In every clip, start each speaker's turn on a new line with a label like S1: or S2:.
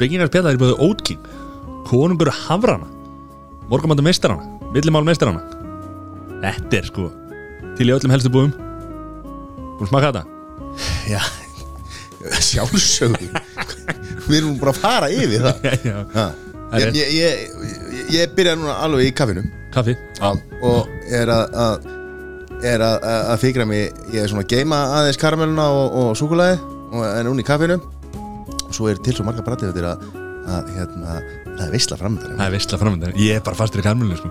S1: Byggingar spjalla er búið Oatking Konungur Hafrana Morgumandu meistarana Villimál meistarana Þetta er sko Til í öllum helstu búum Búin að smaka þetta
S2: Já, sjálfsögðu Við erum bara að fara yfir það
S1: Já, já.
S2: Ha.
S1: Það er
S2: Ég, ég, ég, ég- ég byrja núna alveg í kaffinu
S1: Kaffi Já
S2: og er að, að er að, að, að fikra mig ég er svona að geima aðeins karamelluna og, og súkulaði og er núna í kaffinu og svo er til svo marga brætið þetta að, að hérna, það er veistla framöndan
S1: Það er veistla framöndan Ég er bara fastur í karmelinu sko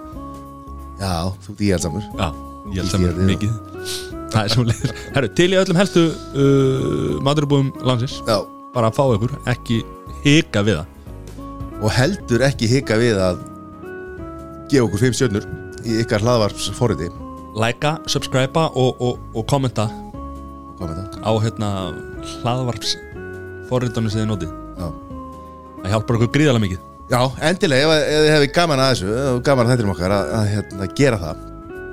S2: Já, þú ert íhaldsamur
S1: Já Ég held saman
S2: Ég- ég-
S1: mikið Það er svo leir Herru, til í öllum helstu uh, Maturubúum landsins
S2: Já,
S1: Bara að fá ykkur Ekki hika við það
S2: og heldur ekki hika við að gefa okkur fimm stjörnur í ykkar hlaðvarps forriti
S1: Læka, subscriba og, og, og kommenta
S2: Hvað með það?
S1: Á hérna Hlaðvarps Forritunum sem þið notið
S2: Já
S1: Það hjálpar okkur gríðarlega mikið
S2: Já, endilega, ef, ef þið hefði gaman að þessu og gaman að þættirum okkar að, að, hérna, gera það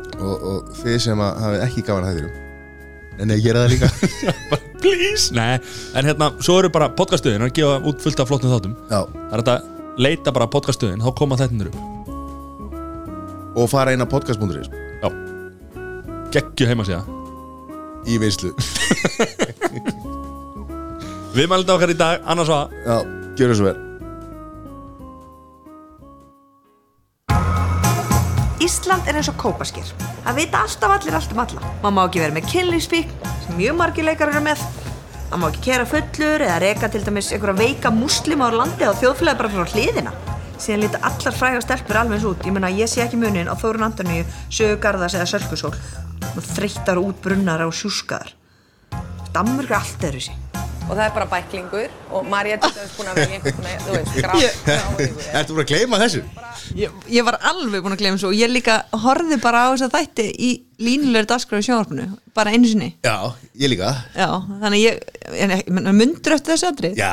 S2: og, og þið sem að hafið ekki gaman að þættirum en ég gera það líka
S1: Bara, Please Nei, en hérna, svo eru bara podcastuðin að gefa út fullt af flottum þáttum
S2: Já,
S1: Það er hægt að leita bara podcastuðin þá koma þettinur upp
S2: og fara inn á podcast.is
S1: Já Gekkju heima síða
S2: í vinslu
S1: Við mælum þetta okkar í dag, annars var
S2: Já, gjöra svo vel
S3: Ísland er eins og kópaskir. Það vita alltaf allir allt um alla. Man má ekki vera með kynlýsfík, sem mjög margir leikar eru með. Man má ekki kera fullur eða reka til dæmis einhverja veika muslima úr landi og þjóðfélagi bara frá hliðina. Síðan líta allar fræga stelpur alveg eins út. Ég meina, ég sé ekki munin á Þórun Antoníu, Sögu Garðas eða Sölkusól. Og þreyttar og útbrunnar og sjúskaðar. Dammur er allt öðru sér.
S4: og það er bara bæklingur og Marja til dæmis búin að velja einhvern með, þú veist, grá yeah.
S2: Ertu búin að gleyma þessu?
S5: Ég, ég var alveg búin að glemja svo og ég líka horfði bara á þess að þætti í línulegur dagskráð í sjónvarpinu, bara einu sinni
S2: Já, ég líka
S5: Já, þannig ég, en ég menn, mundur eftir þessu atrið
S2: Já,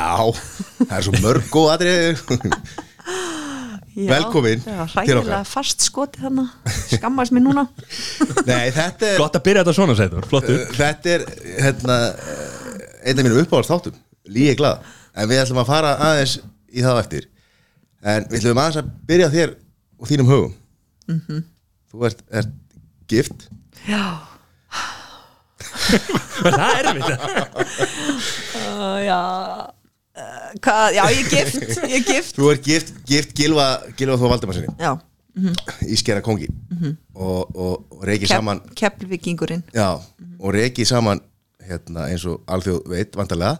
S2: það er svo mörg góð atrið velkomin
S5: Það var
S2: til
S5: hræðilega
S2: okkar.
S5: fast skotið hann skammast mér núna
S2: Nei, þetta er,
S1: Gott að byrja þetta svona, segður, flottur
S2: þetta er hérna, einn af mínum uppáðast þáttum Lígi glað En við ætlum að fara aðeins í það á eftir En við ætlum aðeins að byrja á þér og þínum hugum Þú ert, ert gift
S5: Já
S1: Það er erfitt
S5: uh, Já uh, Hvað, já ég er gift, ég er gift
S2: Þú ert gift, gift Gilva, Gilva Þó Valdimarsinni
S5: Já,
S2: Ískera kongi og, og, og reikið saman
S5: Kep, keplvikingurinn
S2: já, og reikið saman hérna, eins og alþjóð veit vantarlega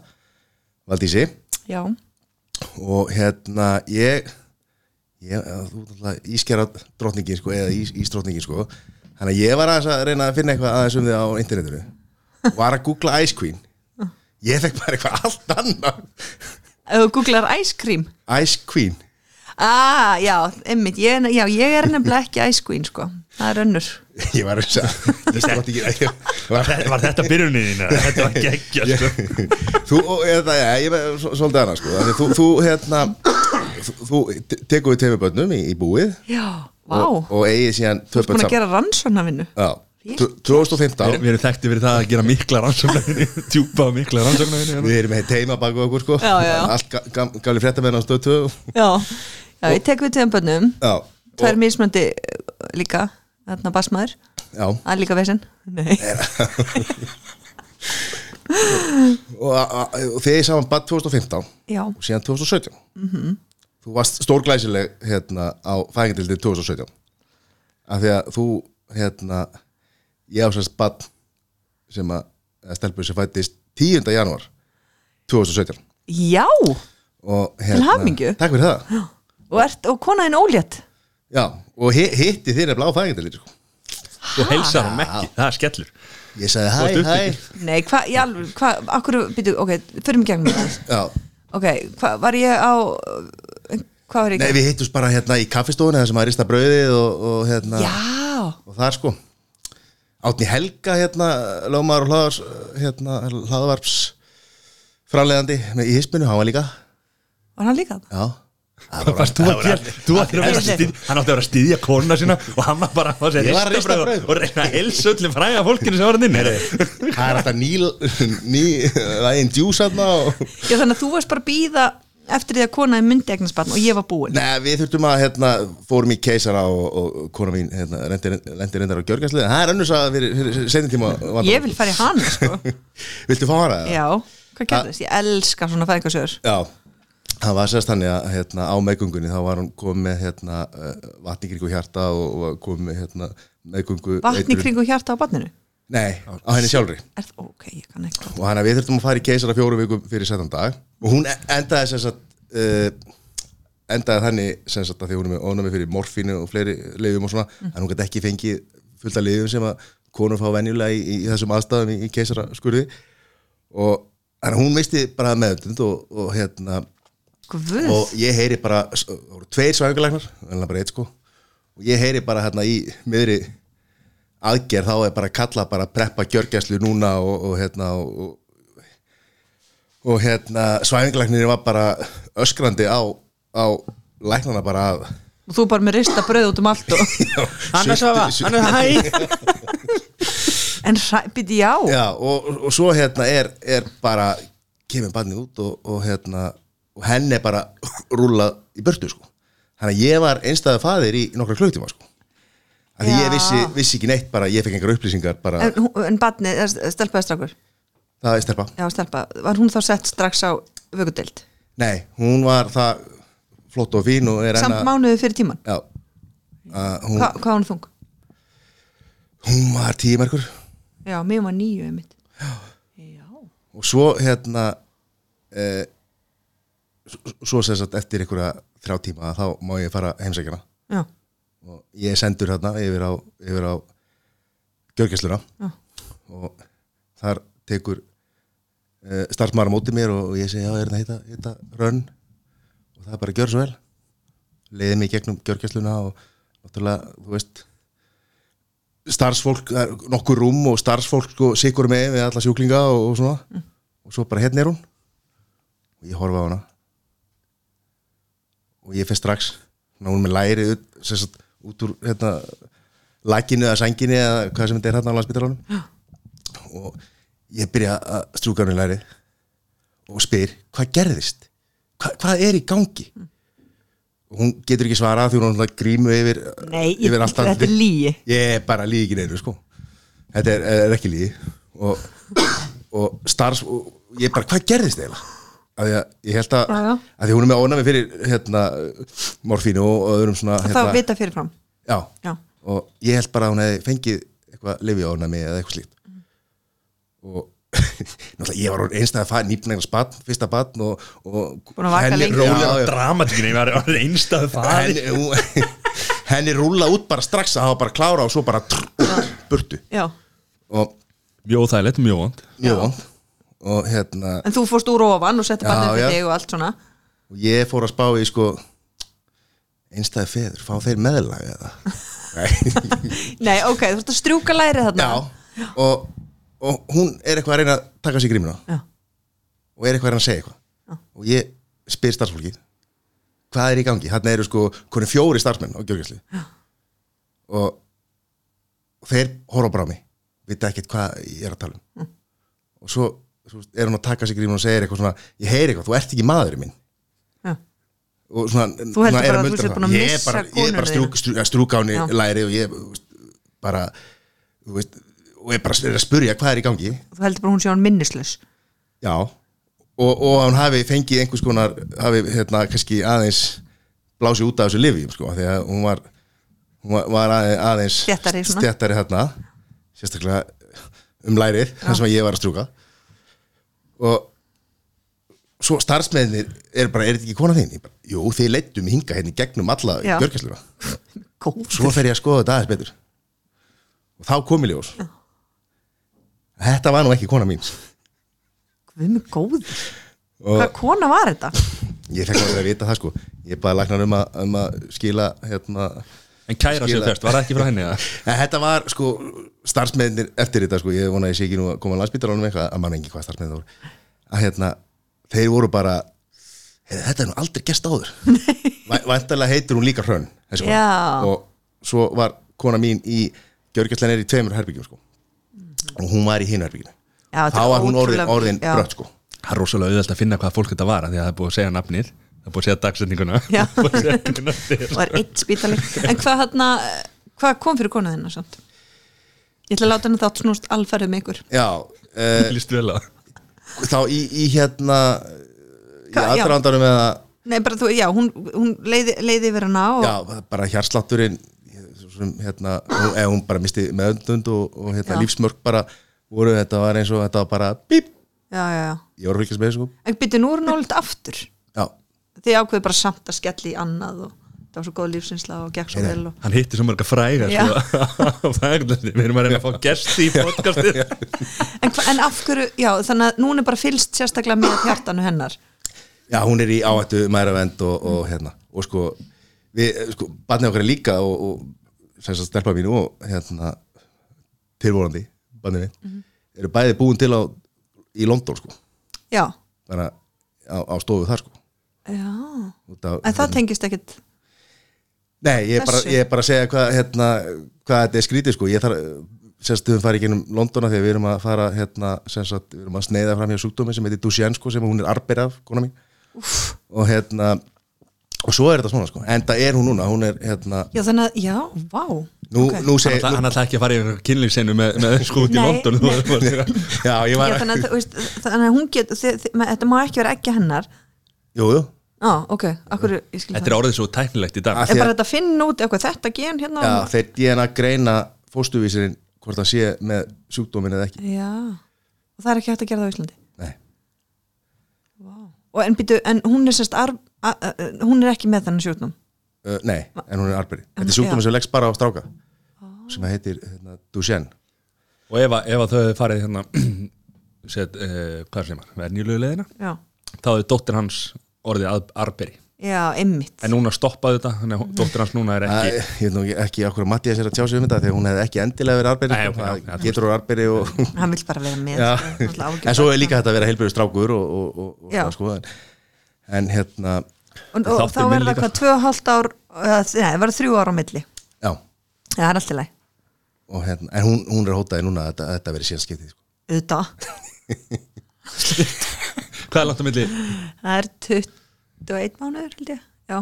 S2: Valdísi
S5: Já,
S2: og hérna ég, ég eða, þú alltaf ískera drottningin sko, eða ís, ísdrottningin sko þannig að ég var aðeins að reyna að finna eitthvað aðeins um þið á internetinu var að googla Ice Queen ég fekk bara eitthvað allt annað
S5: ef þú googlar ice cream
S2: Ice Queen
S5: Ah, já, einmitt, ég, er- já, ég er nefnilega ekki ice queen sko, það er önnur
S2: ég var eins að ísdrottningin ég var
S1: Var þetta byrjunin þín? eða? Þetta var geggja, sko
S2: þú, og- eða, ja, ég er svo- svolítið annað sko Þannig, þú, þú, hérna þú, þú te- tekur við tveimur börnum í, í búið
S5: Já, vá,
S2: og, og eigið síðan tvö börn
S5: búin að gera rannsóknarvinnu
S2: Já, tv- 2015
S1: Við erum þekkti fyrir það að gera mikla rannsóknarvinni Djúpa og hérna. mikla rannsóknarvinni
S2: við erum með teima baku okkur sko
S5: Já, já, já.
S2: allt ga- gam, gamli fréttamenn á stöð 2
S5: Já, já ég tek við tveim bönnum
S2: já,
S5: Það er mismöndi eh, líka, þarna basmaður
S2: já
S5: Það er líka vesinn Nei,
S2: og, a- a- og þið er saman bara 2015
S5: já,
S2: og síðan 2017
S5: Mhm.
S2: þú varst stórglæsileg hérna á fæðingatildið 2017 af því að þú hérna ég ásæst bann sem að eða stelpur sem fættist 10. janúar 2017
S5: já
S2: og hérna,
S5: Til hamingju.
S2: takk fyrir það
S5: Og, ert, og konaðin ólétt
S2: já, og hi- hitti þér nefnilega á fæðingatildið sko.
S1: Þú heilsar hann ekki, það er skellur
S2: ég sagði hæ,
S1: ert
S2: hæ
S1: upptekinn.
S5: Nei, hvað, já, hvað, akkur, byrju, ok, fyrir mig gegnum það
S2: já.
S5: Ok, hvað, var ég á Hvað var ég
S2: nei, við hittumst bara hérna í kaffistofuna þar sem að rista brauðið og, og hérna
S5: Já,
S2: og það er sko Átni Helga hérna Lómaður og hlaðars, hérna, hlaðvarps framleiðandi með í hispinu, hann var líka
S5: var hann líka það?
S2: já,
S1: Hvað varst þú að gera? Þú átti að vera að styðja Hann átti að vera að styðja konuna sína og hann var bara að fá sér
S2: Ég var að rista
S1: ristabrauð
S2: brauð.
S1: og reyna að heilsa öllum fræga fólkinu sem var hann inn
S2: það er alltaf ný, ný það er einn djús hérna og
S5: Já, þannig að þú varst bara að býða eftir því að konaði myndi egnarsbarn og ég var búin
S2: Nei, við þurftum að hérna, fórum í keisara og, og og kona mín hérna, rendi, rendi reyndar á gjörgæslu það er önnur saga fyrir, fyrir seinni tíma vandamál.
S5: Ég vil fara í hana sko
S2: Viltu fá hana?
S5: Já, hvað gerðist? Ég elska svona fæðingasögur
S2: Já, það var sérst þannig að hérna, á meðgöngunni þá var hann komið með hérna, vatni kringu hjarta og, og var komið með hérna, meðgöngu
S5: Vatni
S2: eitrun.
S5: kringu hjarta á barninu
S2: Nei, á henni sjálfri
S5: Er það, ok, ég kann ekki
S2: og hann að við þurftum að fara í keisara fjóru vikum fyrir setjan dag og hún e- endaði sem sagt uh, endaði þannig sem sagt að því hún er með ónæmi fyrir morfínu og fleiri leiðum og svona en hún gæti ekki fengið fullt af leiðum sem að konur fá venjulega í, í þessum aðstæðum í, í keisara skurði og þannig að hún misti bara meðutund og, og hérna
S5: Guð,
S2: og ég heyri bara s- það voru tveir svæfingalæknar, en bara eitt sko og ég heyri bara hérna í miðri aðgerð þá er bara að kalla bara preppa gjörgæslu núna og, og hérna og, og- og hérna svæfingalæknir var bara öskrandi á, á læknana bara að
S5: og þú bara með rista bröð út um allt og,
S1: Hannes Vafa,
S2: Sultu-
S1: Hannes Hæ
S5: En hræ- bíddu, já,
S2: Já, og, og svo hérna er, er bara kemur barnið út og, og hérna og henni er bara rúlað í burtu sko. Þannig að ég var einstæða faðir í nokkra klukkutíma sko. Af því
S5: Já.
S2: ég vissi, vissi ekki neitt bara, ég fekk engar upplýsingar bara,
S5: En, hún- en barnið, eh, stelpa eða strákur
S2: það er stelpa.
S5: Já, stelpa, var hún þá sett strax á vöggudild
S2: Nei, hún var það flott og fín og er enn
S5: Samt
S2: að-
S5: mánuði fyrir tíman
S2: Já, að hún,
S5: Hva, Hvað var hún þung?
S2: hún var tímerkur
S5: Já, mér var nýju einmitt
S2: og svo hérna eh, s- svo sem sagt eftir einhverja þrjá tíma þá má ég fara heimsækjana
S5: Já,
S2: og ég er sendur hérna yfir á, yfir á gjörgæsluna og þar tekur uh, starfsmaður á móti mér og ég segi já, er þetta heita, heita rönn og það er bara gjör svo vel leiði mig í gegnum gjörgæsluna og náttúrulega, þú veist starfsfólk, það er nokkur rúm og starfsfólk sko, sikur með við alla sjúklinga og, og svona
S5: Mm.
S2: og svo bara hérna er hún og ég horfa á hana og ég fyrst strax ná hún er með læri ut, sem sagt, út úr hérna, lakinu eða sænginni eða hvað sem þetta er hérna á landsbytarunum og ég byrja að strúka hann í læri og spyr hvað gerðist, Hva, hvað er í gangi
S5: Mm.
S2: og hún getur ekki svarað því hún er náttúrulega grímu yfir
S5: Nei, ég-
S2: yfir allt
S5: þetta er
S2: andlitið.
S5: lygi.
S2: ég er bara lígi neinu sko þetta er, er ekki lígi og, og starfs og ég bara, hvað gerðist eiginlega af því að ég held að,
S5: Já, já.
S2: að því hún er með ónæmi fyrir hérna, morfínu og öðrum svona
S5: þá
S2: hérna,
S5: vita fyrirfram
S2: já.
S5: Já.
S2: og ég held bara að hún hefði fengið eitthvað lifi ónæmi eða eitthvað slíkt og náttúrulega ég var orðinn einstæða fæ, nýpnægna spann, fyrsta bann og, og
S5: Búin að vaka lengi.
S2: rólega-
S1: Rólega dramatíkinni, ég var orðin einstæðu faði
S2: henni, hún- henni rúla út bara strax að hafa bara klára og svo bara trr, út, burtu
S5: Já,
S2: og
S1: Mjög óþægilegt, mjög vond
S2: mjög vond og hérna
S5: en þú fórst úr ofan og setti
S2: Já,
S5: barnið
S2: já.
S5: fyrir þig og allt svona
S2: og ég fór að spá í sko einstæði feður, fá þeir meðlag eða Nei.
S5: Nei, ok, þú ert að strjúka lærið þarna
S2: já og, og hún er eitthvað að reyna að taka sér grímina
S5: Já.
S2: og er eitthvað að reyna að segja eitthvað og ég spyr starfsfólki hvað er í gangi, þarna eru sko hvernig fjóri starfsmenn á gjörgjæslu og, og þeir horfa bara á mig vita ekkert hvað ég er að tala um og svo, svo er hún að taka sér grímina og segir eitthvað svona, ég heyri eitthvað, þú ert ekki maðurinn minn
S5: Já.
S2: og svona,
S5: Þú heldur
S2: svona er
S5: bara að
S2: að
S5: þú
S2: muldra
S5: sért
S2: hana.
S5: búin að
S2: ég er
S5: missa
S2: bara, ég er
S5: konuna
S2: bara strúk, strúk, strúk á henni
S5: Já.
S2: læri og ég þú veist, bara þú veist, og ég bara er að spurja hvað er í gangi
S5: Þú heldur bara hún sé hann minnislaus
S2: já og, og að hún hafi fengið einhvers konar hafi hérna kannski aðeins blásið út af þessu lifi sko, af því að hún var, hún var- var aðe- aðeins
S5: Þéttari svona.
S2: stjættari þarna sérstaklega um lærið þar sem ég var að strúka og svo starfsmeðinir er bara, er þetta ekki kona þín? Ég bara, Jú, þið leittum hinga hérna í gegnum alla
S5: Já.
S2: gjörgæsluna
S5: Góð
S2: svo fer ég að skoða þetta aðeins betur og þá kom í ljós þetta var nú ekki kona mín
S5: Við með góð
S2: og
S5: Hvað kona var þetta?
S2: ég fekk alveg að vita það sko ég baði læknar um, að- um að skila hérna
S1: En kæra sér
S2: Skila.
S1: fyrst, var það ekki frá henni eða?
S2: en þetta var sko starfsmeðinir eftir þetta sko, ég vona að ég sé ekki nú að koma að landsbytarunum eitthvað, að mann engi hvað starfsmeðin voru að hérna, þeir voru bara hey, þetta er nú aldrei gest áður vantarlega heitir hún líka hrönn þessi kona.
S5: Já.
S2: og svo var kona mín í gjörgjastlan er í tveimur herbyggjum sko og hún var í hinu herbygginu
S5: Já, Mhm. þetta
S2: þá
S5: er
S2: var hún orðin,
S5: ótrúlega-
S2: orðin
S5: já.
S2: brött sko
S1: Það er rosalega auðvelt að finna hvað fólk þetta var af Því að það er búið að segja nafnið Það er búið að segja dagsetninguna
S5: Já.
S1: Það er búið að segja hvernig nótt er.
S5: og er eitt spítali en hvað, hana, hvað kom fyrir konu þinna samt? ég ætla að láta henni þátt snúst alferðið með ykkur
S2: Já, uh,
S1: Líst vel á
S2: þá í, í hérna í
S5: Hva- já.
S2: aðrandanum eða
S5: Nei, bara þú, já, hún, hún leiði, leiði yfir hana og,
S2: já, bara hjarslátturinn sem, hérna, hún- ef hún bara misti meðundund og, og hérna,
S5: Já.
S2: lífsmörk bara voru, þetta var eins og þetta var bara bíp,
S5: já, já, já.
S2: ég voru að fylgjast með þessu sko.
S5: en byrju nú er hún nált aftur
S2: já,
S5: þið ákveðu bara samt að skella í annað og það var svo góð lífsinsla og gekk svo vel og,
S1: Hann hitti svo marga fræga
S5: Já.
S1: sko, á Fagurlandi. Við erum að reyna að fá gesti í podcastið
S5: en, hva, en af hverju, já, þannig að núna er bara fylst sérstaklega með hjartanu hennar
S2: já, hún er í áhættu mæravend og, og hérna og sko, við, sko, barnið okkar er líka og, og sem sagt stelpa mín og hérna, tilvonandi barnið mitt,
S5: Mhm.
S2: eru bæði búin til á í London sko
S5: já,
S2: þannig að á, á stofu þar sko
S5: já
S2: Út af-
S5: en það tengist ekkit
S2: Nei, ég er bara,
S5: Þessu?
S2: ég er bara að segja hvað, hérna, hvað þetta er skrítið sko. Ég þarf, semst, við farum í gennum Londona þegar við erum að fara, hérna, semst, við erum að sneiða fram hjá sjúkdómi sem heitir Duchenne sko, sem hún er arbeir af, kona mín. Uff. Og hérna, og svo er þetta svona sko. En það er hún núna, hún er, hérna,
S5: já, þannig að, já, vá
S2: nú,
S5: ok.
S2: nú
S1: Hann
S2: segir,
S1: ætla- hann ætlaði ekki að fara yfir kynlífsenu með, með sko út í
S5: Nei,
S1: London þú var- þú var- þú var-
S2: já, ég
S5: já,
S2: var,
S5: þannig, að, þú veist, þannig að hún get þið, þið, ma- þetta má ekki vera ekki hennar
S2: jú, jú,
S5: á, ok, akkur, ég skil
S1: Þetta er orðið svo tæknilegt í dag
S2: Að-
S5: er
S2: því
S5: bara þetta að finna út eitthvað þetta gen hérna
S2: já,
S5: já,
S2: þeir DNA greina fóstuvísirinn hvort það sé með sjúkdómin eða ekki.
S5: já. og það er ekki hægt að gera það á Íslandi
S2: Nei,
S5: og en, býtu, en hún er sérst arf, a, a, a, hún er ekki með þennan sjúknum
S2: uh, nei, en hún er arbeir.
S5: En-
S2: Þetta er sjúkdómi
S5: já.
S2: sem leggst bara á stráka, sem heitir, hérna, Duchenne.
S1: Og ef, að- ef að þau hefði farið hérna set, uh, hvað sem var, venjulegu leðina
S5: já,
S1: þá hefði dóttir hans orðið að arberi
S5: já, einmitt
S1: en núna stoppaði þetta, þannig að dóttir hans núna er
S2: Æ,
S1: ekki
S2: ég veit nú ekki, ekki akkur að Mattias er að tjá sig um þetta þegar hún hefði ekki endilega verið arbeiri
S1: Nei,
S2: sko,
S1: ok,
S2: það
S1: já, já,
S2: getur úr arbeiri og,
S5: hann vil bara vera með
S2: já,
S5: sko, náttúrulega áhyggjur
S2: en svo er
S5: barna.
S2: líka þetta að vera heilbyrðu strákur og, og, og, og
S5: Já.
S2: það, sko, en, en hérna
S5: og, og
S1: Þáttur
S5: þá
S1: minn
S5: verður það
S1: líka.
S5: hvað tvö og hálft ár eða, nei, það verður þrjú ára á milli
S2: já,
S5: Já, það er alltaf leið,
S2: og hérna, en hún, hún er hótaði núna að þetta, að þetta verið síðan skiptið sko.
S5: auðvitað
S1: Hvað er langt á milli?
S5: það er 21 mánuður held ég, já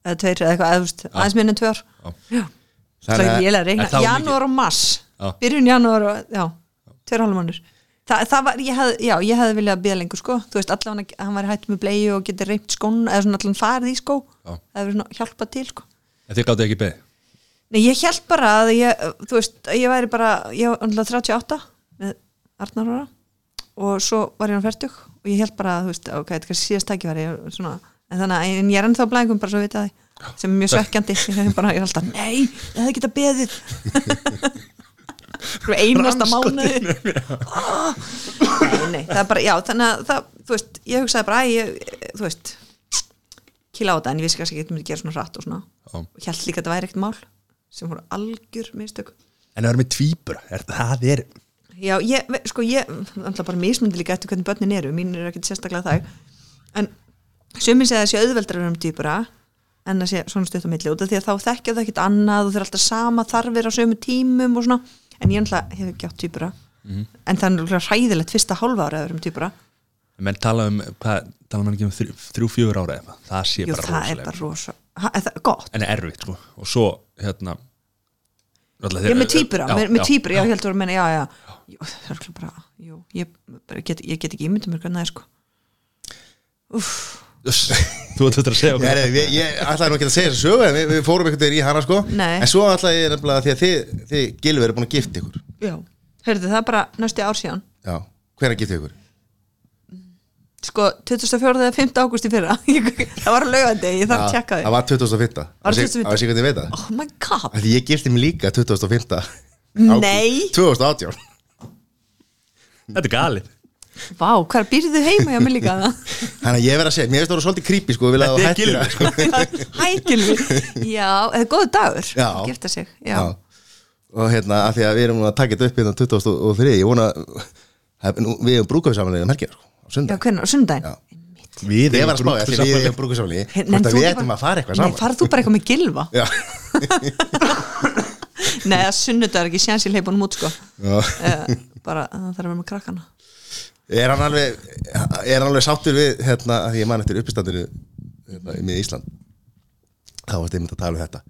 S5: eða tveir eða eitthvað, eða, þú veist, aðeins minni en tvö ár
S1: Já.
S5: já, það
S2: Þannig
S5: er
S2: að-
S5: lélega að
S1: En þá
S5: regna
S1: er
S5: janúar og mars,
S1: Já.
S5: byrjun janúar og, já, tveir og hálf mánuður Þa, það var, ég hef, já, ég hefði viljað að bíða lengur sko, þú veist, allan að hann var hætt með bleið og getur reypt skón, eða svona allan farið í skó
S1: Já.
S5: það hefur svona hjálpað til sko
S1: En Þið gáttu ekki beðið
S5: Nei, ég held bara að ég, þú veist, að ég væri bara, ég var náttúrulega 38 með Arnar ára og svo var ég á 40 og ég held bara að, þú veist, ok, þetta er kannski síðast tækifæri og svona, en þannig að en ég er ennþá blæðingum bara svo vitað því, sem er mjög svekkjandi ég er bara, ég er alltaf, nei, ég hefði geta beðið Þú einasta mánuði Ah. Nei, það er bara, já, þannig að það, þú veist, ég hugsaði bara, æ, ég, þú veist kýla á þetta, en ég vissi kannski ekki að þetta myndi gera svona hratt og svona
S1: Já.
S5: og held líka að þetta væri ekkert mál sem voru algjör mistök
S1: En það er með tvíbura, er, það er
S5: já, ég, ve- sko, ég alltaf bara mismundi líka eftir hvernig börnin eru mín eru ekkert sérstaklega það en sumir segja að það sé auðveldar að vera um dýpura en að sé svona stutt á milli út af því að þá þekkja þau ekkert annað og þau eru alltaf sama þarfir á sömu tímum og svona en ég alltaf hef ekki átt dýpura
S1: Mhm.
S5: en það er náttúrulega hræðilegt fyrsta hálfa ára að vera um dýpura
S1: Menn tala um, hvað, tala maður ekki um þrjú, þrjú fjögur ára eða eitthvað? Það sé
S5: Jú,
S1: bara
S5: það er
S1: rosalega
S5: bara rosa ha, er það, gott,
S1: En er erfitt, sko Og svo, hérna náttúrulega
S5: ég er
S1: þeir-
S5: með týpura,
S1: Já,
S5: með, með
S1: já.
S5: týpura, já, ég heldur að menna, já, já, já. Jú, það er örugglega bara, jú, ég, bara get, ég get ekki ímyndum mér hvernig það er sko.
S1: Uss, Þú ert þetta að segja
S2: ég, ég, ég ætlaði nú ekki að segja þessu sögu en við, við fórum einhvern veginn í hana sko
S5: Nei.
S2: en svo ætlaði ég nefnilega því að þið, þið Gilvi eru búin að gifta ykkur
S5: Já, heyrðu það er bara næstu ár síðan
S2: já, hver að gifta ykkur?
S5: Sko, 24. eða 5. ágúst í fyrra Það var lögandi, ég þarf að tjekka
S2: það
S5: því
S2: var 2005
S5: Var
S2: Á sig-
S5: 2005?
S2: á sig hvernig ég veit það
S5: Oh my god,
S2: Því ég gifti mig líka 2005
S5: Nei.
S2: ágúst 2018
S1: Þetta er galið
S5: vá, hver býrðu heima hjá mig líka það?
S2: Þannig að ég verð að segja, mér finnst það voru svolítið creepy sko, vil
S1: Þetta
S2: að þú
S1: er
S2: hættir
S1: Gylfi,
S2: að-
S1: sko
S5: Hækilvi Já, eða góðu dagur
S2: Já.
S5: að Gifta sig, já,
S2: Já. Og hérna, af því að við erum nú að taka þetta upp hérna 2003, ég vona hef, nú, við erum brúkausamlega um helgina sko, á
S5: já
S2: sundag.
S5: hvernig, á sundaginn
S2: Já.
S1: Við
S2: Ég var að spáði, af því við erum brúkausamlega
S5: Hey,
S2: hvort
S5: þú
S2: að við
S5: ekki
S2: ættum
S5: bara-
S2: að fara eitthvað
S5: Nei,
S2: saman
S5: farð þú bara eitthvað með gilva
S2: Já,
S5: Nei, að sunnudagur er ekki séns í leipunum út sko
S2: Já.
S5: Eh, Bara, það þarf að vera með krakkana
S2: Er hann alveg er hann alveg sáttur við hérna, af því ég man eftir uppistandinu hérna, með Ísland þá varst einmitt að tala um þetta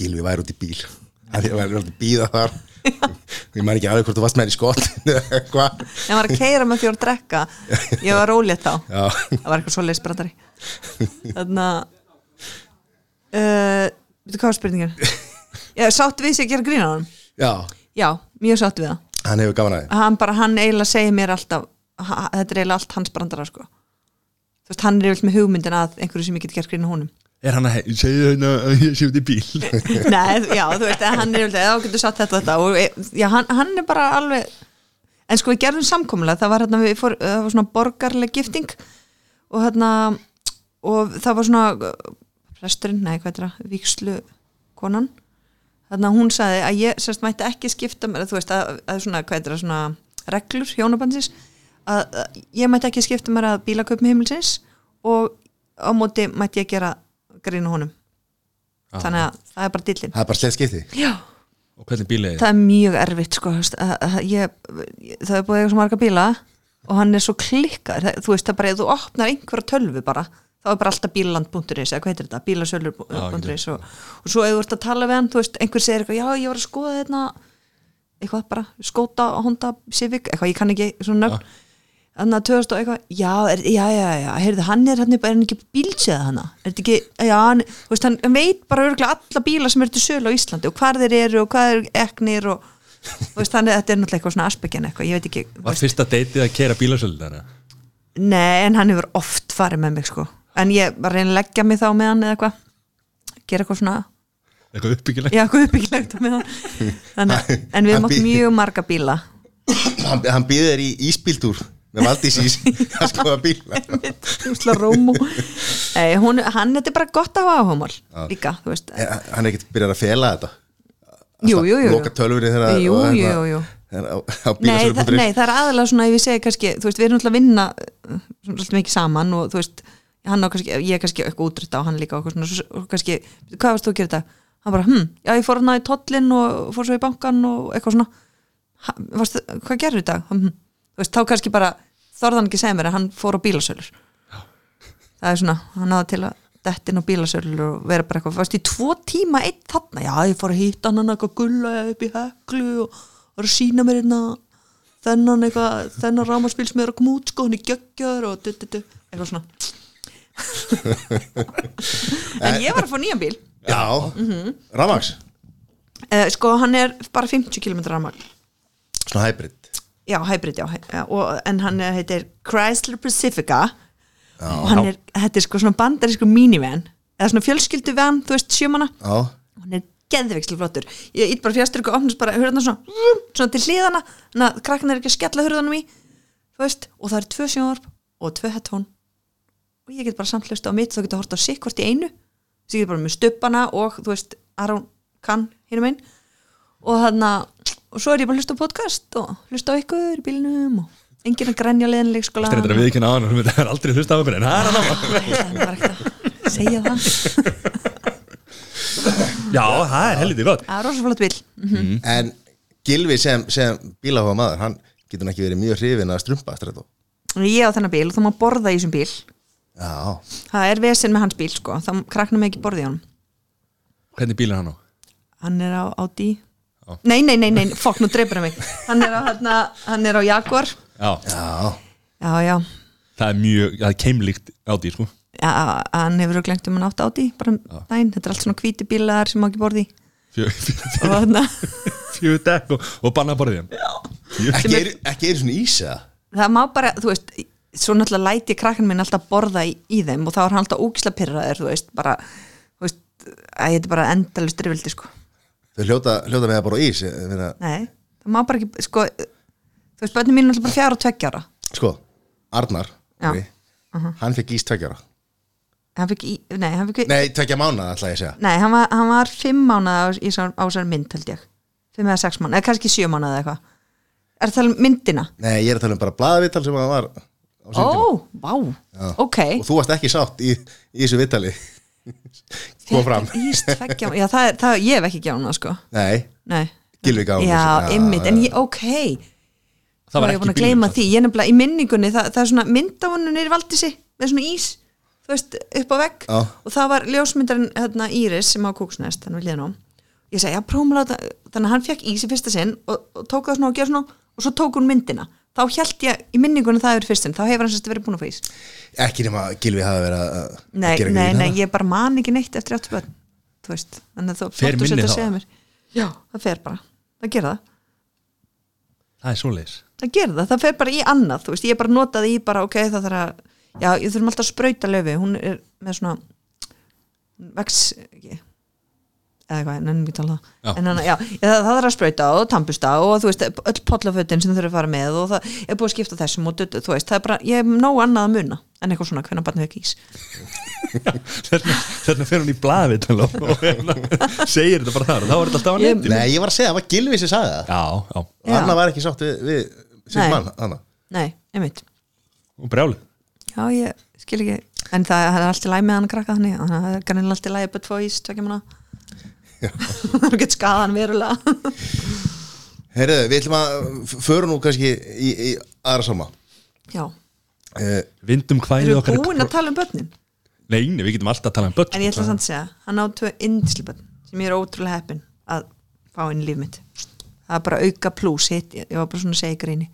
S2: Gilvi væri út í bíl að ég væri út í bíða þar ég man ekki alveg hvort þú varst með henni í skott eða hvað
S5: Ég var að keira með því að drekka Ég var rólið þá
S2: Já.
S5: Það var eitthvað svoleiðis brandari Þannig að uh, Veitu hvað var spurningin? Já, sátt við sig að gera grína á hann
S2: já,
S5: Já, mjög sátt við það
S2: hann hefur gaman að
S5: Hann bara, hann eiginlega segir mér alltaf ha- Þetta er eiginlega allt hans brandara sko Þú veist, hann er yfirleitt með hugmyndin að einhverju sem ég get gert grína honum
S1: Er hann að he- segja hérna að ég sé út í bíl
S5: Nei, þú- já, þú veist, eða hann er yfirleitt eða þá getur satt þetta og þetta og e- já, hann, hann er bara alveg en sko við gerðum samkommulega, það var hérna við fór, það var svona borgarleg gifting og hérna og það var svona uh, presturinn, nei, hvað er það, víkslu konan, þannig að hún sagði að ég sérst mætti ekki skipta mér þú veist, að, að svona, hvað er það, svona reglur hjónabandsins, að, að ég mætti ekki skipta mér að bílaköpum heimilsins og á móti mætti ég gera grínu honum þannig að það er bara dillin
S2: það er bara slett skipti
S5: Já.
S1: Og hvernig bíl er
S5: það er mjög erfitt sko, þú veist, að, að, ég, ég- það er búið eitthvað marga bíla og hann er svo klikkar það, þú veist það bara, ef þú opnar einhverja tölvu bara þá er bara alltaf bílaland.is eða hvað heitir þetta, bílasölur.is og, og svo ef þú ert að tala við hann, þú veist, einhver segir eitthvað, já ég var að skoða þetta eitthvað bara, skóta, honda, civic eitthvað, ég kann ekki svona nöfn þannig að 2000 og eitthvað, já, er, já, já, já heyrðu, hann er hann, er hann ekki bílseða hann er þetta ekki, já, hann, þú veist, hann, hann veit bara örgulega alla bíla sem eru til sölu á Íslandi og hvar þeir eru og hvað eru eknir og, þú veist, þannig að þetta er náttúrulega eitthvað svona aspekin eitthvað, ég veit ekki, þú
S1: Var fyrsta deytið að kera bílasöld þarna?
S5: veist, nei, en hann hefur oft farið með mig, sko, en ég var að reyna að leggja mig þá með hann eða eitthvað gera eitthvað svona,
S1: Eitthvað uppbyggilegt?
S5: já, eitthvað uppbyggilegt með hann þannig, að- en við
S2: Hann
S5: höfum átt
S2: bý-
S5: mjög marga bíla
S2: hann, hann býði þér í ísbíltúr með Valdís ís að skoða bíla
S5: Úsla Rómú Nei, hún, hann, þetta er bara gott að hafa áhugmál líka, þú veist
S2: Eh, hann er ekkert byrjar að fela þetta
S5: Jú, jú, jú
S2: loka tölvunni þegar
S5: Jú,
S2: og- hérna
S5: jú, jú.
S2: þegar á, á
S5: nei, það,
S2: bílasölu.is
S5: nei, það er aðalega svona ef ég segi kannski, þú veist, við erum alltaf að vinna uh, svona alltaf mikið saman og þú veist hann á kannski, ég er kannski eitthvað útrýtt á hann líka og, eitthvað svona, svo- og kannski, hvað varst þú að gera þetta? Hann bara, hm, já, ég fór hann í tollin og fór svo í bankan og eitthvað svona "Ha, varstu, hvað gerðu þetta? Hm, þú veist, þá kannski bara þorðan ekki segja mér að hann fór á bílasölur það er svona, hann náði til að dettin á bílasölur og vera bara eitthvað varst í tvo tíma einn þarna já, ég fór að hýta hann hann eitthvað gulla upp í heklu og var að sína mér hérna þennan eitthvað, þennan rámaspil sem er að koma út sko, hann er geggjaður og du, du, du, eitthvað svona en ég var að fá nýjan bíl
S2: já,
S5: Mhm.
S2: Ramax,
S5: eh, sko, hann er bara 50 km rámagl
S2: svona hybrid
S5: já, hybrid, já, hæ- já og, en hann eh, heitir Chrysler Pacifica og hann er, þetta er sko svona bandarísku minivan, eða svona fjölskylduvan þú veist, sjömana
S2: já,
S5: hann er geðveikslega flottur ég ít bara fjasturku og opnast bara hurðan svona, vum, svona til hliðana þannig að krakkan er ekki að skella hurðanum í þú veist, og það eru tvö sjónvarp og tvö hettón og ég get bara samt hlusta á mitt þá get að horta á sig hvort í einu þess ég get bara með stubbana og þú veist Aron kann hinum einn og þannig að, og svo er ég bara að hlusta á podcast og hlusta á ykkur í bílinum og enginn að grænja leðinleik skola
S1: Það er þetta að við ekki náðan og það er aldrei hlusta á okkur en það er að náma
S5: segja það,
S1: Já, það er helviti gott
S5: það er rosa flott bíl
S2: en Gilvi sem, sem bílaháfa maður hann getur nú ekki verið mjög hrifin að strumpa strætó
S5: ég á þennan bíl og þá má borða í þessum bíl
S2: já,
S5: Það er vesinn með hans bíl sko, þá kraknum við ekki borðið í honum.
S1: Hvernig bíl er hann á?
S5: Hann er á Audi. Nei, nei, nei, nei, fokk, nú dreipur hann mig. Hann er á, hérna, hann er á Jaguar.
S1: Já,
S2: já,
S5: Já, já,
S1: það er mjög, það er keimlíkt á því sko
S5: já hann hefur auðvitað glengt um hann átt Audi, bara um daginn. Þetta er allt svona hvíti bílar sem má ekki borðið í.
S1: Fjö- fjö-
S5: Og þarna,
S1: Fjögur dekk og, og bannað bara því
S2: ekki er, ekki er svona ísa
S5: það má bara, þú veist, svo náttúrulega læti ég krakkan minn alltaf borða í, í þeim og þá er hann alltaf ógislega pyrraður, þú veist, bara, þú veist, að þetta er bara endalust drifildi sko.
S2: þau hljóta, hljóta með að bara ís eh, meina,
S5: Nei, það má bara ekki, sko, þú veist, bönni mín er alltaf bara fjara og tveggjára.
S2: sko, Arnar
S5: Já. Mhm.
S2: Ari, hann fekk ís tveggjara
S5: Hann fikk, í, nei, hann fikk
S2: nei, tveggja mánuða ætla ég að segja
S5: Nei, hann var, hann var fimm mánuð á, í sá- á sér mynd, held ég Fimm eða sex mánuð, eða kannski sjö mánuð eða eitthvað Er það um myndina?
S2: nei, ég er að tala um bara blaðavital sem hann var á sínum tíma.
S5: Ó, vá, ok
S2: og þú varst ekki sátt í, í þessu vitali kom fram
S5: Íst, tveggja, já, það, er- það, ég hef ekki gjánað, sko
S2: nei,
S5: Nei
S2: Gylfi gaf honum
S5: Já,
S2: þessu. Já,
S5: ymmit, en
S2: já.
S5: ég, ok
S1: Það var
S5: Nú er
S1: ekki
S5: ég búin að
S1: bílnum
S2: sko.
S5: gleyma
S1: samt.
S5: því, ég er nefnilega í minningunni Það, það er svona mynd af honum nýri valdísi Með svona ís þú veist, upp á vegg
S2: Já.
S5: og það var ljósmyndarinn hérna, Íris sem á kúksnest, þannig við liðnum ég segi, já, prófum að láta, þannig að hann fekk ís í fyrsta sinn og, og tók það svona og gerði svona og svo tók hún myndina, þá held ég í minningunum það er fyrst sinn, þá hefur hann sérst verið búin að fá ís
S2: ekki nema að Gilvi hafi verið að að gera
S5: nei, nei,
S2: grín
S5: nei,
S2: hana.
S5: ég bara man ekki neitt eftir áttu börn, þú veist þannig að þú
S1: Fer
S5: flott þú
S1: minni
S5: sért að
S1: þá?
S5: segja mér. já, það fer bara, það gera það
S1: Það er svoleiðis
S5: það gerir það, það fer bara í annað þú veist, ég bara notaði í bara, ok, það þarf að já, ég þurfum alltaf að sprauta löfi hún er með svona vex, ekki eða eitthvað, nefnum ekki tala
S1: Já.
S5: það en hann, já, ég, það, það þarf að sprauta og tampusta og þú veist, öll pollafötin sem þurfum að fara með og það er búið að skipta þessum og dutt, þú veist, það er bara, ég hef nóg annað að muna en eitthvað svona, hvernig barnið ekki ís
S1: Þarna, þarna fer hún í blaðið og hérna, segir þetta bara þar og þá er þetta alltaf á
S5: Ég-
S1: netinu
S2: Nei, ég var að segja, það var Gilvi sem sagði það
S1: Já, já,
S5: Já.
S2: Anna var ekki sátt við, við
S5: Nei.
S2: sinn mann Anna.
S5: nei, einmitt,
S1: og brjálið
S5: já, ég skil ekki en það, það er allt í læg með hann að krakka þannig þannig að það er kannilega allt í læg að bætt fá ís, tvekja manna þú getur skaðan verulega
S2: Heyrðu, við ætlum að f- förum nú kannski í, í aðra salma
S5: já
S2: uh,
S1: Vindum hvæðið
S5: Eru
S1: okkar
S5: búin að tala um börnin?
S1: Nei, nei, við getum alltaf að tala um börn
S5: En ég ætla samt að segja, hann á tvö indisli börn sem ég er ótrúlega heppin að fá inn í líf mitt Það er bara auka plús hitt, ég ég var bara svona að segja í gríni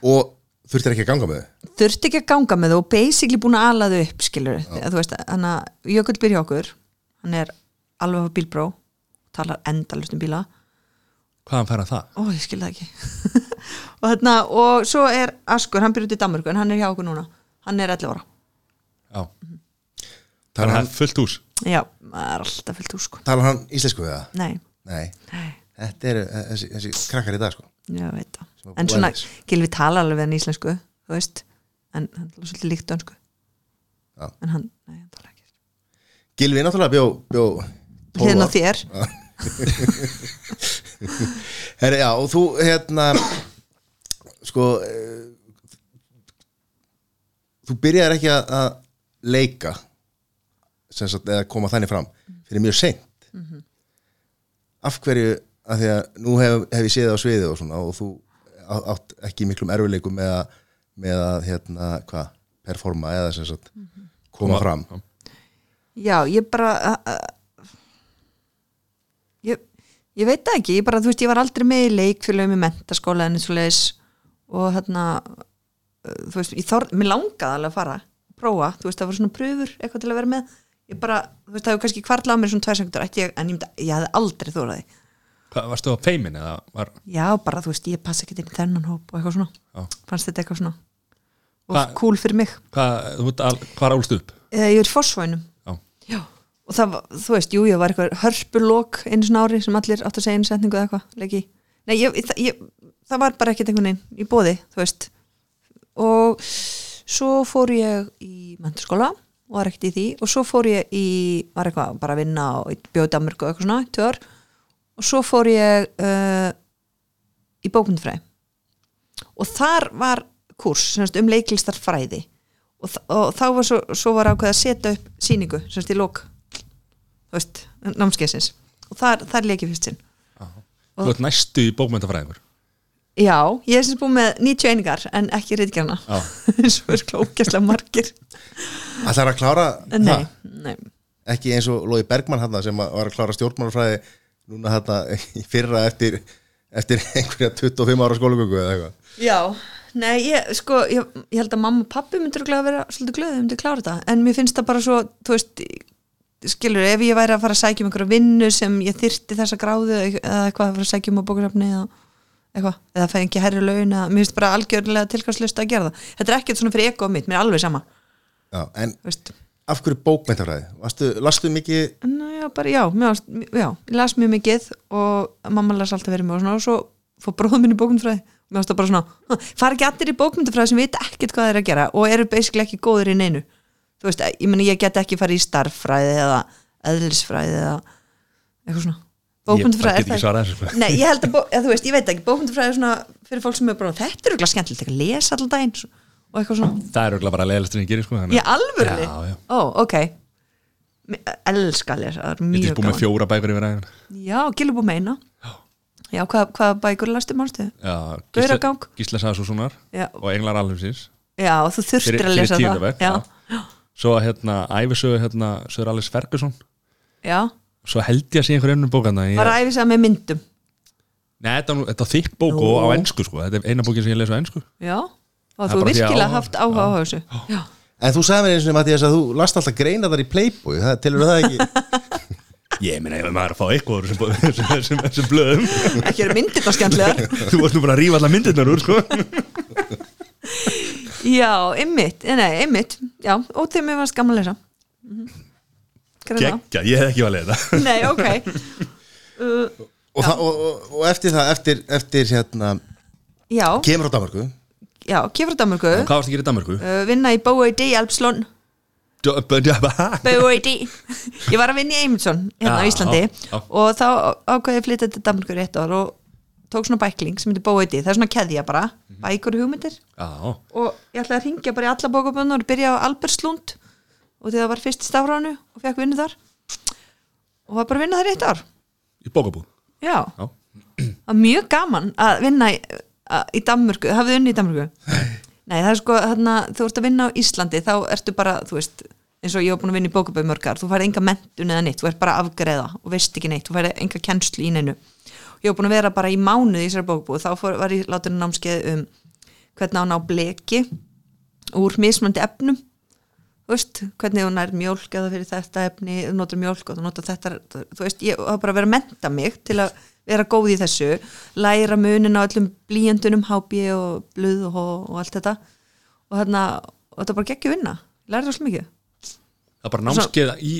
S2: Og þurftir ekki að ganga með þau
S5: Þurfti ekki að ganga með þú og basically búin að ala þau upp, skilur Þegar, Þú veist, hann að Jökull byrja okkur hann er alveg á bílbró talar endalust um bíla
S1: Hvaðan fær hann það?
S5: Ó, ég skil það ekki og, þarna, og svo er Askur, hann byrja út í Danmörku en hann er hjá okkur núna, hann er 11 ára
S1: Já, það
S2: Talar
S1: er
S2: hann,
S1: hann fullt hús
S5: Já, það er alltaf fyllt úr sko
S2: talar hann íslensku við það?
S5: Nei,
S2: Nei,
S5: nei
S2: þetta eru eh, þessi, þessi krakkar í dag sko
S5: Já, veit það.
S2: Sem að
S5: En
S2: búa
S5: svona,
S2: aðeins.
S5: Gilvi tala alveg við hann íslensku, þú veist, en hann tala svolítið líkt dönsku.
S2: Já.
S5: En hann, nei, hann tala ekki.
S2: Gilvi náttúrulega bjó, bjó tólf
S5: Hliðin á
S2: ár.
S5: Hérna þér,
S2: Herri, já, og þú, hérna sko uh, þú byrjar ekki að, að leika sem sagt, eða koma þannig fram fyrir mjög seint af hverju, af því að nú hef, hef ég séð á sviði og svona og þú á- átt ekki í miklum erfileikum með að, með að hérna, hvað performa eða sem sagt koma fram
S5: já, ég bara, a- a- ég, ég veit það ekki, ég bara, þú veist, ég var aldrei með í leikfélögum í mentaskóla en eins og leis og hérna, uh, þú veist, ég þorð, mér langaði alveg að fara, prófa, þú veist, það voru svona pröfur eitthvað til að vera með. Ég bara, þú veist, það hefur kannski kvarlað á mér svona tvær sekundur, ætti ég, en ég, myndi- ég hefði aldrei þóraði.
S1: Hvað, varstu á feimin eða var
S5: já bara þú veist ég passa ekki inn í þennan hóp og eitthvað svona
S1: Já.
S5: fannst þetta eitthvað svona og
S1: Hva-
S5: cool fyrir mig
S1: Hvað, þú veit, al, hvað álst upp?
S5: eða ég er fórsvæðinum
S1: Já,
S5: já. og það var, þú veist, jú ég var eitthvað hörpulok einu svona ári sem allir átt að segja einu setningu eða eitthvað, leik í nei, ég, það, ég, það var bara ekkert einhvern veginn í bóði þú veist og svo fór ég í mentaskóla og var ekkert í því og svo fór ég í, var eitthvað bara að vinna og bjóði Danmörku og eitthvað svona, í tvö ár og svo fór ég uh, í bókmyndfræði og þar var kurs semst, um leiklistarfræði og, þ- og þá var svo, svo var ákveð að setja upp sýningu semst, í lok þú veist, námskeisins og þar, þar leik ég fyrst sinn
S1: þú ert næstu í bókmyndafræðingur
S5: já, ég er sem búið með 90 einingar en ekki reytgerna
S1: Já.
S5: svo er klókjastlega margir
S2: Ætlar að klára
S5: en nei,
S2: það?
S5: nei,
S2: ekki eins og Lói Bergmann hann sem að var að klára stjórnmálfræði núna hann í fyrra eftir, eftir einhverja 25 ára skólagöngu eða eitthvað
S5: já nei, ég, sko, ég, ég held að mamma og pappi myndir að vera svolítið glöðið um til að klára þetta en mér finnst það bara svo, þú veist skilur, ef ég væri að fara að sækja um einhverja vinnu sem ég þyrti þessa gráðu eða eitthvað að fara að sækja um á bókasafni eða eitthvað, eða fæði ekki herri laun eða, mér finnst bara algjörlega tilkvæmslust að gera það þetta er ekkert svona fyrir ego mitt, mér er alveg sama
S2: Já, en
S5: þú veist,
S2: af hverju bókmyndafræði? Vastu, lastu mikið
S5: Nú, já, bara, já, mér, varst- já, ég las mjög mikið og mamma las alltaf verið mig og svona og svo fór bróðum minn í bókmyndfræði og mér varst það bara svona, "Ha, fara ekki allir í bókmyndfræði sem vita ekkert hvað það er að gera og eru basically ekki góður í neinu þú veist, ég meni ég get ekki farið í starffræði eða eðlisfræði eða eitthvað svona
S1: Ég
S5: bókmyndfræði
S1: get ekki svarað þessu sko.
S5: Nei, ég held að, bó, að þú veist, ég veit ekki, bókmyndafræði er svona fyrir fólk sem er bara, þetta er eitthvað skemmtilegt eitthvað lesa allan daginn svo- og eitthvað svona
S1: Það er auðvitað bara leiðilegt sem ég gerir sko
S5: Í alvörunni?
S1: Já, já
S5: Ó, ok Mér- Elska að lesa, það er
S1: Ég
S5: mjög
S1: er búið með fjóra bækur yfir aðeins
S5: Já, Gilur búið með eina Já, hvað, hvað bækur lastu mannstu?
S1: Já,
S5: Gauragang.
S1: Gísla Sassusonar
S5: Já.
S1: og Englar Alheimsins
S5: Já, þú þurftir
S1: Fyrir-
S5: að
S1: fyrir
S5: lesa
S1: tíunda
S5: það
S1: bekk,
S5: já.
S1: já. svo að hérna æfisögu hérna Sör Alice Ferguson
S5: já,
S1: svo held ég að sé einhver ennum bókana ég...
S5: bara æfis að með myndum
S1: Nei, þetta, er nú- þetta er þykk bók og á ennsku sko. þetta er eina bókin sem ég les á ennsku
S5: já, og
S1: Það
S5: þú
S1: er bara því að
S5: virkilega
S1: áhuga-
S5: haft áhuga á þessu já,
S2: En þú sagði mér eins og Mattias að þú last alltaf greina þar í Playboy, það telur það ekki
S1: Ég meina, ef maður er að fá eitthvað úr þessum bó- þessum- þessum þessum blöðum
S5: ekki eru myndir það skemmtilegar
S1: Þú varst nú bara að rífa allar myndirnar úr sko.
S5: já, ymmit, nei, ymmit já, og þeim er varst gaman að lesa mm
S1: Gekja, ég hef ekki valið þetta
S5: -hmm. nei, ok
S2: og, það, og, og, og eftir það, eftir, eftir hérna,
S5: já,
S2: kemur á Danmarku
S5: já, kemur frá Danmarku
S1: Og Hvað varst að gera í Danmarku?
S5: uh, vinna í Bóeidi í Alpslón
S1: Dö-
S5: Bóeidi ég var að vinna í Eymundsson hérna á
S1: Já,
S5: Íslandi
S1: já.
S5: og þá ákveði ég að flytja til Danmarku rétt ár og tók svona bækling sem heitir Bóeidi það er svona keðja bara,
S1: Mhm.
S5: bækur og hugmyndir
S1: Já,
S5: og ég ætlaði að ringja bara í alla bókaböndur og byrja á Albertslund og því það var fyrst í stafránu og fekk vinnu þar og var bara að vinna þar í eitt ár
S1: í bókabúð
S5: já,
S1: Já.
S5: það var mjög gaman að vinna í, að, í Danmörku hafið þið unni í Danmörku nei, það er sko, þarna, þú ert að vinna á Íslandi þá ertu bara, þú veist eins og ég var búin að vinna í bókaböndur mörgar þú færði enga mentun eða neitt, þú ert bara að afgreða og veist ekki neitt, þú færði enga kennslu í neinu ég var búin að vera bara í mánuð í þessari bókabúð þá fór, var ég látin námskeið um hvernig á að ná bleki úr mismandi efnum þú veist, hvernig hún er mjólk eða fyrir þetta efni, þú notar mjólk og þú notar þetta, þú veist, ég hafa bara verið að menta mig til að vera góð í þessu læra munin á öllum blíjendunum hábí og blöð og, og allt þetta og þarna og þetta bara geggjum vinna, læra þessu mikið
S1: Það er bara námskeið í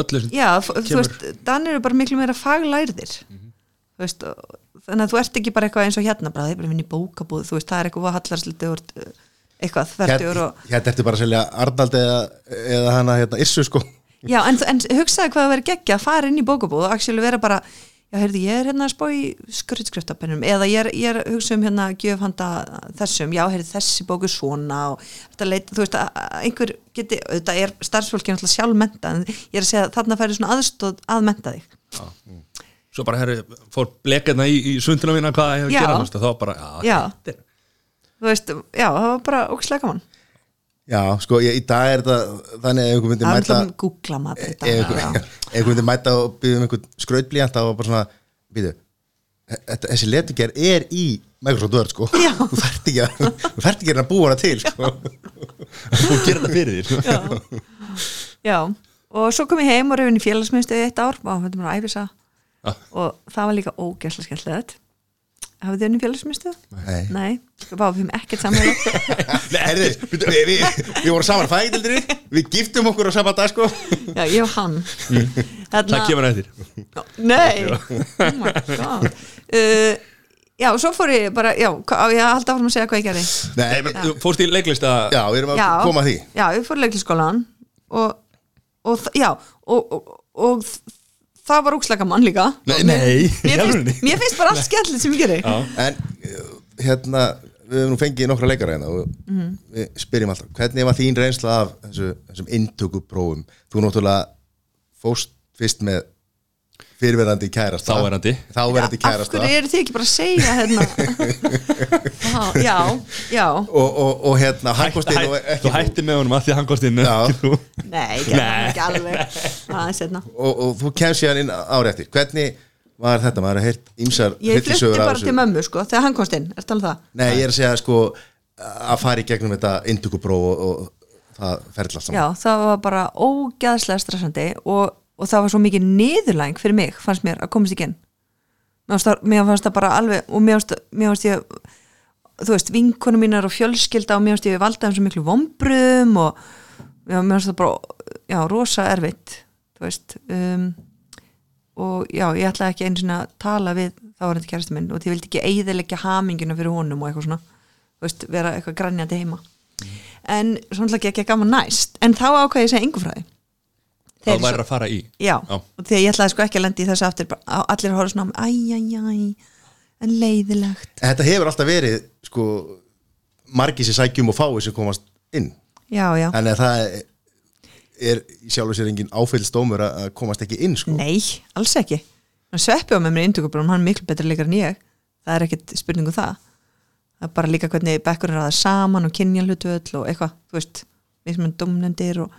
S1: öllu sem
S5: já, f-
S1: kemur.
S5: þú veist, danir eru bara miklu meira faglærðir þú veist, og- þannig að þú ert ekki bara eitthvað eins og hérna bara, það er bara að vinna í bókabúð, þú veist, það er eitthvað hallarsliti og þú ert, uh, eitthvað þvertur og
S2: Hérna ertu bara að selja Arnald eða, eða hana hérna, Issu sko
S5: Já, en, en hugsaðu hvað það verið geggja að fara inn í bókabúð og actually vera bara já, heyrðu, ég er hérna að spá í skrutskriftapennum eða ég er, ég er að hugsa um hérna gjöf handa þessum, já, heyrðu, þessi bóku svona og þetta leita, þú veist að að einhver geti, auðvitað er starfsfólki náttúrulega sjálfmenta, en ég er að segja að þarna færi svona aðstóð að menta þig
S1: Svo bara herri, fór blekarna í, í sundina mína hvað ég hef að
S5: Já.
S1: gera þú veist, og þá bara, já,
S5: Já. Þú veist, já, það var bara ókslega gaman
S2: Já, sko, ég, í dag er þetta þannig ef einhver myndi
S5: Það er um
S2: mæta Eh,
S5: alltaf googla maður
S2: ef
S5: þetta
S2: einhver
S5: já.
S2: ef einhver myndi mæta og byggja um einhvern skrautblíjant þá var bara svona, býtu þetta- þessi letugerð er í Microsoft Word sko,
S5: Já.
S2: þú þarft ekki að þú þarft ekki að reyna að búa hana til sko.
S1: þú gerir þetta fyrir þér sko.
S5: Já, og svo kom ég heim og rauðin í félagsmyndstöði eitt ár og þetta mér að æfisa
S2: Ah.
S1: Já.
S5: og það var líka ógæsla skemmtilegt Hafið þið unni félagsmyndstöð?
S2: Nei.
S5: Nei, það var við höfum ekkert samanlega
S2: Herði, við, við, við, við vorum saman fægildri við giftum okkur á sama dag sko
S5: Já, ég og hann
S2: Mm.
S1: Það
S5: Þarna,
S1: kemur eftir
S5: Nei, oh my god uh, Já, og svo fór ég bara, já, hva- á ég að halda áfram að segja hvað ég gerði
S2: Nei,
S1: Nei, þú Fórst í leiklista
S2: já, við erum að
S5: já,
S2: koma að því
S5: Já, ég fór í leiklisskólan og, og þ- já, og, og, og þ- það var ógæsla gaman líka
S1: Nei, nei, í
S5: Mér
S1: alvörunni?
S5: finnst, mér finnst bara allt skemmtilegt sem
S2: Ah.
S5: ég gerði
S1: Já.
S2: En uh, hérna, við höfum nú fengið nokkra leikara hérna og
S5: Mhm.
S2: við spyrjum alltaf hvernig var þín reynsla af þessu, þessum inntökuprófum? Þú náttúrulega fóst fyrst með fyrirverandi kærasta
S1: Þáverandi.
S2: Þáverandi
S5: af
S2: kærasta
S5: hverju eru þið ekki bara að segja hérna Vá, já, já
S2: og, og, og hérna, hann
S1: Hætt-
S2: kosti nú
S1: hætt- Þú
S2: ekki
S1: hætti með honum að því að hann kosti inn
S2: Já.
S1: ekki þú.
S5: nei, ég gerði
S1: Nei.
S5: það ekki alveg aðeins hérna
S2: og, og þú kemst síðan inn ári eftir hvernig var þetta? Maður hefur heyrt ímsar
S5: ég flutti
S2: hryllisögur af
S5: bara
S2: þessu.
S5: til mömmu sko þegar hann komst inn, er talað það
S2: Nei, ég er að segja sko að fara í gegnum þetta inntökupróf og, og það ferðlast saman
S5: já, það var bara ógæðslega stressandi og, og það var svo mikið niðurlæng fyrir mig, fannst mér að komast ekki inn mér fannst það- mér fannst það bara alveg og mér fannst, mér fannst ég þú veist, vinkonu mínar og fjölskylda og mér fannst ég valda þeim svo miklu vombrum og já, mér fannst það bara já, rosa erfitt þú veist um, og já, ég ætlaði ekki einu sinni að tala við þá var þetta kæristu minn og því ég vildi ekki eigðilegja hamingina fyrir honum og eitthvað svona þú veist, vera eitthvað grænjandi heima en svona ekki ekki gaman næst en þá ákvæði ég að segja engu frá því
S1: Þá
S5: Þeir-
S1: væri að fara í
S5: Já,
S1: Já.
S5: og því að ég ætlaði sko ekki að lendi í þessu aftur bara, á- allir horfðu svona á mig, æj, æj, æj en leiðilegt,
S2: Þetta hefur alltaf verið sko, margi sem sækjum og fái sem komast inn
S5: já, já
S2: þannig að það er í sjálfu sér engin áfellsdómur að að komast ekki inn sko.
S5: Nei, alls ekki hann sveppi á með mér inntökubrún, hann er miklu betur leikar en ég það er ekkit spurningu það það er bara líka hvernig bekkurinn ræða saman og kynja hlutu öll og eitthvað, þú veist mismun domnendir og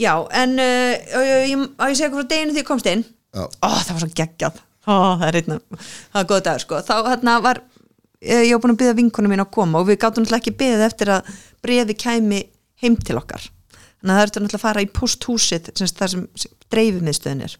S5: já, en uh, ég, ég, á ég segja hvað frá deginu því ég komst inn
S2: Já.
S5: ó, það var svo geggjað ó, það er einna, það var góð dagur sko þá hérna var, eh, ég, ég var búin að byggja vinkunum mín að koma og við gátum náttúrulega ekki byggðið eftir að brefi kæmi heim til okkar þannig að það ertu náttúrulega að fara í posthúsið sem sagt þar sem dreifimiðstöðin er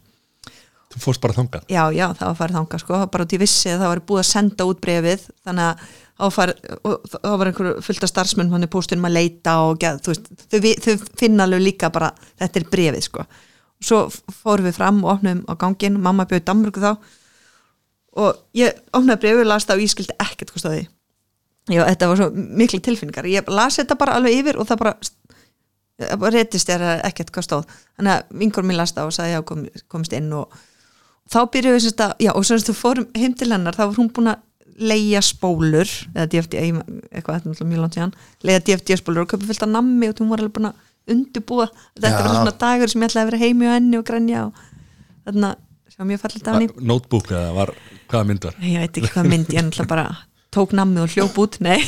S1: þú fórst bara þangað
S5: já, já, það var farið þangað sko, bara út í vissi að það var búið að senda út brefið þannig að það var, farið, og það var einhver fullt af starfsmenn hann er póstunum að leita og geð, þú veist, þau, vi- þau finna alveg líka bara þetta er brefið sko og svo f- fórum við fram og opnum á gangin mamma bjóði Danmörku þá og ég opnaði brefið, las það og ég skildi ekkert hvað stóði já, þetta var svo miklu tilfinningar, ég las þetta bara alveg yfir og það bara það bara reytist þér ekkert hvað stóð þannig að vingur mín las það og sagði já, kom, komist inn og þá byrjuðum við sérst að, já og sérst þú fórum heim til hennar, þá var hún búin að leia spólur, eða DFD ég- eitthvað, þetta er náttúrulega mjög langt síðan leia DFD spólur og köpa fyllt að nammi og hún var alveg búin að undubúa, þetta
S2: Já.
S5: var svona dagur sem ég ætlaði að vera heimi og henni og grænja og þarna, sjá mjög fallið dæni
S1: Var- notebook eða var, hvaða mynd var
S5: Nei, ég veit ekki hvað mynd, ég náttúrulega bara tók nammi og hljóp út, nei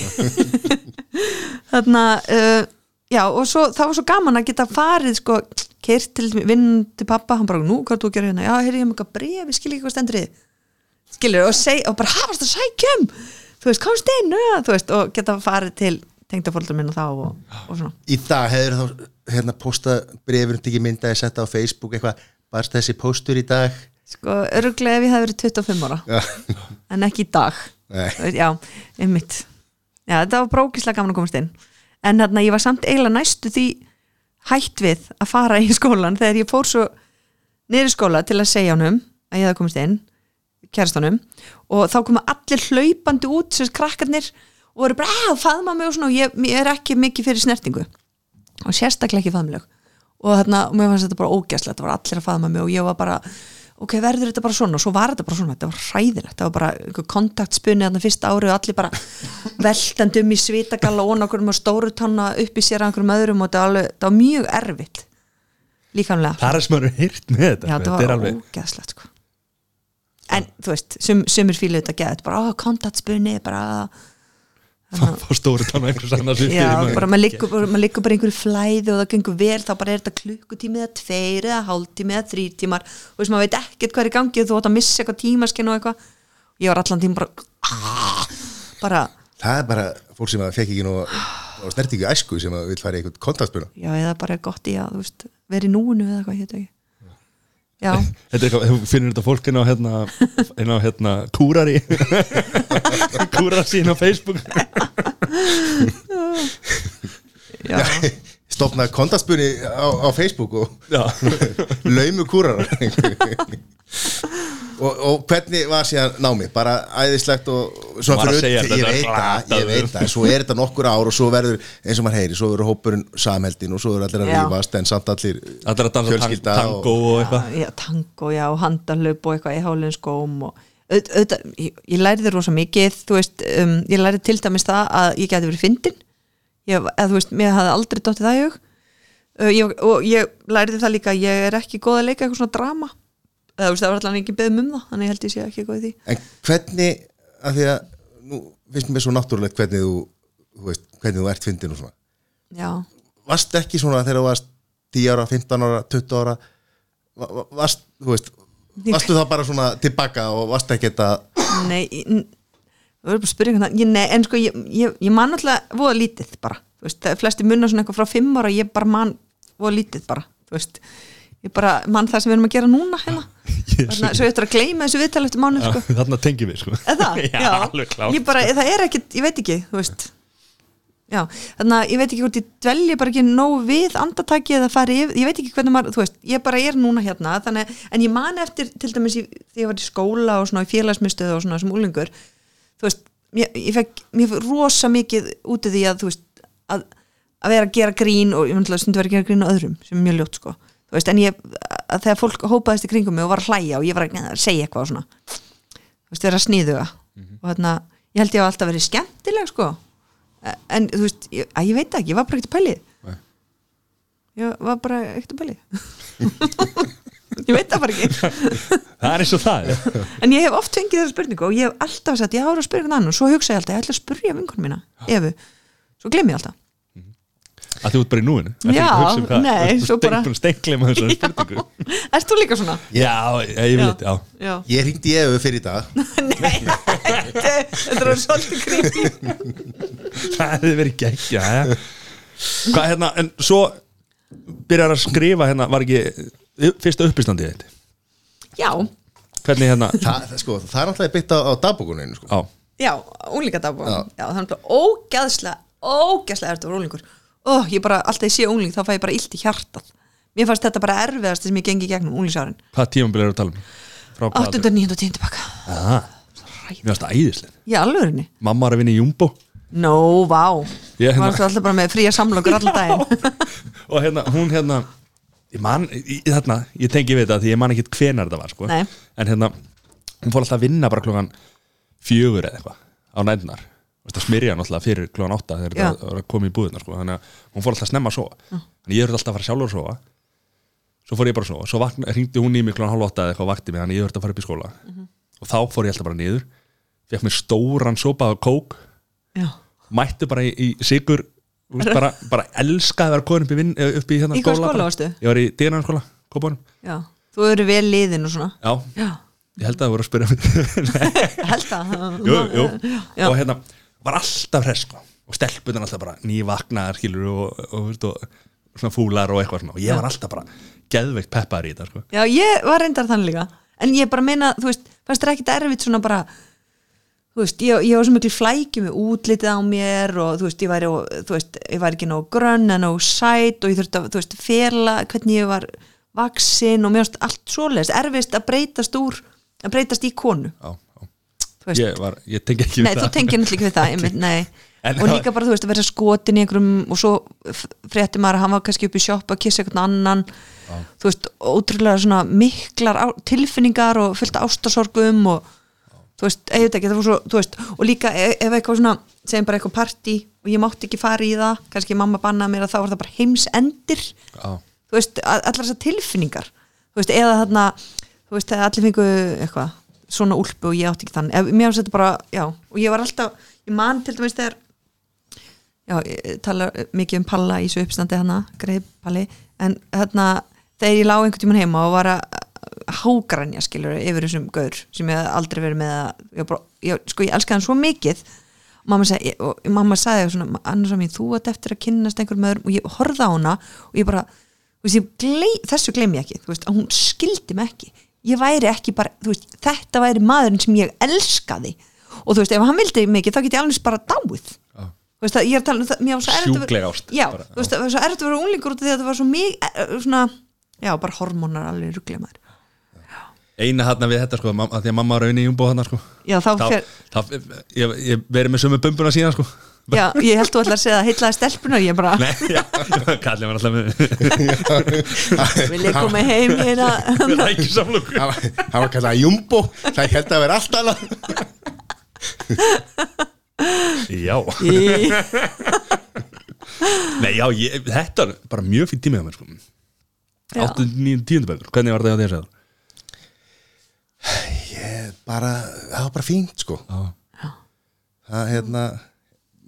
S5: þarna uh, já, og svo, það var svo gaman að geta farið sko, kert til vinn til pappa, hann bara, nú, hvað ert þú að gera hérna já, heyrði ég með eitthvað bref, ég skil ekki hvað stendur í því skilur, og, seg, og bara, hafast að sækjum þú veist, komst inn, ja, þú veist og geta farið til tengdafóldur minna þá og, og svona,
S2: í dag hefur þá hérna posta brefur tekið mynda ég setta á Facebook eitthvað barst þessi postur í dag
S5: sko, öruglega ef ég hef verið 25 ára
S2: Já.
S5: en ekki í dag
S2: Nei.
S5: Þú veist, já, einmitt já, þetta var brókislega gaman að komast inn en þarna ég var samt eiginlega næstu því hætt við að fara í skólan þegar ég fór svo niður í skóla til að segja honum að ég hefði komist inn kærastunum og þá komu allir hlaupandi út sem sagt krakkarnir og voru bara að faðma mig og svona og ég, ég er ekki mikið fyrir snertingu og sérstaklega ekki faðmlög og þarna, og mér fannst þetta bara ógæslegt það var allir að faðma mig og ég var bara ok, verður þetta bara svona, og svo var þetta bara svona þetta var hræðilegt, það var bara einhver kontaktspunni þarna fyrsta árið og allir bara veltandum í svitagalla og okkur og stóru tanna upp í sér að einhverjum öðrum og þetta var, alveg, þetta var mjög erfitt líkamlega
S1: það er sem eru hýrt með þetta
S5: Já,
S1: þetta er
S5: það var
S1: alveg,
S5: ógeðslegt sko. En þú veist, sum, sumir fílu þetta geða þetta bara, ó, kontaktspunni, bara
S1: það fór stóri tann einhvers annars upp
S5: Já,
S1: fyrir
S5: bara
S1: maður.
S5: maður liggur, bara- maður liggur bara í einhverju flæði og það gengur vel, þá bara er þetta klukkutími eða tveir eða hálftími eða þrýr tímar og veist, maður veit ekkert hvað er í gangi og þú átt að missa eitthvað tímaskinn og eitthvað ég var allan tíma bara bara,
S2: það er bara fólk sem að fekk ekki nú á snertingu í æsku sem að vil fara í eitthvað kontaktbuna
S5: já, eða bara er gott í að þú veist, vera í núinu eða eitthvað, ég veit ekki Já,
S1: Þetta er eitthvað, þú finnir þetta fólk inn á hérna, inn á hérna kúrari kúrari sín á Facebook
S5: já,
S2: stopna kontaktbuni á, á Facebook og
S1: Já,
S2: laumu kúrar og, og hvernig var síðan námi bara æðislegt og svo
S1: Var að segja
S2: ég,
S1: þetta, þetta
S2: veit
S1: er
S2: það, ég
S1: glatað.
S2: veit það, svo er þetta nokkur ár og svo verður, eins og maður heyri, svo verður hópurinn samheldin og svo verður allir að
S5: Já.
S2: rífast en samt allir,
S1: allir að dansa tang,
S2: Fjölskylda og-
S1: tango og eitthvað
S5: já, tango, já, og handanlöp og eitthvað í hálfum skóm og auð- auðvitað, ég, ég læriði rosa mikið þú veist, um, ég læriði til dæmis það að ég geti verið fyndin ég, eða þú veist, mér hafði aldrei dottið það í hug uh, ég, og ég læriði það líka að ég er ekki góð að leika eitthvað svona drama eða þú veist, það var allan ekki beðum um það þannig ég held ég sé ekki góð í því
S2: En hvernig, af því að nú finnst mér svo náttúrulegt hvernig þú, þú veist, hvernig þú ert fyndin og svona.
S5: já,
S2: Varst ekki svona þegar þú varst 10 ára, 15 ára, 20 ára, va- va- varst, þú veist, varstu þá bara svona tilbaka og varst ekki þetta,
S5: nei ég- n- það verður bara að spyrja einhvern veginn, nei, en sko ég, ég, ég man alltaf voða lítið bara, þú veist, það er flesti munna svona eitthvað frá fimm ára, ég bara man voða lítið bara, þú veist ég bara man það sem við erum að gera núna hérna þannig að svo ég ættir að gleyma þessu viðtal eftir mánuð, sko,
S1: Þarna tengjum við sko
S5: eða það,
S1: Já, alveg sko. klart
S5: ég bara, það er ekkit, ég veit ekki, þú veist já, þannig að ég veit ekki hvort ég dvelji bara ekki nóg við andataki eða fari, yfir- ég veit ekki hvernig maður, þú veist ég bara er núna hérna, þannig að, en ég man eftir til dæmis í- þegar ég var í skóla og svona í félagsmyndstöð og svona sem úlingur þú veist, ég, ég fekk mér fekk rosa mikið út af því að þú veist að, að vera að gera grín og ég myndi að stundu vera að gera grín á öðrum sem er mjög ljótt sko, þú veist, en ég að þegar fólk hópaðist í kringum mig og var að hlæja og ég var að "Nei, segja eitthvað og svona þú veist, vera sníðuga
S1: Mhm.
S5: og þarna, ég held ég hafa alltaf verið skemmtileg sko E- en þú veist, ég, að, ég veit það ekki, ég var bara ekkert að pæli
S2: Nei.
S5: ég var bara ekkert að pæli ég veit það bara ekki
S1: Það er eins og það er.
S5: en ég hef oft fengið þessa spurningu og ég hef alltaf sagt, ég ára að spyrja hvernig annan og svo hugsa ég alltaf, ég ætla að spurja vinkonum mína Efu, svo gleym ég alltaf
S1: að þú ert bara í núinu Ertu ekki
S5: Já,
S1: að hugsa um hvað-
S5: nei,
S1: þú
S5: svo
S1: stengt-
S5: bara-
S1: búin að steingleyma þessari spurningu
S5: Erst þú líka svona?
S1: já, ég, ég vil þetta, já
S5: Já.
S2: Ég ringdi ég fyrir í dag
S5: Nei, þetta þetta er svolítið creepy
S1: það hefði verið geggja ja. hvað hérna, en svo byrjar að skrifa hérna, var ekki upp- fyrsta uppistandið þetta,
S5: Já,
S1: hvernig hérna
S2: Þa, það, sko, það er náttúrulega byggt á, á dagbókuninu sko.
S1: á,
S5: já, unglinga dagbúin Já, það er bara ógæðslega ógæðslega ertu að vera unglingur Ó, ég bara, alltaf ég sé ungling, þá fæ ég bara illt í hjartað Mér fannst þetta bara erfiðast sem ég gengi í gegnum unglingsárin
S1: hvað tímambil eru að tala um frá hvað
S5: 8. 9. 10. baka
S1: ah, mér varst það æðislega
S5: Í alvörinni?
S1: mamma var að vinna í Jumbo
S5: Nó, vá
S1: Ég hérna-
S5: Varstu alltaf bara með fría samlokur allan daginn
S1: og hérna, hún hérna ég man, ég, þarna, ég tengi við þetta því ég man ekki hvenar þetta var sko.
S5: Nei.
S1: en hérna, hún fór alltaf að vinna bara klokkan fjögur eða eitthvað á nætnar, það smyrja hann alltaf fyrir klokkan átta þegar
S5: Já. Mm.
S1: þetta var að koma í búðina sko. þannig að hún fór alltaf að snemma að sofa þannig að ég höfði alltaf að fara sjálfur að sofa svo fór ég bara að sofa, svo vakna, hringdi hún í mig klokkan hálf átta eða eitthvað og vakti mig, þannig að ég höfði að fara upp í skóla
S5: Mhm.
S1: og þá fór ég alltaf bara niður fekk mér stóran sopa af kók
S5: Já,
S1: mættu bara í, í sigur þú veist, bara, bara elskaði að vera komin upp í, vinn, upp í, hérna
S5: Í hvaða skóla
S1: bara.
S5: varstu?
S1: Ég var í dýrnarskóla, kópunum
S5: já Þú eru vel liðin og svona
S1: Já,
S5: Já,
S1: ég held að það voru að spyrja mig
S5: held að
S1: Jú, jú
S5: Já.
S1: Og hérna, var alltaf hress sko Og stelpunan alltaf bara nývagnaðar skilur og, og, og, veist, og svona fúlar og eitthvað svona Og ég var alltaf bara geðveikt peppaður í þetta sko
S5: Já, ég var reyndar þannig líka En ég bara meina, þú veist, fannst þér ekkit erfitt svona bara Þú veist, ég, ég var svo mikil flækjum með útlitið á mér og þú veist, ég væri, og, þú veist, ég væri ekki nóg grönn en nóg sæt og ég þurfti að, þú veist, fela hvernig ég var vaksin og mér varst allt svoleiðis erfiðst að breytast úr, að breytast í konu
S1: Já, já
S5: þú veist,
S1: Ég, var, ég tengi ekki við
S5: Nei, þú tengir náttúrulega ekki við það einmitt, nei.
S1: En
S5: og
S1: það-
S5: líka bara, þú veist, að vera skotin í einhverjum og svo f- frétti maður að hann var kannski upp í sjoppa að kissa einhvern annan þú veist, ótrúlega svona miklar á, tilfinningar og fullt af ástasorgum og þú veist, eða þetta ekki, það var svo, þú veist og líka e- ef eitthvað svona, segjum bara eitthvað partí og ég mátti ekki fara í það kannski mamma bannaði mér að þá var það bara heimsendir
S1: Já.
S5: þú veist, a- allar þessar tilfinningar þú veist, eða þarna þú veist, þegar allir fengu eitthvað svona úlpu og ég átti ekki þann Ef, mér finnst þetta bara, já, og ég var alltaf ég man til dæmis þegar já, ég tala mikið um Palla í þessu uppstandi hana, greið Palli en þarna, þegar ég lá einhvern tímann heima og var að hágrænja skilur yfir þessum gaur sem ég hafði aldrei verið með að, ég, var bara, ég, sko ég elskaði hann svo mikið og mamma sagði, ég- og mamma sagði svona, annars að mér, þú ert eftir að kynnast einhverjum öðrum og ég horfði á hana og ég bara þú veist, ég gley, þessu gleym ég ekki þú veist, að hún skildi mig ekki ég væri ekki bara, þú veist, þetta væri maðurinn sem ég elskaði og þú veist, ef hann vildi mig ekki, þá get ég alveg bara dáið þú veist að ég er að tala um það mér var svo erfitt að vera-
S1: Sjúkleg ást,
S5: já,
S1: bara,
S5: þú veist að það var svo erfitt að vera unglingur út af því að það var svo mjög svona, já, bara hormónar alveg rugglega maður
S1: eina hérna við þetta sko, mam- að því að mamma var raunin í Jumbo hérna sko
S5: Já, þá fer-
S1: þá ég, ég verið með sömu bumbuna síðan sko
S5: já, ég held þú ætlar að segja að heitlaði stelpuna og ég bara,
S1: Nei, já, kallið var alltaf með
S5: vil ég koma heim hérna,
S1: með rækjusamlöku
S2: Það var- það var kallað Jumbo Það ég held að vera allt annað
S1: Já,
S5: í,
S1: nei, já, ég, þetta er bara mjög fyrir tímið á mér sko
S5: Já.
S1: 8, 9, 10 bækur, hvernig var það á þér sagði?
S2: bara, Það var bara fínt sko
S1: Já.
S2: Það hérna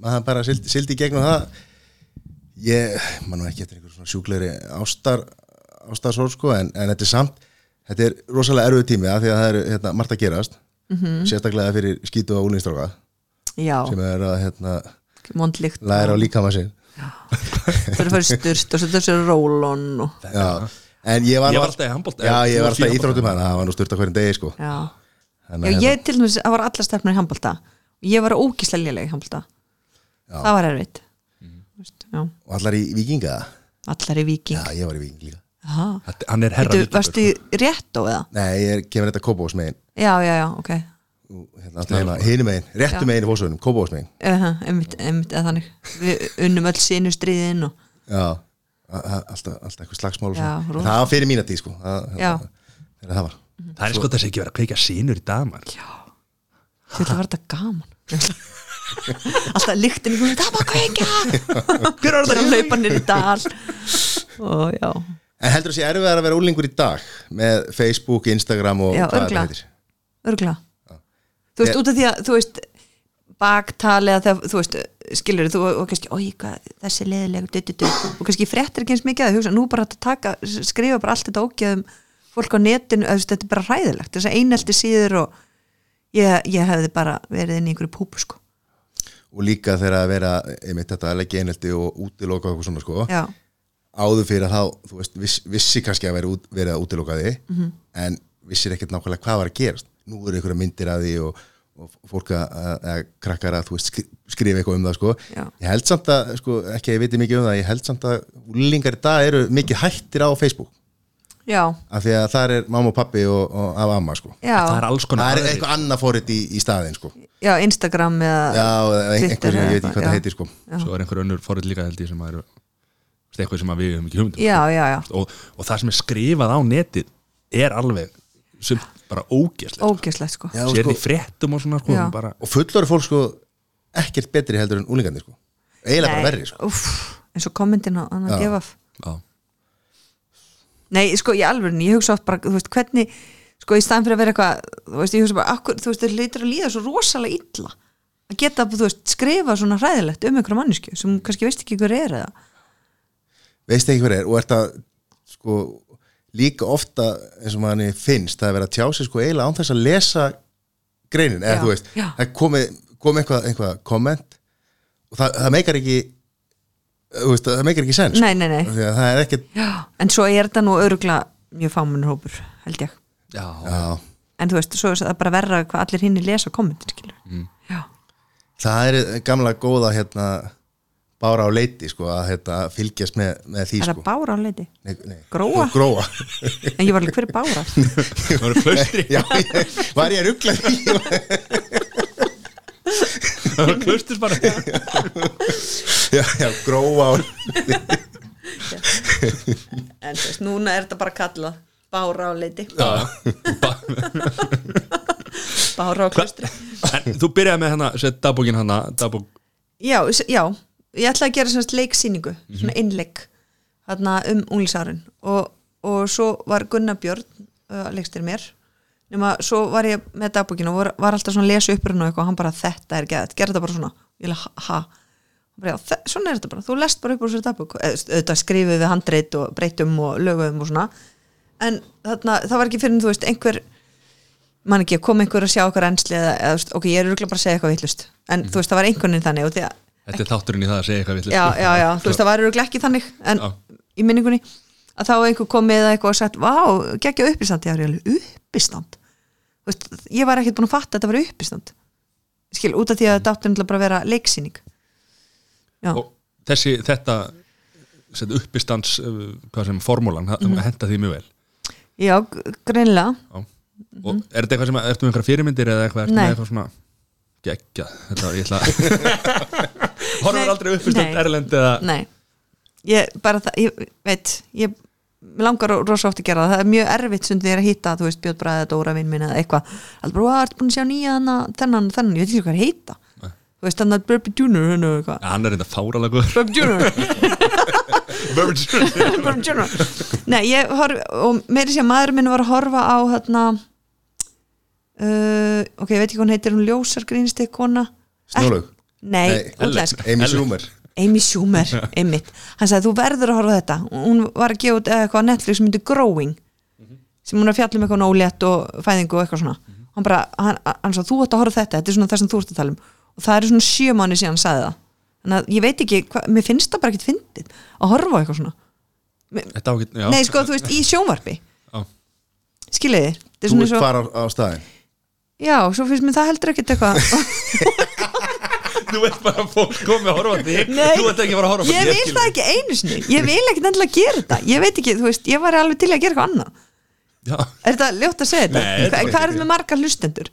S2: maður bara sildi, sildi í gegnum það Ég, mann og ekki eftir einhver svona sjúklegri ástar ástarsór sko, en, en þetta er samt þetta er rosalega erfið tími að því að það er hérna, margt að gerast, sérstaklega fyrir skýtu á úlinstráka
S5: Mhm. já,
S2: sem er að hérna,
S5: mondlíkt
S2: læra á líkama sinn
S5: þú eru að fara í styrst og svo þessu rólón og,
S2: Já, en ég
S1: Ég
S2: var, nú
S1: var alltaf í handbolta,
S2: Já,
S1: eða
S2: ég var alltaf í
S1: handbolta.
S2: íþróttum hann, það var nú styrta hverjum degi sko
S5: já,
S2: Þannig að
S5: já,
S2: hérna-
S5: ég til dæmis, það var alla stelpunar í handbalta og ég var ógíslega lélega í handbalta það var erfitt Þú veist, já,
S2: Og allar í vikinga
S5: allar
S2: Já,
S5: í viking
S2: ég var í viking líka
S5: já.
S1: Þetta- Hann er herra
S5: Herra,
S1: Víkingur,
S5: varstu í rétt og eða?
S2: Nei, ég kemur þetta kópavós megin
S5: Já, já, já, ok
S2: hérna, alltaf heima, hinu megin, réttu
S5: Já.
S2: megin í fósunum, kópavós megin
S5: uh -huh, einmitt, einmitt eða þannig Við unnum öll sinu stríðin og
S2: Já, a- a- alltaf, alltaf eitthvað slagsmál og
S5: Já,
S2: svona. En
S5: rosa.
S2: Það var fyrir mína tíð sko Það,
S5: Já.
S2: hérna, þegar það var
S1: Það er sko þess að ekki verið að kveika sínur í daman
S5: þú ætla að vera þetta gaman Alltaf lyktin í hún Það var kveikja Hver var þetta að laupa nýr í dal Og já,
S2: En heldur þú að sé erfiðar að vera úlingur í dag með Facebook, Instagram og
S5: já
S2: hvað þetta
S5: örgla
S2: heitir
S5: Örgla Þú veist, út af því að, þú veist baktali eða þegar, þú veist, skilur þú og kannski, oi, hvað, þessi er leiðilegur du, du, du. og kannski fréttir ekki eins mikið að hugsa nú bara hægt að taka, skrifa bara allt þetta ógjöðum fólk á netinu, eða, þú veist, þetta er bara hræðilegt þess að einelti síður og ég, ég hefði bara verið inn í einhverju púpu sko.
S2: og líka þegar að vera einmitt þetta að leggja einhelti og útiloka og eitthvað svona sko
S5: já,
S2: áður fyrir að þá, þú veist, viss, vissi kannski að vera út, verið að útiloka því
S5: Mhm.
S2: en vissir ekkert nákvæmlega hvað var að gerast nú eru einhverja myndir að því og, og fólk að, að- að krakkar að þú veist, skri- skrifa eitthvað um það sko
S5: Já.
S2: ég held samt að, sko, ekki að ég viti mikið um það ég held samt að úlingar í dag eru mikið hættir á Facebook
S5: já,
S2: af því að þar er mamma og pappi og, og af amma sko
S5: já,
S1: það er alls konar
S2: það er
S1: aðrir.
S2: eitthvað annað fórið í, í staðin sko
S5: já Instagram eða
S2: já, eða ein-
S5: Twitter
S2: einhverju,
S5: eða
S2: ég veit ekki hvað það
S5: já.
S2: heitir sko
S1: svo er einhver önnur forrið líka held ég sem að eru þú veist, eitthvað sem að við höfum ekki hugmyndum
S5: já, já, já,
S1: og, og það sem er skrifað á netið er alveg sem bara ógeslegt
S5: ógjöslegt sko
S2: Já,
S1: sér
S2: sko-
S1: því fréttum og svona sko,
S5: Já.
S1: bara,
S2: og fullori fólk sko ekkert betri heldur en úlingandi sko eiginlega bara
S5: Nei,
S2: verri sko
S5: úff, eins og kommentin á hann að gefa
S1: á,
S5: nei, sko, í alvörinu, ég hugsa oft bara, þú veist, hvernig sko, í staðan fyrir að vera eitthvað, þú veist, ég hugsa bara akkur, þú veist, þau lítur að líða svo rosalega illa að geta, þú veist, skrifa svona hræðilegt um einhverja mannesku, sem kannski veist ekki hver er eða,
S2: veist ekki hver er og er það sko líka ofta eins og manni finnst það er verið að tjá sig sko eiginlega án þess að lesa greinin, eða
S5: Já,
S2: þú veist
S5: já.
S2: það komi, komi eitthvað, eitthvað komment og það, það meikar ekki þú veist, það meikar ekki sens sko.
S5: Nei, nei, nei.
S2: Því að það er ekkert
S5: já, en svo er þetta nú örugla mjög fámunur hópur, held ég
S1: já,
S2: já,
S5: en þú veist, svo er það bara verra hvað allir hinn lesa kommentin, skilur já,
S2: það er gamla góða hérna bára á leiti sko að hérna, fylgjast með, með því
S5: er
S2: sko
S5: það bára á leiti
S2: Nei, nei.
S5: Gróa?
S2: gróa.
S5: en ég var alveg, hver er bára?
S1: það eru klaustri
S2: Já, ég, var ég að ruggla því
S1: það eru klaustri bara
S2: já, já, gróa og
S5: en þú veist, núna er þetta bara kallað bára á leiti, bára á klustri
S1: en þú byrjaði með hana, sett dagbókin hana dagbók,
S5: já, s- já, ég ætlaði að gera semst leiksýningu, svona innleik þarna um unglisárin og, og svo var Gunnar Björn uh, leikstir mér nema svo var ég með dagbókinu og var, var alltaf svona að lesa uppurinn og eitthvað og hann bara þetta er geðað, gera þetta bara svona ég lega, ha, ha. Hann Bara, já, þe- svona er þetta bara, þú lest bara upp úr sér dagbók Eða, þú veist, auðvitað skrifum við handreit og breytum og lögum og svona en þarna, það var ekki fyrir en þú veist einhver man ekki, kom einhver að sjá okkar ensli eða, eða, þú veist, ok, ég er örugglega bara að segja eitthvað vittlust en þú veist, það var einhvern veginn þannig og því að
S1: þetta er þátturinn í það að segja eitthvað vitlaust.
S5: já, já, já, þú veist, það var örugglega ekki þannig en
S1: Já.
S5: í minningunni að þá hefur einhver komið eða eitthvað og sagt vá, geggja uppistand, ég var alveg uppistand þú veist, ég var ekkert búin að fatta að þetta var uppistand skil, út af því að þetta átti náttúrulega bara að vera leiksýning já,
S1: og þessi, þetta sett uppistans, uh, hvað sem formúlan mm
S5: Mhm.
S1: -hmm. henda því mjög vel
S5: já, g- greinilega
S1: Já. og er þetta eitthvað sem, ertu með einhverja fyrirmyndir eða eitthvað, ertu
S5: Mhm. Nei.
S1: með eitthvað svona geggja, þetta var ég ætla horfður
S5: Nei.
S1: aldrei uppistund
S5: Nei.
S1: erlend eða
S5: Nei, ég bara það, ég veit, ég mig langar ro- rosa oft að gera það, það er mjög erfitt sem þið er að hitta, þú veist, Björn Bræðið, Dóra vinn minn eða eitthvað, alveg bara, hvað, ertu búin að sjá nýja þennan, þennan, og þennan, ég veit ekki hvað er heita þú veist, þannig að Burby Junior hennu eitthvað,
S1: Ja, hann er reynda fáralagur
S5: Burby Junior Burby Junior Nei, ég horf, og meiri sé að maður minn var að horfa á þarna uh, ok, ég veit ekki hvað hún heitir hún ljósar grínst eitthvað kona
S2: Snjólaug
S5: Nei,
S2: Nei,
S5: útlensk
S2: Amy Schumer
S5: Amy Schumer, einmitt hann sagði þú verður að horfa á þetta og hún var að gefa út eh, eitthvað á Netflix sem myndi Growing sem hún er að fjalla um eitthvað nólétt og fæðingu og eitthvað svona hann bara, hann, hann svo þú ætti að horfa á þetta þetta er svona það sem þú ert að tala um og það eru svona sjö mánu síðan hann sagði það þannig að ég veit ekki, hva, mér finnst það bara ekkit fyndið að horfa á eitthvað svona
S1: þetta ágætt, já
S5: nei sko þú veist, í sjónvarpi
S1: Já.
S5: skiljiði, þetta er
S2: Þú
S5: svona
S2: ert
S5: svo
S2: fara á, á staðin
S5: já, svo finnst mér það heldur ekkit eitthvað
S1: þú veist bara að fólk komið að horfa á þig
S5: Nei.
S1: þú ert ekki að fara að horfa á
S5: ég
S1: þig,
S5: vil
S1: skil.
S5: það ekki einu sinni ég vil ekkit endilega gera þetta ég veit ekki, þú veist, ég var alveg til í að gera eitthvað annað
S1: já,
S5: Er þetta ljótt að segja þetta?
S1: Nei,
S5: Hva,
S1: þetta er
S5: hvað er þetta með marga hlustendur?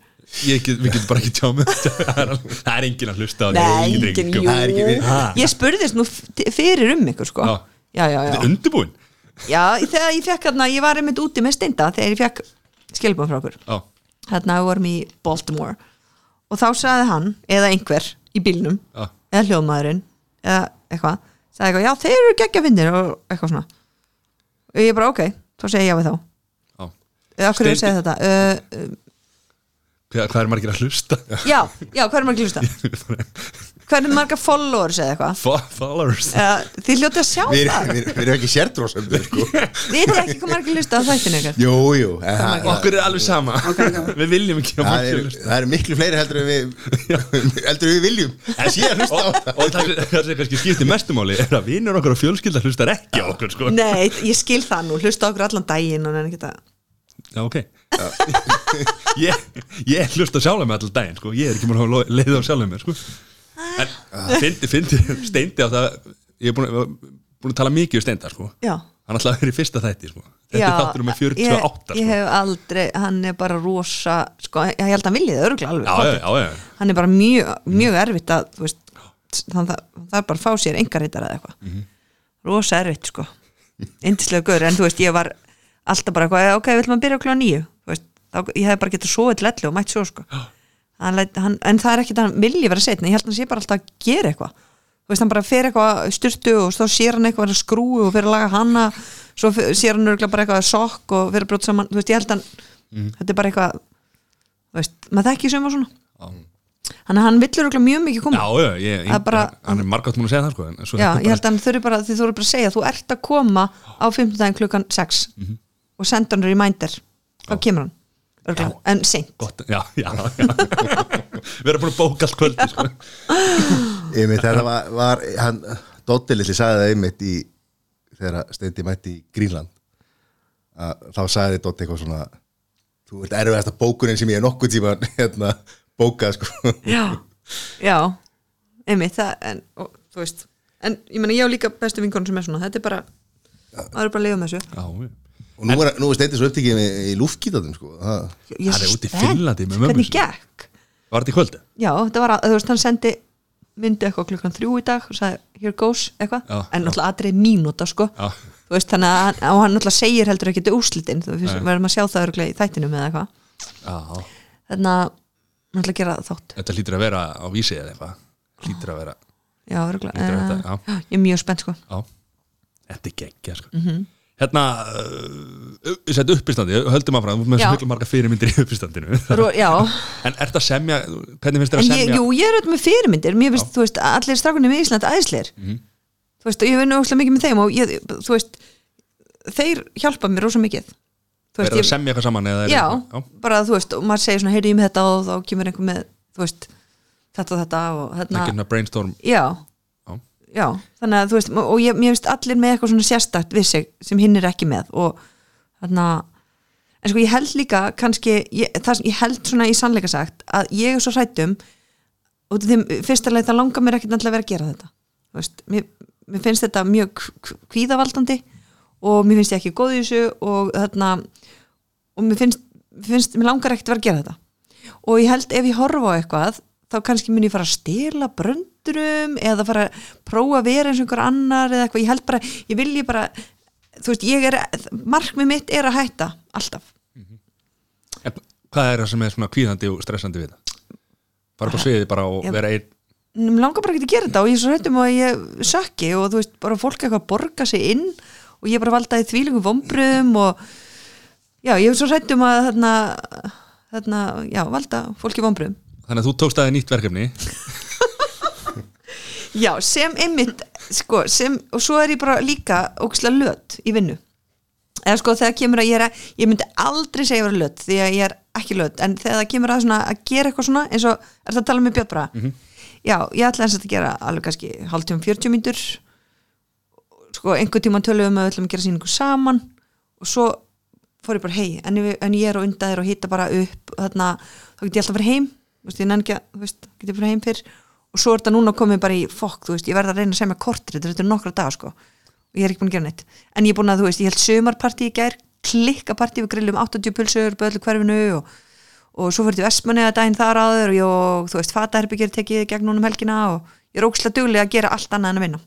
S1: ég get, við getum bara ekki tjámið það er engin að hlusta á þig,
S5: Nei,
S1: engin
S5: enginn,
S1: drengur. sko.
S5: jú.
S1: Það er ekki við. Ha.
S5: Ég spurðist nú f- fyrir um ykkur sko
S1: Já.
S5: Já, já, já,
S1: þetta er undirbúin
S5: já Þegar ég fekk hérna, ég var einmitt úti með steinda Þegar ég fekk skilbúin frá okkur
S1: Já.
S5: Þarna við vorum í Baltimore Og þá sagði hann, eða einhver í bílnum
S1: Já.
S5: Eða hljóðmaðurinn Eða eitthvað Sagði eitthvað, já þeir eru geggja finnir Og eitthvað svona Og ég bara ok, þá segi ég já við þá
S1: Já.
S5: Eða okkur er að
S1: Steindi-
S5: segja þetta uh, uh,
S1: Hvað, hvað er margir að hlusta?
S5: já, já, hvað er margir hlusta? Hvað er marga followers eða eitthvað?
S1: Fo- Followers
S5: Eða, Þið hljótið að sjá
S2: Við
S5: það
S2: við- við erum ekki sértrósendur sko.
S5: Við erum ekki hvað margir hlusta á þættinu ykkar
S2: Jú, jú en það-
S1: Okkur er alveg sama Við viljum ekki að
S2: Það
S1: margir
S2: eru það eru miklu fleiri heldur en við heldur en við viljum en sé að hlusta á
S1: Og, og það, sem- það sem kannski skiptir mestumáli er að vinnur okkur og fjölskylda hlustar ekki á okkur sko.
S5: Nei, ég skil það nú, hlusta á okkur allan daginn og neina geta
S1: Já, ok Ég, ég hlusta sjálf með allan daginn sko. Ég er ekki múin að hafa leið á sjálf með sko. En
S5: Ah.
S1: fyndi, fyndi steindi á það Ég er búin, að- búin að tala mikið um steinda sko.
S5: Já.
S1: Hann ætlaði að vera í fyrsta þætti sko. Þetta
S5: Já,
S1: er þáttur um 48
S5: ég, ég
S1: sko.
S5: hef aldrei, hann er bara rosa sko, ég held að hann viljið örgulega alveg
S1: Já, já,
S5: pottþétt.
S1: já, já.
S5: hann er bara mjög, mjög erfitt að þú veist, hann það, það er bara að fá sér engarreitar eða eitthvað rosa erfitt sko, yndislega gaur en þú veist, ég var alltaf bara eitthvað, "Eh, ok, vill maður byrja okkur á nýju veist, þá, ég hef bara getað soðið lellu og mætt svo sko. hann, læt- hann, en það er ekkit að hann vilji vera setna, ég held að hann sé bara alltaf að gera eitthvað þú veist, hann bara fer eitthvað styrtu og þá sér hann eitthvað að skrúi og fer að laga hana svo fer- sér hann örgulega bara eitthvað sokk og fer að brjóta saman, þú veist, ég held að hann þetta er bara eitthvað þú veist, maður þekki sem svona þannig að hann villur okkur mjög mikið koma
S1: Já, já, ég,
S5: Mm. Það er bara-
S1: hann er margátt múin að segja það sko, en svo þetta
S5: Já,
S1: er
S5: ég
S1: bara-
S5: held að hann þurfi bara, þið þurfi bara að segja þú ert að koma á 15 daginn klukkan 6
S1: Mhm.
S5: og senda hann reminder þá kemur hann örgulega, en seint
S1: Gott, já, já, já. Við erum búin að bóka allt kvöldi sko.
S2: einmitt, þetta var, var hann, Dótti Lilli sagði það einmitt í þegar Steindi mætti í Grínland að þá sagði Dótti eitthvað svona þú ert erfiðasta bókunin sem ég hef nokkuð tíma hérna, bókað sko
S5: Já, já einmitt, það, en, og, þú veist en ég meina, ég á líka bestu vinkonum sem er svona þetta er bara, maður er bara að leiða með þessu
S1: Já, já.
S2: og nú er, nú er Steindi svo upptikið með, í lúftkítatum sko það,
S5: Ég
S1: Hann er
S5: spennt
S1: úti í Finnlandi með mömmu
S5: Hvernig
S1: sinni.
S5: gekk?
S1: Var þetta í kvöldi?
S5: Já, þetta var að, þú veist, hann sendi myndi eitthvað klukkan þrjú í dag og sagði, here goes, eitthvað,
S1: Já,
S5: en náttúrulega atrið mínúta, sko,
S1: Já.
S5: þú veist, þannig að hann- og hann náttúrulega segir heldur ekki þetta úrslitin þú veist, verðum að sjá það örgulega í þættinum eða eitthvað
S1: Já,
S5: þannig að náttúrulega gera það þátt
S1: þetta hlýtur að vera á vísi eða eitthvað Hlýtur að vera,
S5: já, örgulega,
S1: Lítur þetta, já.
S5: ég er mjög spennt, sko
S1: já Þetta er geggja, sko
S5: Mhm.
S1: Hérna, uh, þetta uppistandi, höldum að frá Þú ert með
S5: Já.
S1: svo miklu marga fyrirmyndir í uppistandinu
S5: Ró, já,
S1: En ert að semja, hvernig finnst þér að
S5: en
S1: semja?
S5: ég, jú, ég er auðvitað með fyrirmyndir mér finnst, þú veist, allir strákunni með Ísland æðisleir
S1: Mhm.
S5: þú veist, og ég vinn óslega mikið með þeim og ég, þú veist þeir hjálpa mér rosa mikið þú
S1: Er það að semja eitthvað saman? eða er
S5: já,
S1: eitthvað-
S5: bara þú veist, og maður segir svona, heyrðu ég með þetta og þá kemur einhver með, þú veist þetta og þetta
S1: Það
S5: og
S1: er
S5: hérna
S1: ekki hérna brainstorm
S5: já,
S1: Já.
S5: já, þannig að þú veist og ég, mér finnst allir með eitthvað svona sérstakt við sig sem hinn er ekki með og þannig að en sko ég held líka kannski, ég, það, sem- ég held svona í sannleika sagt að ég er svo um, hrættum og þeim, fyrsta leið það langar mér ekkert náttúrulega að vera að gera þetta Þú veist, mér, mér finnst þetta mjög k- k- kvíðavaldandi og mér finnst ég ekki góð í þessu og hérna, þarna og mér finnst, finnst mér langar ekkert að vera að gera þetta og ég held ef ég horfa á eitthvað þá kannski mun ég fara að stela bröndurum eða fara að prófa að vera eins og einhver annar eða eitthvað, ég held bara, ég vilji bara þú veist, ég er, markmið mitt er að hætta, alltaf
S1: En Hvað er það sem er svona kvíðandi og stressandi við þetta? Bara bara sviðið bara og
S5: Ég-
S1: vera einn
S5: mér langar bara ekki að gera þetta og ég er svo hættum að ég sökki og þú veist, bara fólk eitthvað borga sig inn og ég bara valdaði þvílingum vombrum og já, ég er svo hættum að þarna, þarna, já, valda fólki vombrum
S1: Þannig að þú tókst aðeins nýtt verkefni
S5: Já, sem einmitt sko, sem, og svo er ég bara líka ókslega löt í vinnu eða sko þegar kemur að ég er að ég myndi aldrei segja að ég vera löt því að ég er ekki löt en þegar það kemur að svona að gera eitthvað svona eins og er það að tala með Björn Braga já, ég ætla eins að gera alveg kannski hálftíum 40 mínútur sko einhver tíma tölum við um að við ætlum að gera sýningu saman og svo fór ég bara hei en, ef- en ég er á undan þér og hita bara upp þarna, þá get ég alltaf að fara heim þú veist, ég nenni ekki að, þú veist, get ég að fara heim fyrr og svo er þetta núna komið bara í fokk, þú veist, ég verð að reyna að semja kortrið, þetta er nokkra daga sko og ég er ekki búin að gera neitt en ég er búin að, þú veist, ég held sömarpartí í gær klikkapartí við grillum 80 pulsur böðlu hverfinu og, og svo fyrir til Vestmanni að daginn þar áður og, ég- og þú veist, fataherbyggir tekið í gegn núna um helgina og ég er ókslega duglega að gera allt annað en að vinna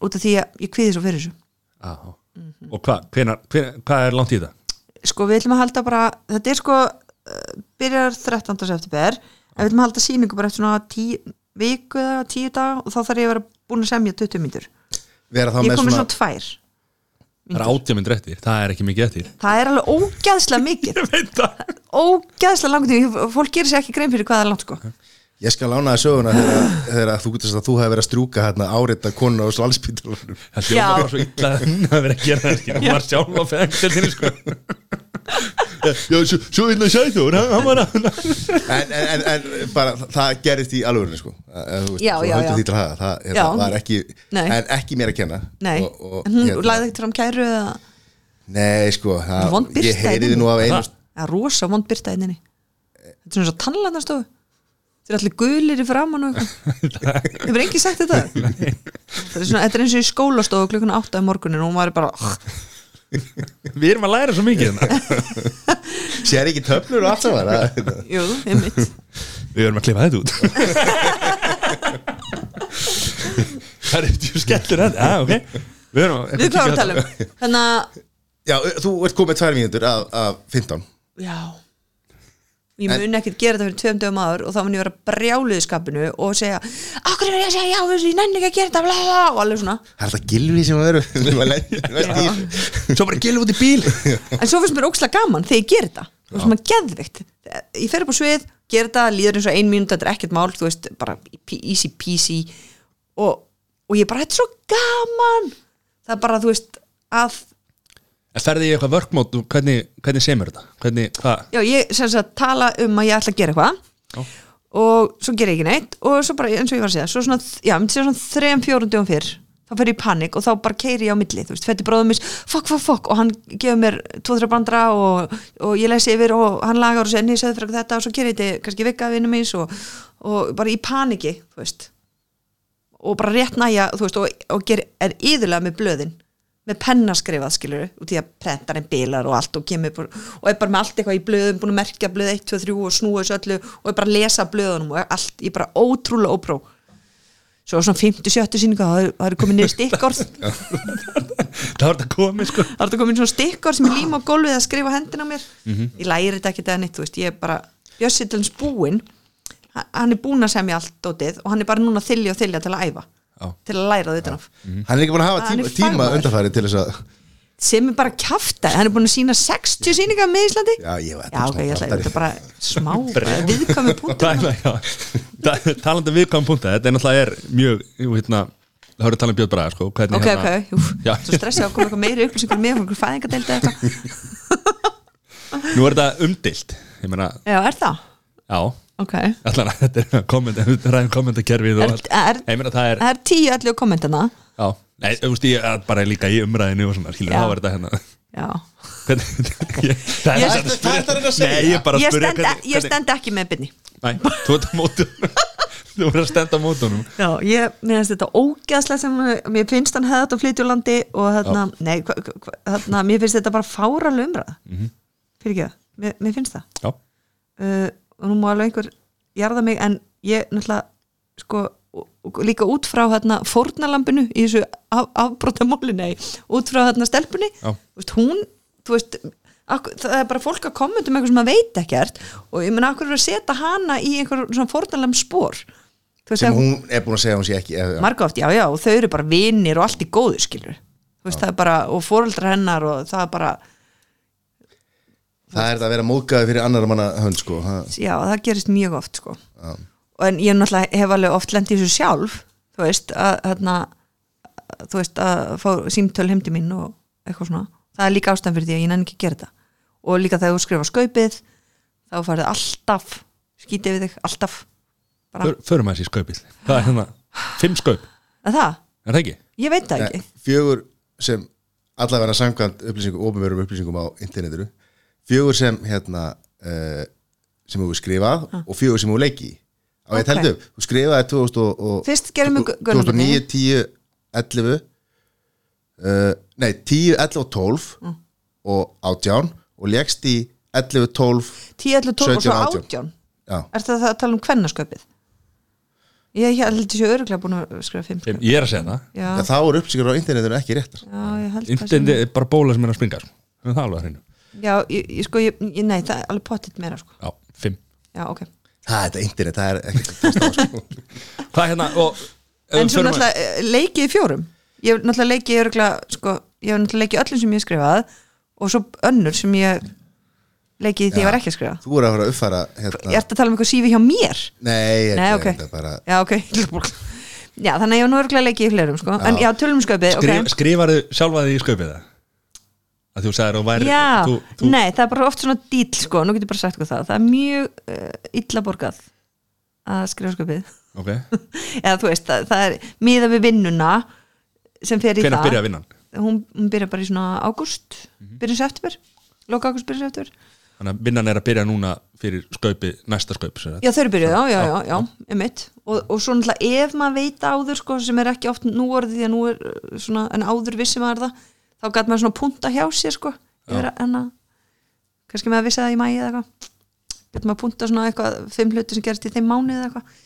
S5: út af því að ég kviði svo fyrir þessu Mhm.
S1: Og hvað, hvenar, hvenar, hvað er langt í þetta?
S5: sko við ætlum að halda bara þetta er sko uh, byrjar 13. september en við ætlum að halda sýningu bara eftir svona tí, viku eða tíu dag og þá þarf ég að vera búin að semja 20 mínútur
S2: vera þá
S5: ég
S2: með
S5: kom með
S2: svona,
S5: svona tvær
S1: það er átjámynd réttir, það er ekki mikið eftir
S5: það er alveg ógæðslega mikið
S1: ég veit það
S5: ógæðslega langt tíma, fólk gerir sér ekki grein fyrir hvað það er langt sko
S2: Ég skal lána það söguna þegar, þegar að þú gutast að þú hefði verið að strjúka hérna árita konu á slalspítalunum
S1: Það hljóma
S5: Já.
S1: bara svo illa að hún hafi verið að gera það skilur. hún var sjálf á fengteltinni sko. Já, hérna, svo, svo illa sæður hann, hann var að
S2: en, en, en, en bara það gerist í alvörinu sko Eh, þú veist,
S5: Já,
S2: þú
S5: já,
S2: höldum
S5: já.
S2: því til að hafa það hérna,
S5: Já.
S2: var ekki,
S5: Nei.
S2: en ekki mér að kenna
S5: nei,
S2: og, og,
S5: en hún
S2: hérna,
S5: lagði ekkert fram kæru eða
S2: nei sko það,
S5: Vond birta
S2: ég heyriði
S5: í
S2: nú af einu
S1: Það?
S5: eða rosa vond byrta einninni þetta er svona svo tannlæðnastofu þetta er allir gulir í framann og eitthvað hefur engin sagt þetta þetta er, svona, þetta er eins og í skólastofu klukkuna 8 á morgunin og hún var bara
S1: við erum að læra svo mikið hérna.
S2: sér ekki töflur og allt saman að-
S5: jú, einmitt
S1: við erum að klippa þetta út það er eftir skellur að ah, okay. við erum að
S5: við hvað varum að tala um þannig að,
S2: já, þú ert komið tvær mínútur af, af 15
S5: já ég mun ekkert gera þetta fyrir tveim dögum áður og þá mun ég vera brjáluð í skapinu og segja, okkur er ég að segja já þessu, ég nenni ekki að gera þetta bla, bla, bla," og alveg svona
S2: það er það gilvi sem að vera
S1: svo bara gilf út í bíl
S5: en svo finnst mér ókslega gaman þegar ég ger þetta þú veist maður geðvikt ég fer upp á svið, ger þetta, líður eins og ein mínúta þetta er ekkert mál, þú veist, bara p- easy peasy og, og ég bara, þetta er svo gaman það er bara, þú veist, að
S1: En ferði ég eitthvað vörkmót, hvernig, hvernig semur þetta? Hvernig, hvað?
S5: já, ég sem sagt tala um að ég ætla að gera eitthvað og svo ger ég ekki neitt og svo bara, eins og ég var að segja, svo svona já, myndi segja svona þrem, fjórum dögum fyrr þá fer ég í panik og þá bara keiri ég á milli þú veist, fætti bróðum mis, fokk, fokk, fokk og hann gefur mér tvo, þrjá bandra og, og ég lesi yfir og hann lagar og senni sögðu fyrir þetta og svo keiri ég þetta kannski vika vinnum mis og, og bara í paniki, þú veist og bara rétt næja, þú veist, og, og ger, er yðurlega með blöðin með penna skrifað, skilur út í að prentarinn bilar og allt og kemur upp og, og er bara með allt eitthvað í blöðum, búin að merkja blöð 1, 2, 3 og snúa þessu öllu og er bara að lesa blöðunum og allt, ég er bara ótrúlega ópró svo svona 50, 70 síninga það eru- það eru komin niður stikkorð það
S1: Það var þetta komið, sko.
S5: eru komin svona stikkorð sem ég líma á gólfið að skrifa hendina á mér ég læri þetta ekki eða neitt, þú veist, ég er bara Bjössi til hans búinn h- hann er búinn að semja allt dótið og hann er bara núna að þylja og þylja til að æfa
S1: Já.
S5: til að læra þetta af
S2: hann er ekki búin að hafa
S5: Hann er
S2: tíma, tíma
S5: fagmaður.
S2: undarfæri til þess að
S5: sem er bara kjafta hann er búin að sína 60 síningar með Íslandi
S2: Já, ég var-
S5: já, ok, ég ætla,
S2: brandari.
S5: þetta er bara smá
S1: Það
S5: viðkvæmi
S1: er
S5: punktur
S1: það, já. Ta- Talandi um viðkvæm punta, þetta er náttúrulega er mjög, jú, hérna, það voru talað um Björn Braga, sko. Hvernig,
S5: ok, ok,
S1: hérna,
S5: jú,
S1: Já.
S5: svo stressið að koma eitthvað meiri um upplýsingur með einhver fæðingadeildi eða eitthvað
S1: Nú er þetta umdilt, ég meina,
S5: já, er það?
S1: já,
S5: ok,
S1: allan að þetta er komment, við ræðum kommentakerfið og
S5: er,
S1: allt.
S5: er,
S1: Ég meina, það er,
S5: það er tíu allir kommentana
S1: já, nei, þú veist, ég er bara líka í umræðinu og svona, skilur,
S5: Já.
S1: þá var þetta hérna.
S5: já,
S1: Hvernig, ég, það
S5: Ég-
S1: satt að
S2: Hvað ertu- hvað ertu að reyna að segja?
S1: Nei, ég er bara að
S5: ég
S1: spyrja
S5: stend, e- ég stend ekki með byrni
S1: Nei, þú ert á mótunum Þú ert að stenda á mótunum
S5: já, ég, mér finnst þetta ógæðslega sem mér finnst hann hefði átt að flytja úr landi og þarna, nei, hva, hva, þarna mér finnst þetta bara fáralega umræða mm
S1: Mhm.
S5: -hmm. fyrir ekki það, mér, mér finnst það
S1: Já,
S5: uh, og nú má alveg einhver jarða mig en ég náttúrulega sko og- og líka út frá hérna fórnalambinu í þessu af, afbrotamáli nei, út frá hérna stelpunni
S1: Já.
S5: Þú veist, hún, þú veist akkur, það er bara fólk að kommenta um eitthvað sem maður veit ekkert og ég menna akkur er að setja hana í einhver svona fórnalamb spór
S2: sem hún er búin að segja að hún sé ekki eða-
S5: margóft, já, já, og þau eru bara vinir og allt í góðu skilur Þú veist, það er bara, og fóreldra hennar og það er bara,
S2: það er það að vera móðgæði fyrir annar manna hönd sko ha.
S5: já, það gerist mjög oft sko. og en ég náttúrulega hef alveg oft lendið þessu sjálf þú veist, að, hérna, þú veist að fá símtöl heimdi mín og eitthvað svona, það er líka ástæðan fyrir því að ég nenni ekki að gera þetta og líka þegar þú skrifa skaupið þá farið alltaf skítið við þig, alltaf bara,
S1: För, förum að þessi skaupið Hvað er hérna? Fimm skaup,
S5: er það,
S1: er það ekki?
S5: ég veit það
S2: Nei,
S5: ekki
S2: fjögur sem allavega samkvæmt upplýsingum, ofinverum upplýsingum á internetinu, fjögur sem hérna uh, sem þú skrifað og fjögur sem þú leiki á ég
S5: Ok.
S2: teldu, upp. þú skrifaði 2000 og, og,
S5: Fyrst gerum við gö-
S2: 2009, 10, 11 uh, eh, nei, 10, 11 og 12
S5: Mm.
S2: og 18 og legst í 11, 12
S5: 10, 11, 12
S2: 17,
S5: og svo
S2: 18.
S5: 18
S2: já,
S5: er það að tala um kvennarskaupið ég ég held þessu öruglega búin að skrifa 5
S1: Fimm. Ég er að segja það
S5: já,
S2: Já, þá eru upplýsingar á internetinu ekki réttar
S5: já, ég held það sem-
S1: Intendi er bara bóla sem er að springa sko. Það er alveg að hreinu
S5: Já, ég, ég sko, ég, ég, nei, það er alveg pottitt meira sko.
S1: Já, fimm
S5: Já, ok
S2: það er þetta internet, það er ekki að treysta á, sko.
S1: Hvað er hérna? Og,
S5: En svo
S1: förum að-
S5: náttúrulega eh, leikið í fjórum Ég hef náttúrulega leikið örgulega sko, ég hef náttúrulega leikið öllum sem ég hef skrifað og svo önnur sem ég leikið því ég var ekki að skrifa
S2: Þú er að fara að uppfæra hérna.
S5: ég ert að tala um eitthvað sífi hjá mér
S2: Nei,
S5: Nei, ok.
S2: þetta er bara
S5: já, ok já, þannig að ég var nú örgulega leikið í flerum sko. en já, tölum um sköpið
S1: Skrif,
S5: ok.
S1: Skrifarðu sjálfa þig í skaupið það? Að þú sagðir að þú væri
S5: Já,
S1: þú, þú,
S5: nei, það er bara oft svona dýl sko, nú getur ég bara sagt eitthvað það það er mjög uh, illa borgað að skrifa sköpið
S1: Ok,
S5: eða þú veist, það, það er miða við vinnuna sem fer í
S1: hvenær
S5: það
S1: byrjaði vinnan?
S5: Hún, hún byrja bara í svona ágúst byrjum september, loka ágúst byrjum september
S1: Þannig að vinnan er að byrja núna fyrir skaupi, næsta skaup sem sagt.
S5: Já, þau eru byrjuð, já, já, já, já, emitt og, og svo náttúrulega ef maður veit áður sko, sem er ekki oft nú orðið því að nú er uh, svona, en áður vissi maður það þá gæt maður svona punta hjá sér sko yfir að, en að kannski maður vissi það í mæi eða eitthvað gæt maður punta svona eitthvað, fimm hluti sem gerist í þeim mánu eða eitthvað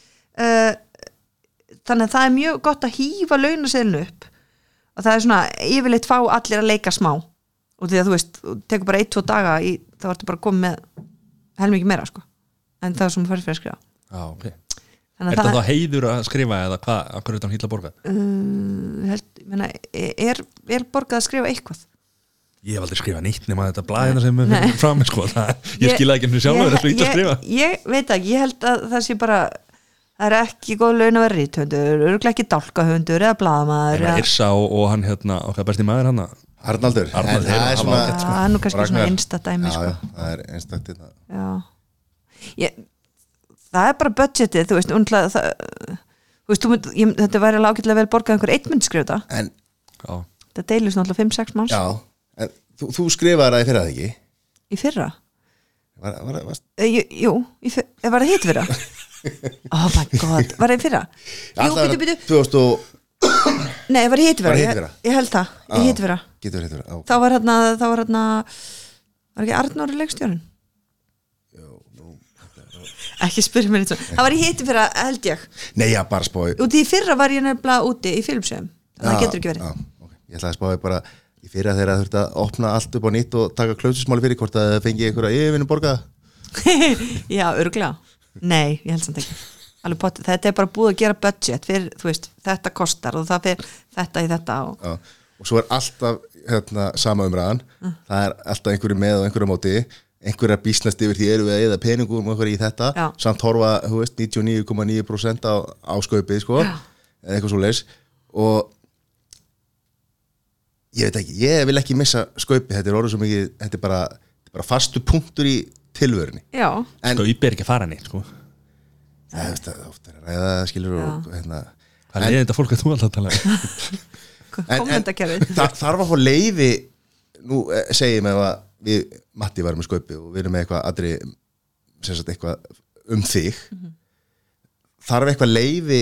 S5: uh, þannig að það er mjög gott að hýfa launaseðlun upp og það er svona, yfirleitt fá allir að leika smá og því að þú veist, þú tekur bara ein, tvo daga í, þá ertu bara komið með helmingi meira sko en það sem fyrir fyrir að skrifa
S1: Já, ok Er
S5: þannig að
S1: það
S5: það,
S1: þá heiður að skrifa eða hvað, að hverju þetta hann hýtla borga?
S5: það uh, held, menna, er, er borgað að skrifa eitthvað
S1: Ég hef aldrei skrifað nýtt nema þetta blæðina sem við finnum fram sko, það, ég, ég skilaði ekki henni sjálfur
S5: ég-
S1: þessu ít að skrifa
S5: ég, ég veit ekki, ég held að það sé bara það er ekki góð laun að vera rítöndur örgulega ekki dálkahöndur eða blaðamaður
S1: Þegar
S5: eða-
S1: Irsa og, og hann hérna, okkar besti maður hann
S2: Arnaldur,
S1: Arnaldur,
S2: en það
S1: hann
S2: er svona
S1: var ágætt,
S5: sko. Það er nú kannski
S2: Ragnar.
S5: svona einstakt dæmi,
S2: Já,
S5: sko.
S2: já, það er einstakt hérna.
S5: Já. Ég, það er bara budgetið, þú veist, undla, það, þú veist, þú mynd, ég, þetta væri alveg ágætlega vel borgað einhver eitt mynd skrifa þetta,
S2: En,
S1: Já,
S5: þetta deilist náttúrulega 5-6 máns
S2: já en, þú, þú skrifaði það í fyrra það ekki
S5: í fyrra,
S2: var, var, var,
S5: e, jú, jú í fyr, var það hitt fyrra? oh my god, var það í fyrra? Jú,
S2: Alltaf
S5: býtu,
S2: var-
S5: býtu,
S2: 2000 og
S5: Nei, það var hitvera,
S2: Var
S5: ég,
S2: hitvera?
S5: ég held það,
S2: Já.
S5: ég hitvera
S2: Getur verið hitvera,
S5: Þá var hérna, þá var hérna Var ekki Arnóri leikstjórun? Ekki spyrja mér eitthvað Það var í hitvera, held ég
S2: já Nei, já, bara spói
S5: Úti í fyrra var ég nefnilega úti í filmsöðum Það getur ekki verið
S2: já, okay. Ég ætlaði að spáði bara í fyrra þegar þurfti að opna allt upp á nýtt og taka klöfsusmáli fyrir hvort að það fengi einhverja yfirvinni borga
S5: Já, örglega Nei, ég held samt ekki Alveg pott, þetta er bara búið að gera budget fyrir, þú veist, þetta kostar og það fyrir þetta í þetta og,
S2: já. og svo er alltaf hérna, sama umræðan það er alltaf einhverju með og einhverju á móti einhverja bísnast yfir því eru við að eða peningum og einhverju í þetta,
S5: Já.
S2: samt horfa þú veist, 99,9% á, á skaupið sko,
S5: Já.
S2: eða eitthvað svo leis og ég veit ekki, ég vil ekki missa skaupið, þetta er orðið svo mikið þetta er bara, þetta er bara fastu punktur í tilvörunni
S5: Já,
S2: En-
S1: sko, ég ber ekki að fara nýtt sko.
S2: það er þetta ofta að ræða það, skilur og hérna
S1: Hvað er þetta fólk að þú alltaf tala um?
S5: kommentakerfið
S2: það þarf að fá leiði nú eh, segjum ef að við Matti varum í sköpi og við erum með eitthvað aðri sem sagt eitthvað um þig
S5: Mhm.
S2: þarf eitthvað leiði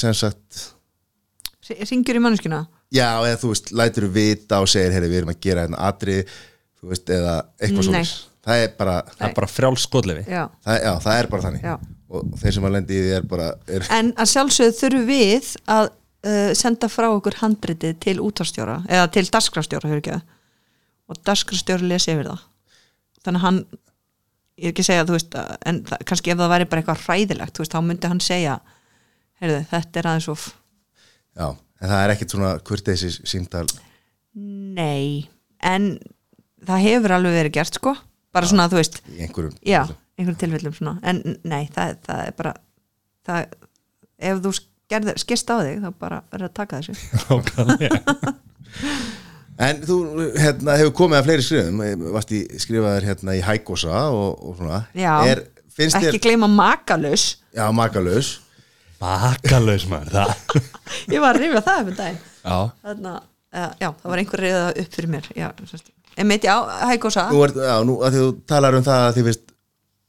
S2: sem sagt
S5: Ringjur í manneskina
S2: já eða þú veist, lætur við vita og segir heyri við erum að gera hérna aðri þú veist eða eitthvað
S5: Nei.
S2: svona það er bara,
S1: Það er bara frjálskotlefi
S5: Já
S2: það, er- já, það er bara þannig
S5: Já.
S2: og þeir sem að lendi í því er bara er,
S5: En að sjálfsögðu þurfum við að uh, senda frá okkur handritið til útvarstjóra eða til dasgrafstjóra, hefur ekki það og dasgrafstjóra lesi yfir það þannig að hann ég er ekki að segja, þú veist, að, en það, kannski ef það væri bara eitthvað hræðilegt, þú veist, þá myndi hann segja heyrðu, þetta er aðeins of
S2: já, en það er ekkit svona kurteisi símtal
S5: nei, en það hefur alveg verið gert, sko bara svona, þú veist,
S2: í einhverjum
S5: já, einhverjum tilfellum svona, en nei, það, það er bara það, ef þú gerðir, skist á þig, þá bara verður að taka þessu
S1: Nákvæmlega.
S2: En þú hérna, hefur komið að fleiri skrifum, eh, varst í skrifaður hérna í Hækosa og, og svona.
S5: Já,
S2: er, finnst
S5: ekki
S2: þér,
S5: gleyma makalus
S2: já, makalaus,
S1: Makalaus maður það
S5: ég var að rifja það um daginn
S1: Já,
S5: þannig að, uh, já, það var einhver reyða upp fyrir mér já, sérst. en mitt, já, hægósa
S2: nú er, já, nú að því þú talar um það að þið finnst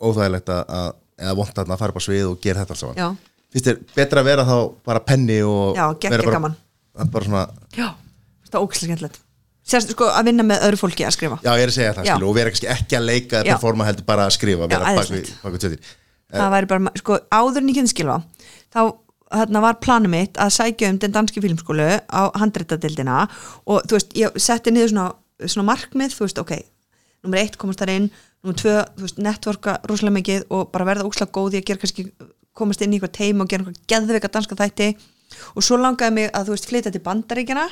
S2: óþægilegt að, að- eða vont þarna að fara bara svið og gera þetta alls saman.
S5: já,
S2: Finnst þér betra að vera þá bara penni og
S5: Já, geggja
S2: vera bara,
S5: gaman.
S2: Bara svona,
S5: já, það er ókslega skemmtilegt sérst, sko, að vinna með öðru fólki að skrifa
S2: já, ég er að segja það,
S5: Já.
S2: skilu, og vera kannski ekki að leika eða
S5: Já.
S2: performa heldur bara að skrifa,
S5: Já,
S2: vera bak
S5: æðislegt.
S2: við- bak við tjöðir.
S5: það væri bara, sko, áður en ég kynni skilfa þá þarna var planið mitt að sækja um den danski filmskólu á handreitadildina og þú veist, ég setti niður svona, svona markmið, þú veist, ok nummer eitt komast þar inn, nummer tvö þú veist, networka rosalega mikið og bara verða ókslega góð í að gera kannski, komast inn í eitthvað teim og gera einhver geðveika danska þætti og svo langaði mig að þú veist, flytja til bandaríkjana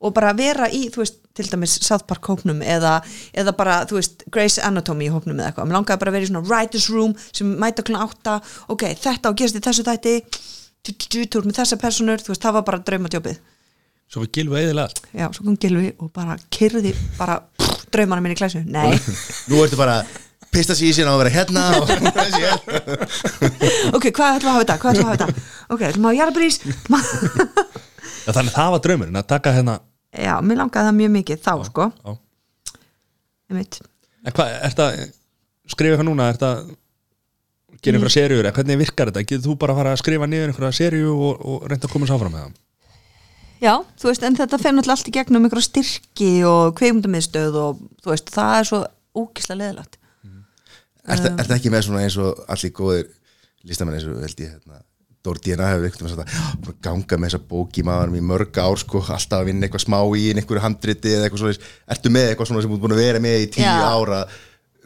S5: og bara vera í, þú veist, til dæmis South Park hópnum eða, eða bara, þú veist, Grey's Anatomy hópnum eða eitthvað, mér langaði bara að vera í svona writer's room sem mæta klun átta, ok, þetta og gerst í þessu þætti tú, tú, tú, þú ert með þessa personur, þú veist, það var bara draumatjópið,
S1: Svo við gilfa eðilega allt
S5: já, svo kom Gilvi og bara kyrði bara pff, draumana minni í klæsu, nei
S2: Nú ertu bara að pista sér í sín á að vera hérna og þessi hér
S5: ok, hvað ætlum við að hafa þetta, hvað ætlum við að hafa þetta ok, ætlum við að hafa jarðbrís
S1: Já, Þannig að það var draumurinn að taka hérna
S5: já, mér langaði það mjög mikið þá, sko
S1: á.
S5: einmitt.
S1: En hvað, er það skrifa eitthvað núna, er það gera einhverja seriur, eða hvernig virkar þetta getur þú bara að fara að skrifa niður einhverja seriu og, og reynda að koma svo áfram með það
S5: já, þú veist, en þetta fer náttúrulega allt í gegnum einhverja styrki og kveimundamiðstöð og þú veist, það er svo ókislega leðilegt Um.
S2: Ertu ertu ekki með svona eins og allir góðir listamenn eins og held ég hérna Dóri DNA hefur einhvern veginn sagt að "Ah, búin að ganga með þessa bók í maðurum í mörg ár sko, alltaf að vinna eitthvað smá í einhverju handriti eða eitthvað svoleiðis, ertu með eitthvað svona sem þú ert búin að vera með í tíu
S5: Já.
S2: ára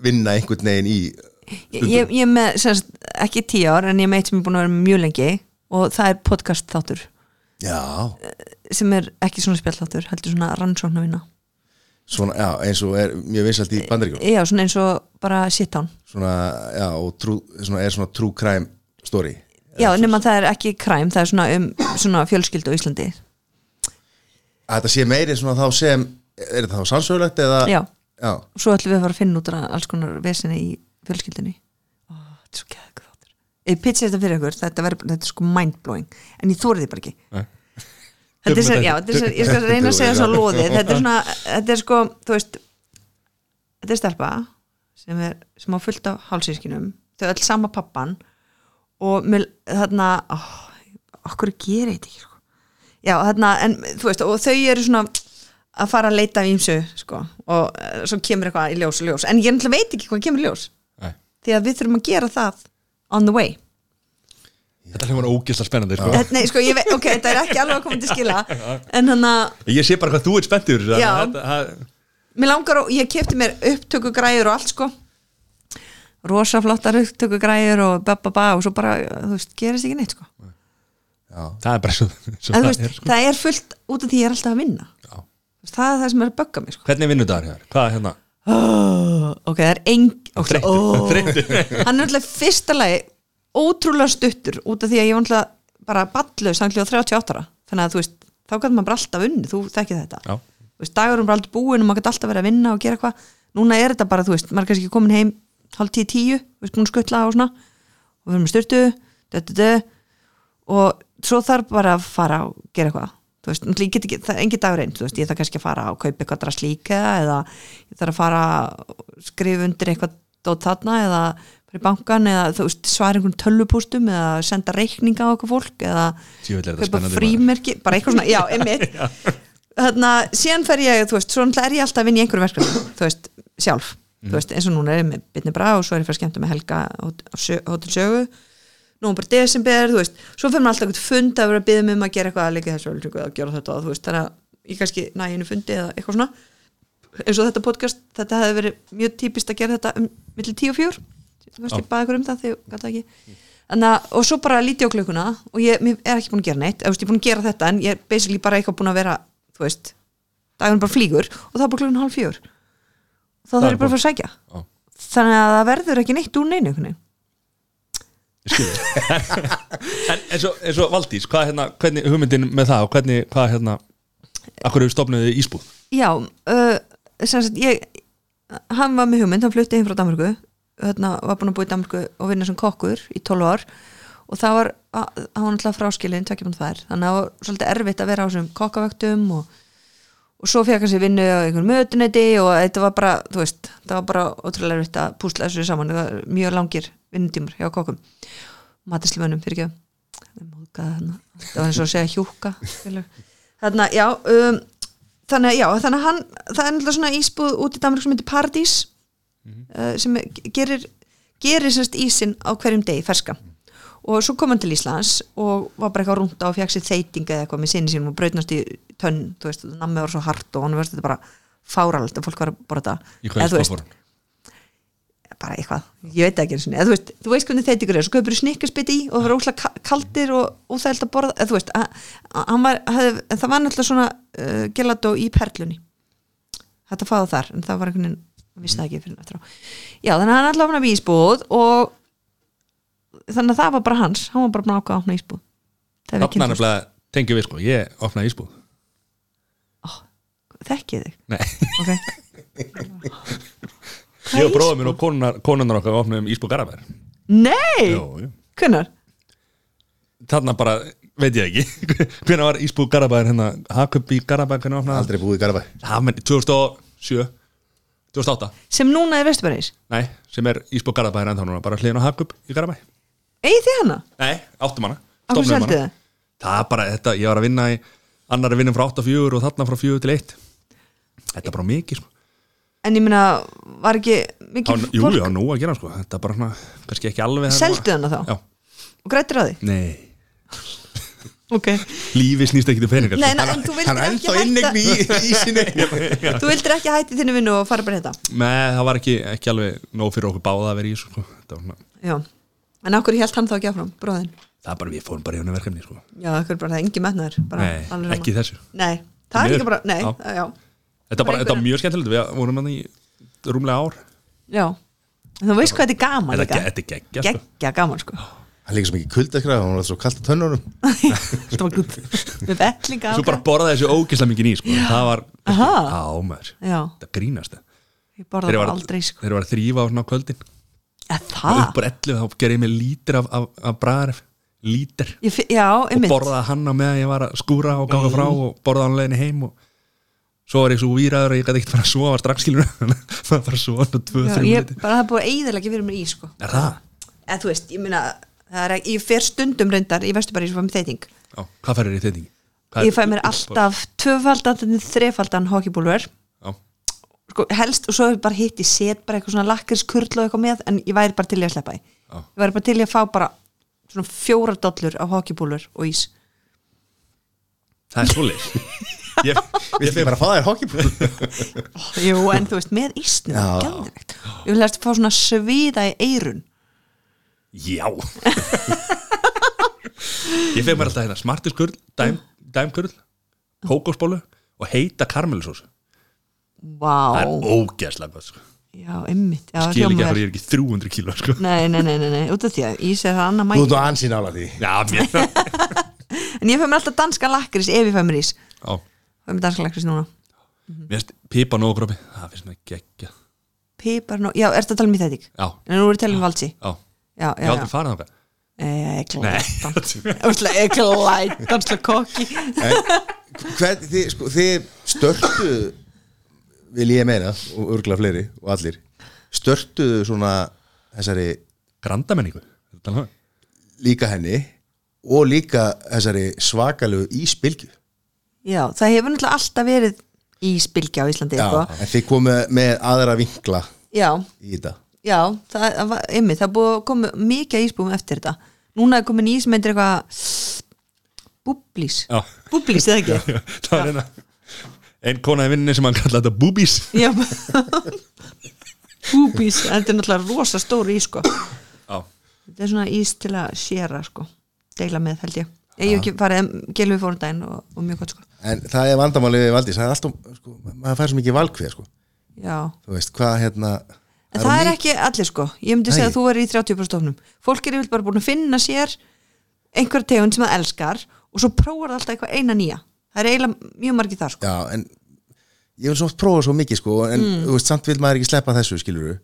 S2: vinna einhvern veginn í
S5: ég, ég- ég er með, semst, ekki tíu ár en ég er með eitt sem ég er búin að vera með mjög lengi og það er podcast þáttur
S2: Já,
S5: sem er ekki svona spjall þáttur, heldur svona rannsóknavina
S2: svona, já, eins og er mjög vinsalt í bandaríkjum
S5: já, svona eins og bara sit-down
S2: svona, já, og trú, svona, er svona true crime story
S5: já, nema það er ekki kræm, það er svona um svona fjölskyldu á Íslandi
S2: að þetta sé meiri svona þá sem er þetta þá sannsögulegt eða
S5: já,
S2: já,
S5: og svo ætlum við að fara að finna út af alls konar vesinni í fjölskyldinni Ó, þetta er svo geðveikur þáttur. ég pitcha þetta fyrir ykkur, þetta, verður- þetta er sko mindblowing en ég þóri því bara ekki
S1: Nei.
S5: þetta er
S1: Tökum
S5: svo,
S1: þetta
S5: já, þetta er svo, ég skal reyna að segja svo loðið, þetta er svona þetta er sko, þú veist þetta er stelpa sem, er, sem á fullt af hálsískinum þau öll sama pappan og mér, þarna ó, okkur gerir þetta ekki sko. já, þarna, en þú veist og þau eru svona að fara að leita í ýmsu, sko, og uh, svo kemur eitthvað í ljós og ljós, en ég náttúrulega veit ekki hvað kemur í ljós,
S1: Nei.
S5: því að við þurfum að gera það on the way
S1: Þetta hljómar ógislega spennandi sko.
S5: Þetta- Nei, sko, ég veit, ok, þetta er ekki alveg að koma til skila en hann að
S1: Ég sé bara hvað þú ert spenntur
S5: Já.
S1: það,
S5: Mér langar og ég kefti mér upptökugræður og allt sko rosa flottar upptökugræður og bababa og svo bara, þú veist, gerist ekki neitt sko
S2: já.
S1: það er bara svo, svo
S5: en þú
S1: það
S5: veist,
S1: er, sko.
S5: það er fullt út af því ég er alltaf að vinna
S1: Já.
S5: Þú veist, það er það sem er að bögga mér sko
S1: Hvernig vinnur það hér? Hvað er hérna?
S5: oh, ok, það er eng oh,
S1: Þreyttur,
S5: oh. hann er alltaf fyrsta lagi ótrúlega stuttur út af því að ég var alltaf bara ballu samtljóð 38 ára þannig að þú veist, þá gæti maður bara alltaf unni þú þekkið þetta
S1: Já.
S5: þú veist, dagurum bara alltaf búin og maður gæti alltaf verið að vinna og gera eitthvað núna er þetta bara, þú veist, maður er kannski komin heim hálf tíu tíu, þú veist, búin að skuttla og svona og við erum styrtu dö, dö, dö, og svo þarf bara að fara og gera eitthvað þú veist, náttúrulega ég get ekki, það er engin dagur einn þú veist, ég þarf kannski að fara og kaupa eitthvað drast líka eða ég þarf að fara að skrifa undir eitthvað dót þarna eða fyrir bankan eða þú veist svara einhvern tölvupústum eða senda reikninga á eitthvað fólk eða
S1: Djöfull er þetta
S5: kaupa
S1: spennandi,
S5: frímerki, bara eitthvað svona, já, einmitt þarna, síðan fer ég, þú veist, svo náttúrulega er ég alltaf að vinna í einhverjum verkefni, þú veist, sjálf
S1: Mhm.
S5: þú veist, eins og núna er ég með Bitni Bra og svo er ég fyrir skemmtum með Helga Hotel Sögu nómbar desember, þú veist svo fyrir maður alltaf eitthvað fund að vera að byggja mig um að gera eitthvað að leika í þessu öllu að gera þetta og þú veist, þannig að ég kannski næ einu fundi eða eitthvað svona eins og þetta podcast, þetta hefði verið mjög típist að gera þetta um milli 10 og 4 þú veist, ég baði ykkur um það þegar gata ekki Anna, og svo bara lítið á klukkuna og ég mér er ekki búin að gera neitt eða, þú veist, ég er búin að gera þetta en ég er basically bara eitthvað búin að vera þú veist, dagurinn bara flýgur og það er bara klukkun hálf fjör þá þarf
S1: er
S5: ég bara að fara að sækja
S1: Já.
S5: þannig að það verður ekki neitt úr neinu einhvernig.
S1: En eins og, eins og Valdís, hvað er hérna hvernig hugmyndin með það og hvernig, hvað er hérna Akkur hefur stofnuðið ísbúð?
S5: já, uh, sem sagt ég, hann var með hugmynd, hann flutti heim frá Danmarku hérna var búin að búa í Danmarku og vinna sem kokkur í 12 ár og það var, að- hann var náttúrulega fráskilin tvekkjum þær, þannig að það var svolítið erfitt að vera á þessum kokkavöktum og, og svo fekk hann sér vinnu á einhverjum mötuneyti og þetta var bara, þú veist það var bara ótrúlega erfitt að púsla þessu saman það var mjög langir vinnutímur hjá kokkum matislimönnum fyrir ekki það var eins og að segja hjúka þarna, já um, þannig að já, þannig að hann það er náttúrulega svona ísbúð út í Danmark sem heitir Paradís uh, sem gerir gerir sérst ísin á hverjum degi ferska og svo kom hann til Íslands og var bara eitthvað rúnda og fekk sér þeiting eða eitthvað með sinni sínum og brautnast í tönn, þú veist, nammi var svo hart og hann verður þetta bara fáralegt að fólk var að borða
S1: Í
S5: Eða,
S1: hverju
S5: þú veist,
S1: skófórum?
S5: bara eitthvað, ég veit það ekki einu sinni. eða þú veist, þú veist hvernig þetta ykkur er, svo köpur snikkisbytt í og það var óslega kaldir og, og það held að borða, eða þú veist að, að, að var, hef, en það var náttúrulega svona uh, gelató í perlunni þetta fáðu þar, en það var einhvern veginn vissi það ekki fyrir eftir á já, þannig að hann alltaf opnaði ísbúð og þannig að það var bara hans hann var bara búin að ákvað að opna ísbúð Það við
S1: Þarna
S5: kynntumst.
S1: nefnilega tengjum við sko, ég opnaði ísbúð
S5: þekkið þig
S1: Nei,
S5: okay.
S1: ég og bróðum minn og konunar, konunar okkar opnaðum ísbúð garabær
S5: Nei, hvernar?
S1: Þarna bara, veit ég ekki Hvenær var ísbúð garabær hérna Hakup í garabær, hvernig opnaði
S2: Aldrei búið í Garabæ
S1: Það menn, 2007 2008,
S5: Sem núna er Vesturbæris
S1: nei, sem er ísbúð garabær ennþá núna, bara hliðin á Hakup í garabær
S5: Egið þið hana?
S1: Nei, áttum hana
S5: Af hverju
S1: stofnuðum
S5: selduð
S1: hana.
S5: þið?
S1: Það er bara þetta, ég var að vinna í annari vinnum frá 8 og 4 og þarna frá 4 til 1 Þetta er bara mikið sko
S5: En ég meina, var ekki
S1: Á,
S5: mikið
S1: jú, já, nú að gera sko, þetta er bara svona kannski ekki alveg þarna.
S5: Seldu hana þá?
S1: Já,
S5: og grættir á því?
S1: nei,
S5: Ok
S1: lífi snýst ekki til peningar
S5: Nei,
S1: sko.
S5: na, en þú
S2: Hann
S5: vildir
S2: er
S5: ekki
S2: ennþá innegni
S5: hætta
S2: í, í sinni
S5: Þú vildir ekki hætta í þinni vinnu og fara bara í þetta
S1: Nei, það var ekki, ekki alveg nóg fyrir okkur báða að vera í þessu sko. það, var svona,
S5: Já En okkur held hann þá ekki áfram, bróðin
S1: það er bara, við fórum bara í henni verkefni sko.
S5: Já, okkur bara það er engi metnaður bara
S1: Nei,
S5: alveg sama.
S1: ekki í þessu.
S5: Nei, það er
S1: Því
S5: líka bara,
S1: miður.
S5: nei,
S1: Já.
S5: já, já.
S1: Þetta, bara,
S5: Bara
S1: þetta var
S5: einhverja-
S1: mjög skemmtilegt, við vorum hann í rúmlega ár
S5: já. En Þú veist hvað þetta er gaman
S1: Þetta
S5: líka
S1: ge- þetta er geggja, sko.
S5: Geggja gaman sko
S2: Hann líka svo mikið kuldaskrað, hann var alltaf svo kalt á tönnunum
S5: Þetta var guð Við vellinga
S1: Svo bara borðaði þessu ógislega mikið ný sko. Það var,
S5: Aha.
S1: á maður
S5: Já.
S1: Þetta grínast það.
S5: Ég borða
S1: Þegar ég
S5: það
S1: var-
S5: aldrei sko Ah.
S1: þegar ég var að þrýfa á svona á kvöldin
S5: Eða
S1: og upp
S5: það?
S1: úr 11 þá gerði ég mig lítir af, af, af bræðaref lítir
S5: Ég fi- Já,
S1: og
S5: einmitt
S1: borðaði hann á meðan ég var að skúra og ganga frá og borðaði hann á leiðinni heim og svo var ég svo víraður og ég gæti ekkert fara að sofa strax skilur það var bara svo hann og tvö,
S5: Já,
S1: þrjú
S5: ég,
S1: liti
S5: bara það er búið að eiðilega fyrir mér í sko
S1: Er það?
S5: eða þú veist, ég meina það er, ekki- ég fer stundum reyndar í Vesturbæri sem fæ mér þeyting,
S1: Já, hvað færir í þeitingi?
S5: ég fæ mér alltaf tvöfaldan, þannig þrefaldan hokkibúlver
S1: Já,
S5: sko, helst og svo er bara hitt í set bara eitthvað svona lakkirskurl og eitthvað með en ég væri bara til í að sleppa því
S1: Já.
S5: ég væri bara til í að fá bara svona fjórar dollur af hokkibúlver og ís
S1: það er svolít ég, ég,
S2: Viltu ekki bara fá þær hokkipúl?
S5: jú, en þú veist, með ísnum
S2: Já.
S5: gæðvegt, ég vil helst fá svona sviða í eirun
S1: Já Ég feg mér alltaf hérna smartiskurl, dæm, dæmkurl kókosbólu og heita karmelisós Það
S5: vá,
S1: er ógeðslega gott sko.
S5: já, einmitt já,
S1: Skil ekki
S5: hljómar
S1: að
S5: vel.
S1: ég er ekki 300 kíló sko.
S5: nei, nei, nei, nei, nei, út af því að ís er það annað
S2: Þú
S5: mæ
S2: ert á ansi nála því
S1: Já, mér Já,
S5: en ég fæ mér alltaf danska lakrís ef ég fæ mér ís fæ mér danska lakrís núna
S1: mér finnst pipa nóg grófi Það finnst mér geggja
S5: pipar nú, já, ertu að tala um í þetta ekki?
S1: Já,
S5: en nú erum við að tala um valsi
S1: já, ég
S5: já, já,
S1: hef
S5: já,
S1: aldrei farið þangað
S5: eklætan
S1: Nei,
S5: eklætan, dansla kokki
S2: Hvernig þið, sko, þið störtu vil ég meina og örgla fleiri og allir störtuðu svona þessari
S1: grandamenningu Þetta um? er alveg.
S2: líka henni og líka þessari svakalegu íspilgju
S5: já, það hefur náttúrulega alltaf verið íspilgja á Íslandi
S2: Já,
S5: eitthvað.
S2: en þið komu með aðra vinkla
S5: já,
S2: í þetta
S5: já, það var einmitt, það er búið að koma mikið ísbúum eftir þetta núna er komin ís sem heitir eitthvað búblís
S1: Já.
S5: búblís, eða ekki?
S1: Það var hérna Einn kona í vinninni sem hann kallaði þetta boobies
S5: já búblís, þetta er náttúrulega rosa stóru ís, sko
S1: Já,
S5: þetta er svona ís til að séra sko, deila með held ég ég hef ekki farið, gelum við fórum daginn og, og mjög gott sko
S2: en það er vandamálið við Valdís það er alltaf, sko, maður fær svo mikið valkvið sko.
S5: já.
S2: þú veist, hvað hérna
S5: en
S2: of
S5: það er
S2: mikið-
S5: ekki allir sko, ég myndi
S2: Nei.
S5: segja að þú er í 30% stofnum fólk er yfir bara búin að finna sér einhver tegund sem það elskar og svo prófar það alltaf eitthvað eina nýja það er eiginlega mjög margið þar sko
S2: Já, en ég vil svo oft prófa svo mikið sko, en
S5: Mm.
S2: þú veist, samt vil maður ekki sleppa þessu skilur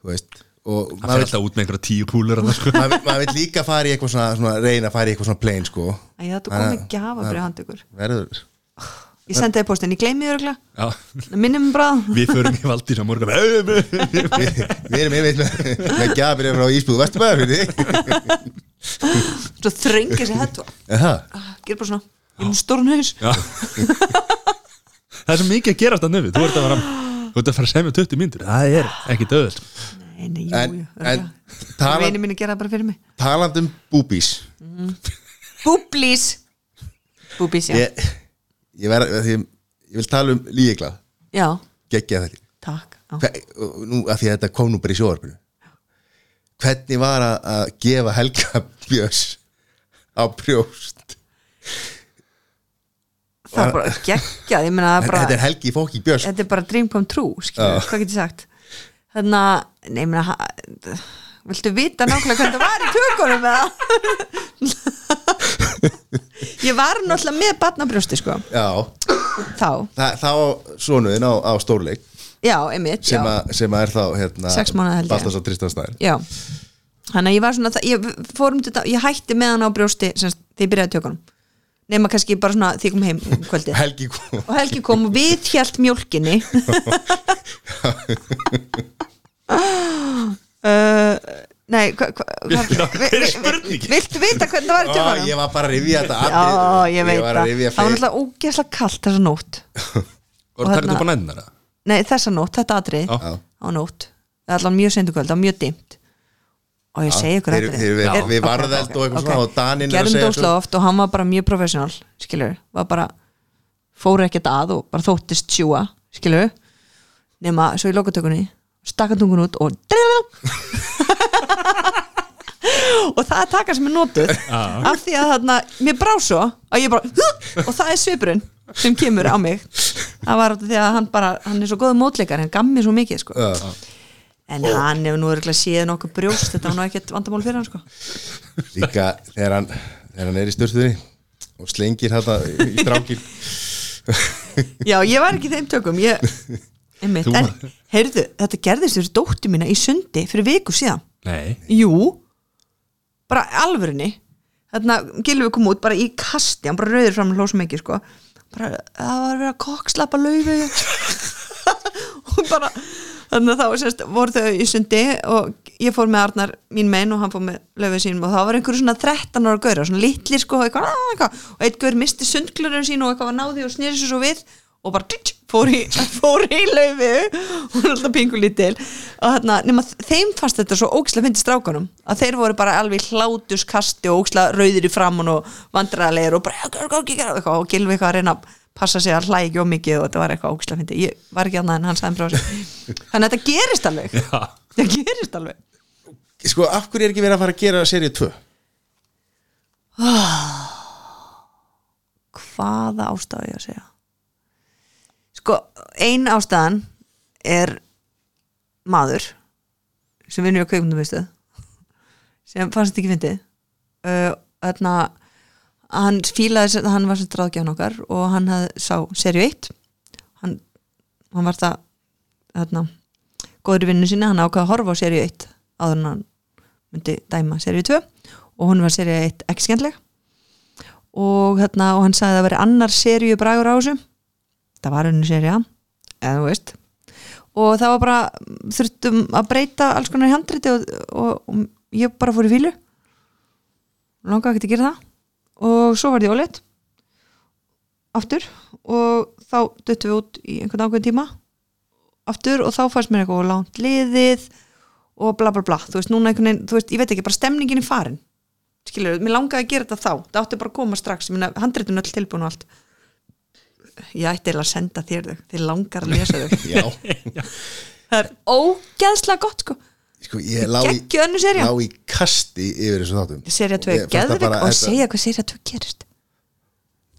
S2: þú veist og
S1: hann fyrir
S2: maður vil,
S1: alltaf út með einhverja tíu kúlur þarna, sko.
S2: maður, vil, maður vil líka fara í eitthvað svona, svona reyna að fara í eitthvað svona plain sko
S5: Æ,
S2: Þannig
S5: þetta kom
S2: að-
S5: með gjafa fyrir handtökur
S2: verður
S5: ég sendi það í postin, ég gleymi örgla
S1: Já,
S5: minnum bráð
S1: við förum í Valdís á morgun Hey, hey, hey.
S2: við, við erum einmitt með, með gjafir frá Ísbúð Vesturbæðar fyrir þig
S5: svo þrengir sér hættu
S2: Aha.
S5: ah, gera bara svona, ég er með stórn haus
S1: Já. Það er svo mikið að gerast að nöfu Þú ert að fara Þú ert að fara að semja 20 myndur Það er ekki döðl
S5: nei, nei, jú,
S2: En-
S5: jú,
S2: en
S5: örgla
S2: talan-
S5: vinni mín að gera það bara fyrir mig
S2: taland um búbís
S5: Búblís Búblís, já.
S2: ég, ég, ver, ég, ég vil tala um líkla
S5: já
S2: geggja þetta
S5: Takk já.
S2: Hva, nú, af því að þetta kom nú bara í sjóarpinu hvernig var að, að gefa Helga Björns á brjóst
S5: það er bara geggjað, ég meina það er bara
S2: þetta er Helgi fóki Björns
S5: þetta er bara dream come true skilur,
S2: Já.
S5: hvað get ég sagt þannig að, nei, meina ha- viltu vita nákvæmlega hvernig það var í tökunum með það ég var náttúrulega með barnabrjósti sko,
S2: já,
S5: þá
S2: það, þá sonuðin á, á stórleik
S5: já, einmitt,
S2: sem,
S5: já,
S2: að- sem að er þá hérna,
S5: Sex mánaða held ég.
S2: Baltasar Tristan Snær
S5: já þannig að ég var svona, það- ég fórum til þetta ég hætti með hann á brjósti sem sagt, þegar ég byrjaði tökunum nema kannski bara svona því ég kom heim um kvöldið
S2: Helgi kom
S5: og Helgi kom og viðhjælt mjólkinni uh, Nei, hvað hva, hva,
S1: Viltu- hver er spurningin?
S5: Viltu vita hvernig það var í
S2: Ó, ég
S5: tjóðanum?
S2: var bara að rifja þetta
S5: Já,
S2: atrið.
S5: ég veit
S2: var að
S5: það
S2: rifja
S5: Það var
S2: fyrir
S5: náttúrulega ógeðslega kalt þessa nótt
S1: og það
S5: þarna-
S1: þetta upp á nænnar
S5: Nei, þessa nótt, þetta atrið
S1: Já.
S5: á nótt, það er allan mjög sendugöld það var mjög dimmt og ég segi ykkur
S2: þeir- þeir- við-
S5: Er-
S2: við
S5: ok,
S2: varðeld
S5: ok,
S2: og eitthvað
S5: ok.
S2: svona og Daninn er að
S5: gerðum
S2: segja
S5: dósla oft og hann var bara mjög professional skilur, var bara fóru ekkert að og bara þóttist sjúa skilur, nema svo í lokatökunni stakka tungun út og drilla og það er taka sem er notuð af því að þarna, mér brá svo að ég bara, og það er svipurinn sem kemur á mig það var út af því að hann bara, hann er svo góða mótleikar hann gammi svo mikið sko
S2: Já.
S5: en hann hefur nú örgulega séð nokkuð brjóst þetta var nú ekkert vandamál fyrir hann sko
S2: líka þegar hann, þegar hann er í styrstuðinni og slengir þetta í strákin
S5: já, ég var ekki í þeim tökum ég, einmitt,
S1: Þú
S5: en,
S1: var-
S5: heyrðu, þetta gerðist fyrir dóttu mína í sundi fyrir viku síðan
S1: nei,
S5: jú, bara alvörinni þarna Gylfi kom út bara í kasti, hann bara rauður fram hlósum ekki sko, bara það var að vera kokkslappa laufu og bara þannig að þá sérst, voru þau í sundi og ég fór með Arnar mín mein og hann fór með löfið sínum og þá var einhverju svona 13 ára gauður, svona litli sko eitthvað, "Ah", eitthvað, og eitt gaur misti sundglurinn sín og eitthvað var náði og snýri sér svo við og bara tjitsch, fór í, fór í löfið og var alltaf pingu lítil og þarna, nema þeim fannst þetta svo ógislega fyndi strákanum, að þeir voru bara alveg í hlátuskasti og ógislega rauðir í framann og vandræðarlegar og bara eitthvað, og gilfi eitthvað að reyna að passa sig að hlæja ekki ómikið og þetta var eitthvað ógislega fyndi ég var ekki annað en hann sagði mér frá þessu þannig að þetta gerist alveg
S1: Já.
S5: þetta gerist alveg
S2: sko af hverju er ekki verið að fara að gera serið 2
S5: hvaða ástæða á ég að segja sko, ein ástæðan er maður sem vinnur á kveikmyndumistuð sem fannst þetta ekki fyndið uh, þarna hann fílaði, sem- hann var sem dráðgján okkar og hann hafði sá serið 1 hann, hann var það þarna góður vinnu sinni, hann ákvað að horfa á serið 1 áður en hann myndi dæma serið 2 og hún var serið 1 ekki skemmtleg og, hérna, og hann sagði að það veri annar seríu bragur á þessu það var unni seríu eða þú veist og það var bara, þurftum að breyta alls konar í handriti og, og, og ég bara fór í fílu langaði ekki að gera það og svo var því óleitt aftur og þá duttum við út í einhvern ákveðin tíma aftur og þá fannst mér eitthvað og langt liðið og bla bla bla þú veist, núna einhvern veginn, þú veist, ég veit ekki, bara stemningin er farin skilur, mér langaði að gera þetta þá það átti bara að koma strax, minna, handritun öll tilbúin og allt ég ætti eiginlega að senda þér þau, þið langar að lesa þau
S2: já,
S5: það er ógeðslega gott sko
S2: sko ég lá í,
S5: Geggjuð önnur sería.
S2: lá í kasti yfir þessu þáttum
S5: serja 2 er
S2: Ég fannst það
S5: geðvik
S2: bara-
S5: og
S2: þetta-
S5: segja hvað serja 2 gerist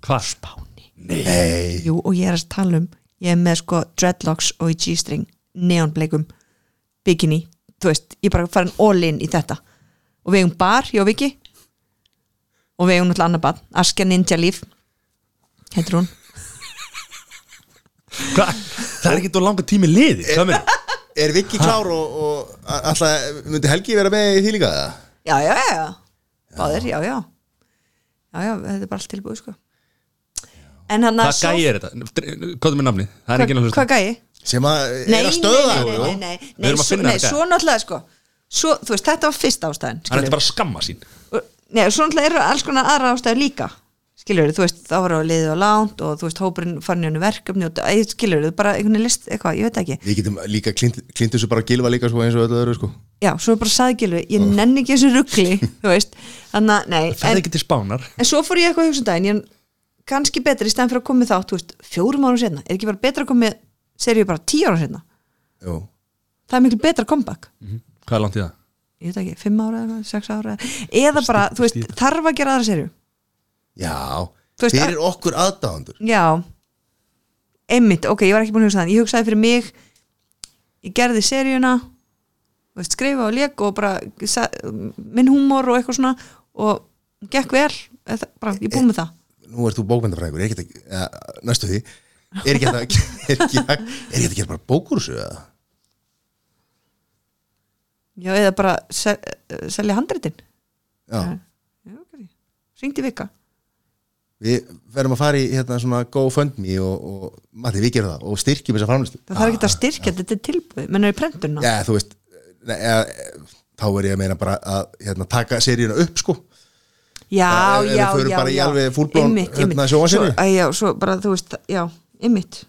S1: hvað?
S2: nei,
S5: jú og ég er að tala um ég er með sko dreadlocks og í g-string neonbleikum bikini þú veist, ég er bara farin all in í þetta og við eigum bar, ég og Viki og við eigum náttúrulega annar bad Askja Ninja Líf heitir hún
S1: Hva? það er ekki þú langa tími liði hvað meina?
S2: er Viki klár og, og a- alltaf myndi Helgi vera með í því líka það?
S5: já, já, já, já, báðir, já, já já, já, þetta er bara allt tilbúið sko en hann
S1: hvað gæi er þetta? hvað er með nafni? það er ekki
S5: hvað,
S1: náttúrulega
S5: hvað gæi?
S2: sem að
S5: nei,
S2: er að
S5: nei,
S2: stöða
S5: nei,
S2: hann,
S5: nei,
S2: jú.
S5: nei, nei,
S1: Við
S5: nei,
S1: erum að
S5: svo,
S1: finna
S5: nei
S1: þetta.
S5: svo náttúrulega sko svo, þú veist, þetta var fyrsta ástæðan
S1: hann er
S5: skilurðu.
S1: þetta bara að skamma sín
S5: Og- nei, svo náttúrulega eru alls konar aðra ástæður líka skilur, þú veist, þá var á liðið á lánt og þú veist, hópurinn fann í hennu verkefni og skilur, þú bara einhvern veginn list, eitthvað, ég veit það ekki
S2: við getum líka klint þessu bara að gilfa líka sko eins og öllu öðru sko
S5: já, svo bara saðgilu, ég nenni ekki þessu ruggli þú veist, þannig að, nei
S1: það er ekki til spánar
S5: en svo fór ég eitthvað að hugsa um daginn ég, kannski betra í stæðan fyrir að koma með þá þú veist, fjórum árum setna, er ekki bara betra að koma með seríu bara tíu árum setna,
S2: Jú.
S5: það er miklu betra comeback
S1: hvað er langt í það?
S5: ég veit ekki, fimm ára, eða eitthvað, sex ára eða bara, þú veist,
S1: stíf.
S5: þarf að gera aðra serju
S2: Já,
S5: Þú veist,
S2: fyrir okkur aðdáðandur
S5: já einmitt, ok, ég var ekki búin að hugsa þann ég hugsaði fyrir mig ég gerði seríuna þú veist, skrifa og leik og bara sa- minn húmor og eitthvað svona og gekk vel, eða, bara, ég er búin með það
S2: Nú ert þú bókmyndafrægur, er ekki að, ja, næstu því Er ekki hægt að, er ekki að, er ekki hægt að gera bara bókur þessu eða?
S5: já, eða bara se- eh, selja handritin
S2: Já,
S5: já, ok, syngdi vika
S2: við verðum að fara í hérna svona GoFundMe og, og Matti, við gerum það og styrkjum þessa framlýstu
S5: það þarf ekki að styrkja, þetta er tilbúið menn er í prentuna,
S2: Ah, Já, þú veist, ne, ja, þá er ég að meina bara að hérna, taka seríuna upp sko
S5: já,
S2: Það er-
S5: já,
S2: þau eru
S5: já,
S2: eh, bara í
S5: já.
S2: alveg full blown,
S5: Einmitt,
S2: hérna,
S5: einmitt. svo,
S2: sjónvarpsseríu.
S5: æ, já, svo bara, þú veist, já, ymmit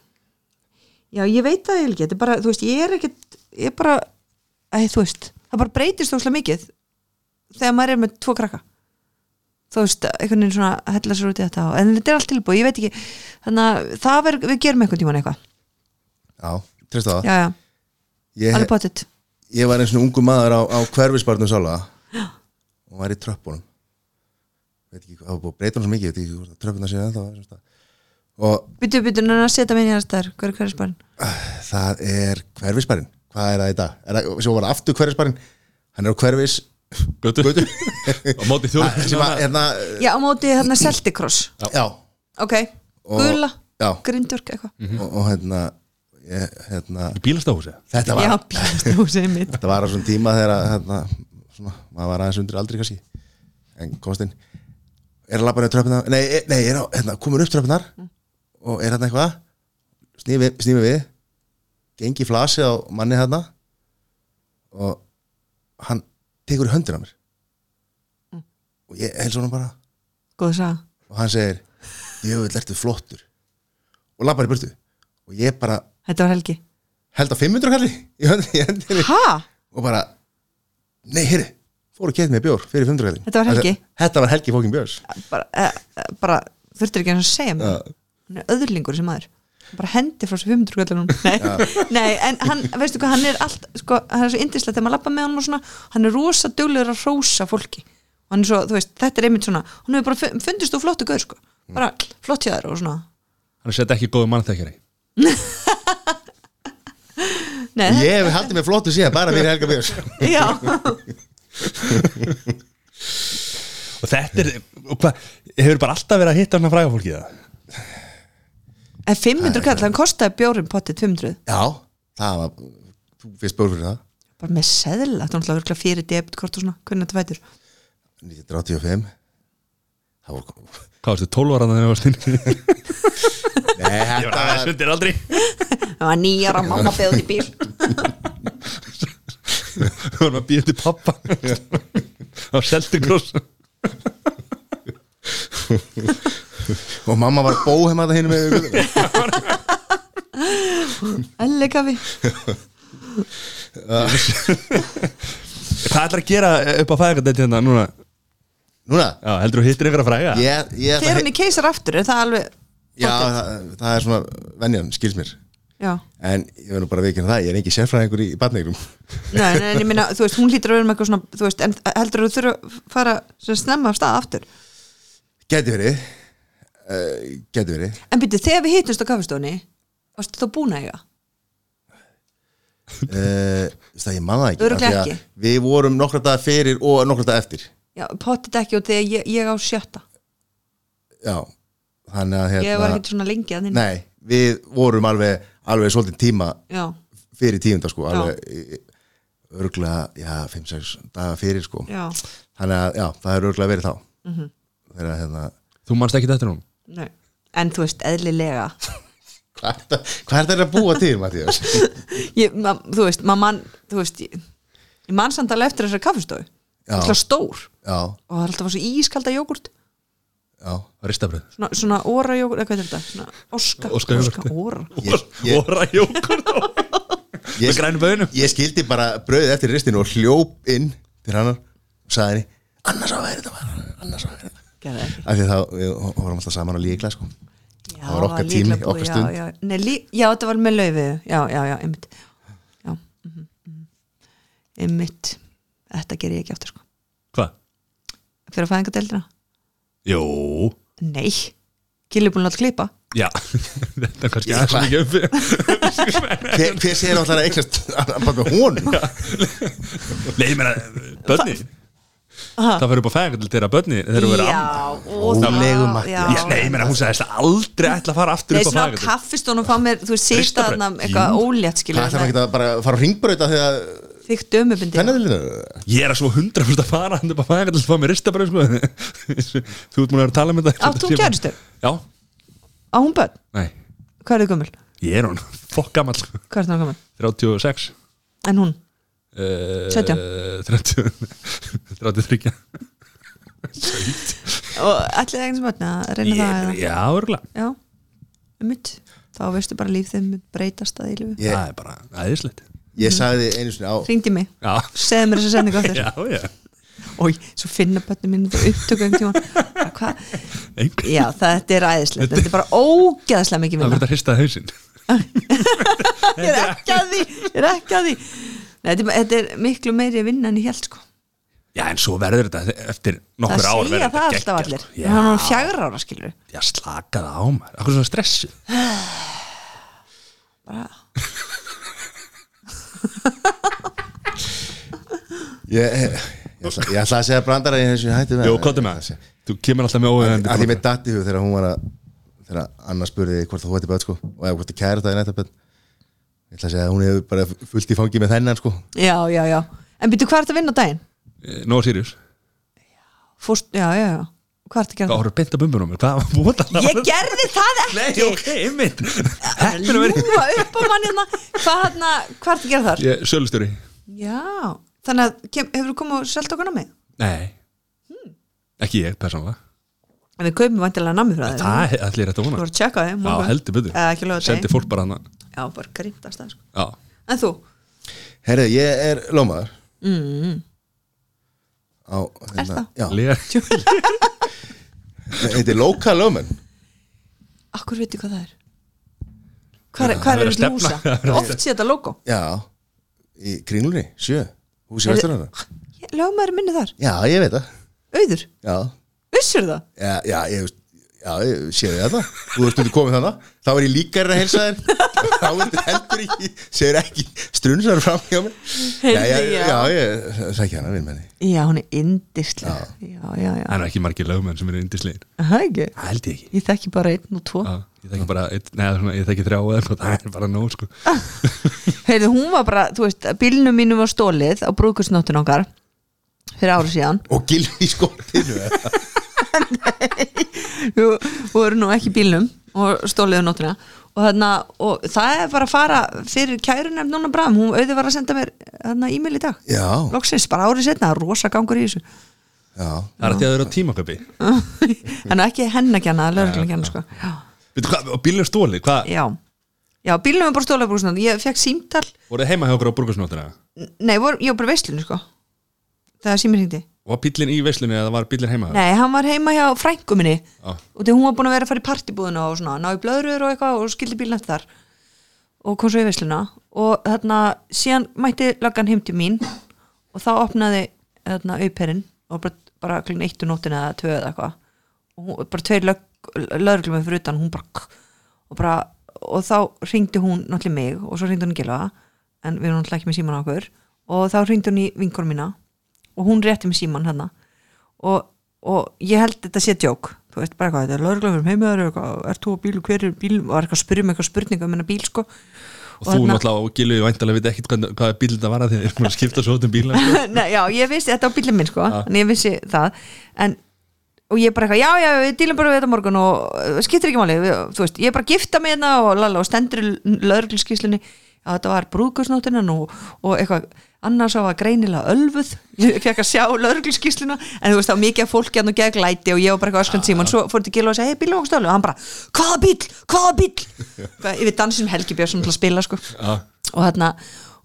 S5: já, ég veit það ekki, þetta er bara, þú veist, ég er ekkit ég er bara, æ, þú veist það bara breytist óslega mikið þegar maður er með tvo krakka þú veist, einhvern veginn svona hella sér út í þetta og- en þetta er allt tilbúið, ég veit ekki þannig að það verður, við gerum einhvern tímann eitthvað
S2: Já, treystu það
S5: já, já,
S2: Ah. ég,
S5: alveg pottitt
S2: ég var eins og ungu maður á, á hverfisbarnum sála og var í tröppunum veit ekki, hvað- það var búið að breyta hann svo mikið veit ekki, hvort að tröppuna séu ennþá það er sem sagt. og
S5: byttu, byttu, en að setja minni hans þær, hver er hver er sparinn
S2: það er hverfisbarinn hvað er það í dag? Er það, svo var það aftur hverfisbarinn hann er á hverfis
S1: Götu
S2: götu
S1: Á móti þjóð
S2: sem að, hérna,
S5: já, á móti hérna seltikross
S2: já
S5: ok, gula,
S2: já.
S5: grindurk eitthvað
S2: og, og hérna, ég, hérna
S1: Bílastahúsi
S2: þetta var,
S5: já, bílastúsið mitt
S2: þetta var á svona tíma þegar að, hérna, svona, maður var aðeins undir aldri kannski en komstinn er að labba niður tröppunar nei, e- nei er á, hérna, komur upp tröppunar og er hérna eitthvað snými, snými við gengi í flasið á manni hérna og hann tekur í höndina á mér og ég helst honum bara
S5: góð sá
S2: og hann segir jöfull ertu flottur og labbar í burtu og ég bara
S5: Þetta var Helgi
S2: held að 500 kalli í hönd- í hendinni
S5: Hæ?
S2: og bara nei, heyrðu, fór og keitt með bjór fyrir 500 kallin
S5: Þetta var Helgi.
S2: þetta var Helgi fókin Björns
S5: Bara, eh, eh, bara þurftir ekki að segja mér
S2: Já.
S5: Hann er öðlingur sem maður bara hendi frá þessu 500 kallinum nei, nei, en hann, veistu hvað, hann er allt sko, hann er svo indislegt þegar maður lappa með honum og svona hann er rosa duglegur að hrósa fólki og hann er svo, þú veist, þetta er einmitt svona hann hefur bara fu- fundist þú flottu gaur, sko bara flott hjá þér og svona
S1: Hann setja ekki góðu mannþekkjari
S5: nei,
S2: ég hef haldið mig flottu síðan bara fyrir Helga Björns
S5: já,
S1: Og þetta er, og hvað, hefur bara alltaf verið að hitta svona fræga fólki það?
S5: en 500 Eh, kall hann kostaði bjórin pottið 500
S2: já, það var þú fyrst bjór fyrir það
S5: bara með seðla, þetta er náttúrulega örugglega fyrir debitkort og svona, hvernig þetta vætur
S2: 1985 það voru
S1: Hvað varstu, 12 ára þannig að það var stund?
S2: nei,
S1: Ég var
S2: þetta
S1: aðeins
S2: var,
S1: undir aldrei
S5: það var nýjara, mamma beði út í bíl
S1: Við vorum að býja til pappa á Seltikross
S2: og mamma var bóhem að það hinn með
S5: Elli kaffi
S1: Hvað ætlar að gera upp á fæðingardeiti hérna núna?
S2: núna,
S1: Já, heldur þú hittir ykkur að fræga?
S2: ég, ég ætla
S5: Þegar
S2: að-
S5: hann er keisar aftur er það alveg
S2: já, það, það er svona venjan, skils mér
S5: Já,
S2: en ég verður bara að veikina það, ég er ekki sérfræðingur í, í barneignum
S5: nei, nei, en ég meina, þú veist, hún lítur að vera með eitthvað svona, þú veist, en heldur þú þurfa að fara sem snemma af stað aftur
S2: geti verið uh, geti verið
S5: En byrju, þegar við hittumst á kaffistóni varstu þá búin að eiga?
S2: uh, það ég manna ekki,
S5: Örugglega
S2: af því að
S5: ekki.
S2: við vorum nokkra dagar fyrir og nokkra dagar eftir
S5: Já, pottit ekki og þegar ég, ég á sjötta
S2: já, þannig að hérna-
S5: Ég var ekki svona lengi að þinn
S2: nei, við vorum alveg alveg svolítið tíma
S5: Já,
S2: fyrir tíunda sko,
S5: Já.
S2: alveg örglega, já, 5-6 daga fyrir sko,
S5: já, Mhm.
S2: þannig að já, það er örglega verið þá þegar að hérna
S1: Þú manst ekki þetta núna?
S5: nei En þú veist, eðlilega
S2: hvað er það- hvað er þetta að búa til, Mattías?
S5: ég, ma, Þú veist, maður mann, þú veist Ég, ég mann samt alveg eftir þessari kaffistói
S2: Já.
S5: Alltaf stór
S2: já,
S5: og það er alltaf svo ískalda jógurt
S2: já
S1: Ristabröð
S5: Svona, svona óra jógurt, eða hvað er þetta? Svona óska,
S1: Óska jógurt.
S5: óra
S2: Ég- ég-
S1: Óra jókurt Með
S2: ég,
S1: grænum bönum
S2: ég skildi bara brauðið eftir ristinu og hljóp inn til hannar og sagði henni annars á að vera þetta maður, annars á að vera þetta
S5: Gerði ekki
S2: af því að þá við hó- vorum alltaf saman á líkla sko.
S5: Já,
S2: Það var okkar tími,
S5: líklega búið,
S2: okkar
S5: já,
S2: stund.
S5: já, Nei, lí, já, þetta var með laufið Já, já, já, einmitt Já, mhm, mhm. einmitt þetta ger ég ekki aftur sko
S1: Hvað?
S5: fyrir að fæðinga deildina,
S1: Jó,
S5: nei Gilli er búin að láta klippa
S1: já Þetta er kannski aðeins mikið uppi
S2: Hver, hver segir alltaf að eignast bara með honum?
S1: Nei, ég meina, bönni
S5: Aha.
S1: Það fyrir upp á fæðingar til þeirra bönni Þeir eru verið amma
S5: já, og
S2: Hún legum
S5: það
S2: mætti.
S5: já.
S1: Já, Nei, ég meina, hún sagðist aldrei ætla að fara aftur
S5: Nei,
S1: upp á
S5: svona á
S1: fæðingar
S5: kaffistón og fá mér, þú veist, sita
S1: Ristabrauð.
S5: þarna um eitthvað ólétt
S2: Það ætlar maður
S5: skilur
S2: ekki að bara fara á ringbrauta þegar
S5: þykkt dömubindi
S2: fennadilinu
S1: Ég er að svo hundra fyrst að fara hann upp á fæðingar til að fá mér ristabröð sko. Þú ert múin að vera að tala um með það
S5: Átt hún kærustu?
S1: Já,
S5: á hún börn,
S1: nei,
S5: hvað er þið gömul?
S1: ég er hún Fokk gammal, sko.
S5: Hvað er það gömul?
S1: 36
S5: En hún,
S1: uh,
S5: 17.
S1: 30, 33
S5: og allir eigin sem börn að reyna það eða?
S1: Já, örgulega
S5: Já, um mitt þá veistu bara líf þeim mun breytast að ílfi
S2: Ég-
S1: Það er bara æðislegt
S2: Ég sagði einu sinni á
S5: Ringdi mig,
S1: Já,
S5: segði mér þess að senda aftur
S1: já, já
S5: Ói, svo finna börnum mínu það upptöku um tíma Hvað?
S1: Einhver,
S5: Já, þetta er æðislegt, þetta er bara ógeðslega
S1: það
S5: mikið vinna
S1: verður að hrista hausinn
S5: Ég er ekki að því, ég er ekki að því Nei, þetta er bara- þetta er miklu meiri vinna en ég held sko
S1: Já, en svo verður þetta eftir
S5: Það
S1: nokkur ár
S5: segja
S1: verður
S5: það
S1: þetta
S5: alltaf
S1: geggjað,
S5: allir
S1: sko.
S5: Já, hann var
S1: Já,
S5: fjagra ára skilur
S1: já slaka það á maður Akkur svona stressu
S2: Ég, ég, ætla, ég ætla að segja brandara í þessu hætti með
S1: Jó, kottum með það Eh, Þú kemur alltaf með óvegandi
S2: að ég með datti hug þegar hún var að þegar Anna spurði hvort þú ætti börn sko og eða hvort þú kæra það í nættaböld ég ætla að segja að hún hefur bara fullt í fangi með þennan sko
S5: Já, já, já, en býttu hvað ertu að vinna á daginn?
S1: Nó Eh, Sirius
S5: Fórst, já, já, já, hvað
S1: Hvað
S5: ertu að gera það?
S1: horfður beint að bumbunum Hvað var búin að um-
S5: Ég gerði það
S1: Nei,
S5: ekki
S1: ok, einmitt Heppin að vera
S5: Ljúa upp á manni hérna Hvað hérna, hvað ertu að gera þar?
S1: Ég- Sölustjóri
S5: Já, þannig að kem, hefur þú komið og selt okkur námið?
S1: Nei
S5: Hmm.
S1: Ekki ég, persónulega
S5: En við kaupum vantilega námið frá þér
S1: Það er allir þetta
S5: Þú
S1: vona
S5: voru að tjekka því
S1: Já, heldur betur
S5: Eða ekki lögðu
S1: Sendi fólk bara hana
S5: Já, bara gríntast það sko
S1: Já,
S5: En þú,
S2: herrið, ég er lómaður mm. á,
S5: Er það?
S2: Já,
S1: lér
S2: þetta er lokal lóman
S5: akkur veitir hvað það er? Hvað,
S1: Já, það
S5: hvað
S1: er að
S5: er þetta
S1: stefna.
S5: húsa?
S1: Það er að
S5: Oft sé þetta logo
S2: Já, í kringlunni, sjö Húsi
S5: Er-
S2: vesturhanda
S5: Lögmaður minni þar,
S2: Já, ég veit það
S5: auður
S2: Já,
S5: Vissur það?
S2: já, já ég veist Já, ég sé þið þetta Þú veist þú komið þannig Þá er ég líka að helsa þér Þá er þetta heldur ekki Segir ekki strunsar fram hjá mér
S5: Heyrðu,
S2: já,
S5: já.
S2: já, ég sækja hana vinn með henni
S5: Já, hún er indislega Já, já, já,
S1: Það er ekki margir lögmenn sem eru indislegin
S5: það er ekki
S1: Það held ég ekki
S5: Ég þekki bara einn og tvo
S1: Já, ég þekki bara, einn- neða svona, ég þekki þrjá eða eitthvað, það er bara nóg sko
S5: Heyrðu, hún var bara, þú veist, bílnum mínum var stólið á brúkusnóttin okkar fyrir ári síðan
S2: Og gilfi í skottinu
S5: Jú, og eru nú ekki í bílnum og stóliðu nóttina og, þarna, og það er bara að fara fyrir kærunum núna bráðum, hún auðvitað var að senda mér þarna e-mail í dag
S2: Já,
S5: loksins, bara árið setna, rosa gangur í þessu
S2: já
S1: Það er að því að þau eru á tímaköpi
S5: þannig ekki hennagjana, lögreglingana sko. já,
S1: Veitu hvað, og bílum stóli, hvað,
S5: já, já bílnum var bara stólið á brúkusnóttin, ég fekk símtal
S1: voruð þið heima hjá okkur á burgursnóttina?
S5: nei, voru, ég var bara í veislunni sko þegar símir hindi
S1: Var bílinn í veislunni eða var bílinn heima?
S5: nei, hann var heima hjá frængu minni
S1: Já.
S5: og því hún var búin að vera að fara í partibúðuna og svona, ná í blöðrur og eitthvað og skildi bílnætt þar og kom svo í veisluna og þarna, síðan mætti löggan heim til mín og þá opnaði þarna auperinn og bara, bara klín eitt og nóttin eða tvö eða eitthvað og hún, bara tveir lögreglum fyrir utan, hún bara kk, og bara, og þá ringdi hún náttúrulega mig og svo ringdi hún í gilva en við erum náttúrulega ekki með síman okkur og þá ringdi hún í vinkur mína og hún rétti með síman hérna og, og ég held þetta sé djók þú veist bara eitthvað, þetta er lögreglum fyrir heimaður eitthvað, er þú á bíl, hver er bíl og var eitthvað að spyrja mig eitthvað spurninga um hennar bíl sko
S1: Og þú
S5: þarna-
S1: náttúrulega og Gilvi væntalega veit ekkit hvað, hvað bíl þetta var að þið er búin að skipta svo um bíla sko.
S5: Nei, já, ég vissi, þetta var bílum minn sko en ég vissi það en, og ég bara eitthvað, já, já, við dýlum bara við þetta á morgun og uh, skiptir ekki máli, við, þú veist ég er bara að gifta mig hérna og lala og stendur lögreglskíslunni, að þetta var brúðkursnóttinan og, og eitthvað annars á að greinilega ölfuð ég fekk að sjá lögreglskísluna en þú veist þá var mikið af fólki hann og gegn læti og ég var bara eitthvað öskand síman, svo fór þetta gila og segja, hei bíl og stölu og hann bara, hvaða bíl, hvaða bíl Hvað- yfir dansin Helgi Björnsson til að spila sko
S1: Já.
S5: og hérna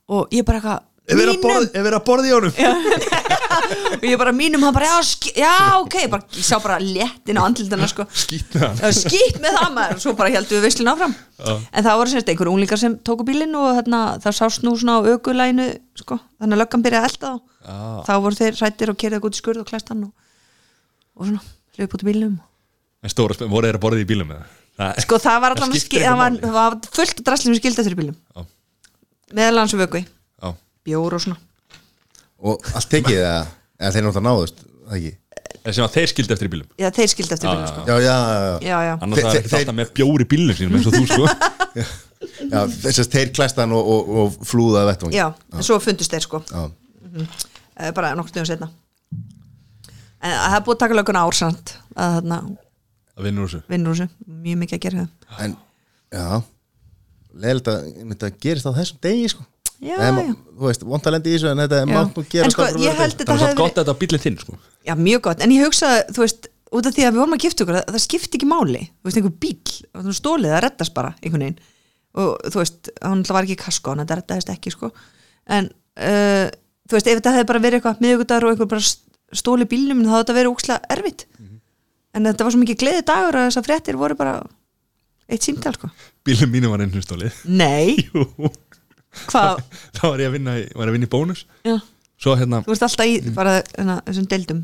S5: og ég bara eitthvað,
S1: Ef er að borða- ef er að borða í honum
S5: og ég bara mínum hann bara já, sk- já ok, bara, ég sá bara léttin á andlindana sko
S1: Skýt með hann
S5: Já, skýtt með það maður, svo bara heldum við veislun áfram en það voru semst einhver unglingar sem tóku bílinn og þarna, það sást nú svona á aukulæginu sko, þannig að löggan byrjaði að elda þá
S1: Já.
S5: þá voru þeir rættir og kerðið út í skurð og klæst hann og, og svona, hljóp út í bílum
S1: En stóra spil, voru þeir að borða í bílum með það?
S5: sko það var allan
S1: það skiptir
S5: það var,
S1: engu
S5: það var fullt af drastlum skilda fyrir bílum
S1: Já.
S5: meðal hans og vöku
S1: Já,
S5: bjór og svona
S2: og allt tekið eða, eða þeir náttúrulega náðust það ekki
S1: en sem að þeir skildi eftir í bílum
S5: já, þeir skilda eftir
S1: Já,
S5: bílum
S1: já,
S5: sko.
S2: já, já, já, já.
S5: já, já,
S1: Annars
S2: Þeir-
S1: það er ekki
S2: þeir-
S1: alltaf með bjór í bílum sínum eins og þú sko
S2: já þess að þeir klæstan og, og, og flúða að vettvangi
S5: já, en svo fundust þeir sko
S2: Já.
S5: Eh, bara nokkur tíma setna en Eh, það er búið að taka löguna ársamt að þarna
S1: að vinna úr þessu
S5: vinnur þessu, mjög mikið að gera það
S2: en, já leðilegt að einmitt að gerist á þessum degi sko.
S5: Já,
S2: en,
S5: já.
S2: þú veist, vont að lenda í þessu en þetta er mátt nú
S5: Já.
S2: gerast
S5: en
S2: á
S5: sko, ég
S2: frumlegum degi.
S5: held
S1: Það
S5: þetta
S1: var satt
S5: hefði
S1: gott að þetta var bílinn þinn sko
S5: já, mjög gott, en ég hugsaði, þú veist út af því að við vorum að gifta okkur, það, það skipti ekki máli þú veist, einhver bíl, þú veist, stólið að reddast bara einhvern veginn, og þú veist hann alltaf var ekki í kasko, hann þetta reddaðist ekki sko. en, uh, þú veist ef þetta hefði bara verið eitthvað miðugudagur og einhver bara stóli bílnum, þá hefði þetta verið úkslega erfitt en þetta var svo mikið gleði dagur að þessar fréttir voru bara eitt símtal, sko
S1: Bílum mínu var einu stólið
S5: Nei,
S1: Jú,
S5: hvað,
S1: þá var ég að vinna, í- var að vinna í bónus
S5: já
S1: Svo hérna,
S5: Þú ert alltaf í bara hana, þessum deildum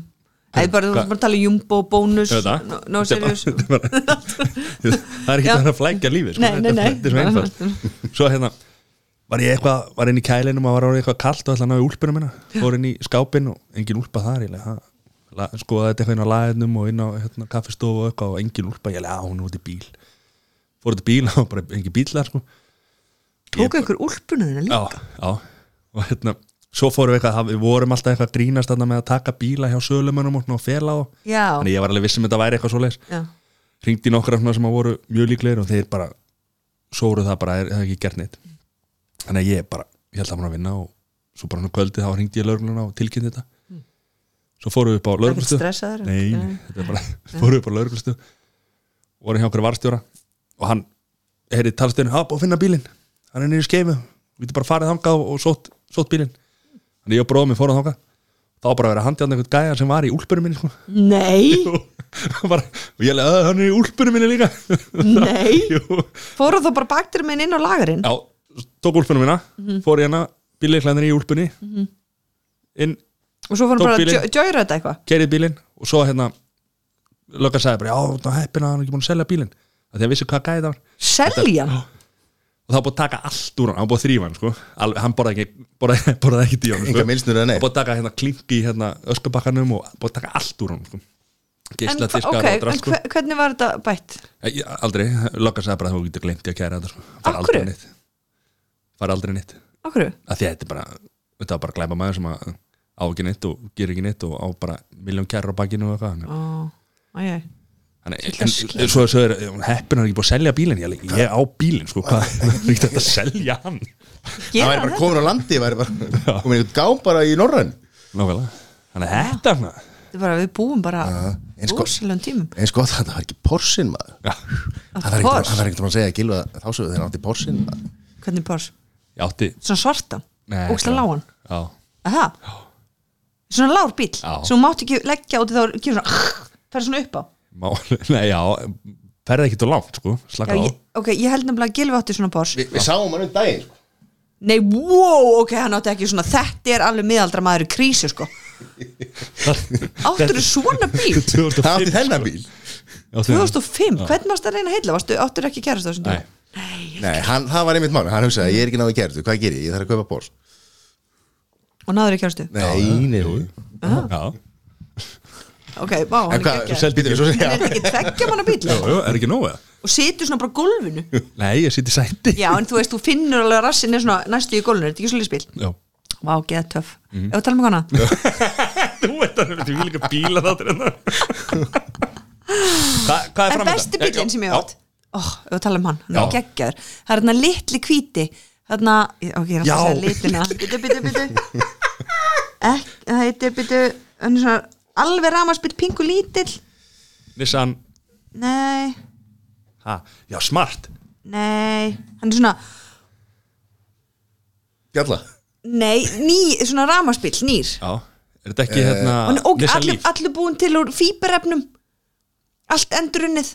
S5: Það er bara, þú
S1: Hvað?
S5: ert bara að tala um jumbo, bónus
S1: þetta
S5: no, no serious
S1: Þetta er bara- Það er ekki
S5: Já.
S1: það að flækja lífi sko.
S5: Nei, nei, nei.
S1: Þetta er svo einfalt Svo hérna, var ég eitthvað, var inn í kælinum og var orðið eitthvað kalt og ætlaði að ná í úlpunum minna Fór inn í skápinn og engin úlpa þar ég lega, la, skoðaði þetta eitthvað inn á laginum og inn á hérna, kaffistofu og eitthvað og engin úlpa, ég lega, hún er út í bíl Fór út í bíl og bara engin bíl þar sko.
S5: Tók ykkur úlpuna þina líka
S1: Já, já Og hérna, svo fórum við eitthvað, það- við vorum alltaf eitthvað að grínast þarna með að taka bíla hjá sölumönnum og svona og fela og
S5: Já,
S1: Þannig ég var alveg vissum þetta væri eitthvað svoleiðis
S5: já,
S1: ringdi nokkra svona sem að voru mjög líklegir og þeir bara sóruð það bara, er það ekki gert neitt þannig að ég bara, ég held að maður að vinna og svo bara hann kvöldið þá ringdi ég lögregluna og tilkynnt þetta svo fóruð við upp á
S5: Mm. ekkert
S1: lögreglustu
S5: stressaður
S1: nei, nei, þetta er bara, fóruð við upp á lögreglustu voru hjá okkur varstjóra og hann, heyri talstöðinu, hafa búið að finna bílinn hann er niður í skeifu, við getum bara farið þangað og, og sótt, sótt bílinn þannig ég og bróðum við fóruð þangað þá var bara að vera handjáðan einhvern gæja sem var í úlpunum minni sko
S5: Nei,
S1: og bara, og ég leði að hann er í úlpunum minni líka
S5: nei
S1: Jú.
S5: Fóru þá bara baktir minn inn á lagarinn
S1: já, tók úlpunum minna
S5: Mhm.
S1: fór í hana, bílleiklæðinir í úlpunni inn,
S5: Og svo fórum
S1: tók
S5: bara að
S1: bílinn.
S5: djö- djöra þetta eitthvað
S1: keirið bílinn og svo hérna löggan sagði bara, já, það heppin að hann er ekki búin að selja bílinn af því að vissi hvað gæði það var
S5: Selja hann
S1: og það var búið að taka allt úr hann, hann var búið að þrýfa hann sko. Alveg, hann borðaði ekki, borðaði, borðaði ekki díu hann sko.
S2: Engar mylsnur eða neitt?
S1: hann búið að taka hérna klinki í hérna, öskubakkanum og búið að taka allt úr hann sko.
S5: En hva-
S1: geisladiskar
S5: ok,
S1: og sko.
S5: en
S1: drasku
S5: hve- hvernig var þetta bætt?
S1: Eh, Ég, aldrei, löggan sagði bara að þú getur gleymt ég að kæra þetta sko.
S5: Af
S1: fara aldrei
S5: hverju?
S1: neitt fara aldrei neitt
S5: Akkur?
S1: að því að þetta er bara þetta er bara glæpa maður sem að á ekki neitt og gerir ekki neitt og á bara miljón kæra á bakinu og eitthvað
S5: Ó, æjæ
S1: Þannig, en, en svo, svo er hún heppin að hann er ekki búið að selja bílinn ég, alveg, ég á bílinn sko, hvað það er ekki hægt að selja hann
S2: það væri bara komin á landi væri bara, komin í gám bara í norrön
S1: Nókvælega. þannig að þetta svona,
S5: Þetta er bara, við búum bara
S2: eins
S1: sko-
S2: gott.
S5: rosalegum tímum
S2: eins gott að sko, það var ekki porsin maður
S1: já,
S2: það var ekkert-
S5: Porsche?
S2: það var ekkert um að segja að gilfa þá sögðu þeir átti porsin
S5: Hvernig bors?
S1: ég átti
S5: Svona svartan?
S1: nei,
S5: Ókslega
S1: svona-
S5: lágan?
S1: já,
S5: Aha. Svona lár bíl
S1: Já.
S5: sem þú mátt ekki leggja út í þá gefur svona, fer svona upp á
S1: má, nei, já ferði ekki til langt sko,
S5: Já,
S1: slaka á
S5: ég, ok, ég held nefnilega að Gilvi átti svona bors
S2: Vi, við sáum hann um daginn sko.
S5: Nei, wow, ok, hann átti ekki svona þetta er alveg miðaldra maður í krísu sko Áttur svona bíl
S1: 2005,
S2: það átti þennan bíl
S1: Já,
S5: 2005, hvernig varst það reyna að heilla? Varstu, áttur ekki kærast þessum
S1: Nei.
S2: Nei, hann, það var einmitt mál, hann hugsaði ég er ekki náðu gerðu, hvað gerir ég, ég þarf að kaupa bors
S5: og náður ekki kærastu?
S2: Nei, nei,
S1: Já.
S5: Ok, vá,
S2: en
S5: hann er
S2: hvað,
S5: ekki
S1: seldi-
S5: ekki
S2: býtum við svo
S5: Hann er
S2: segja
S5: ekki tveggja manna bíl
S1: Jú, jú, er ekki nógu eða?
S5: og situr svona bara á gólfinu
S1: Nei, ég sitt í sæti
S5: Já, en þú veist, þú finnur alveg að rassin er svona næstu í gólfinu, þetta er ekki svolítið spil
S1: Já.
S5: Vá, geða töff,
S2: Mhm.
S5: ef við tala um hana
S1: Þú veit að þetta er líka bíla þáttir en það Hva, Hvað er
S5: En
S1: framöndan?
S5: besti bílinn sem ég
S1: Já.
S5: átt oh, Við talum um hann, hann
S1: Já.
S5: er geggjaður Það er hérna litli hvíti Þarna, ok, ég er alltaf að
S1: Já.
S5: segja litina Bitu, bitu, bitu Ek, Það heitir, bitu hann er svona Alveg ramarsbytt pingu lítill
S1: Nissan,
S5: Nei,
S1: ha, já smart
S5: nei Hann er svona,
S2: Gjalla
S5: Nei, ný, svona ramaspill, nýr
S1: Já, er þetta ekki hérna
S5: og og
S1: Nissan
S5: allir,
S1: Leaf?
S5: allir búin til úr fíberefnum allt endurunnið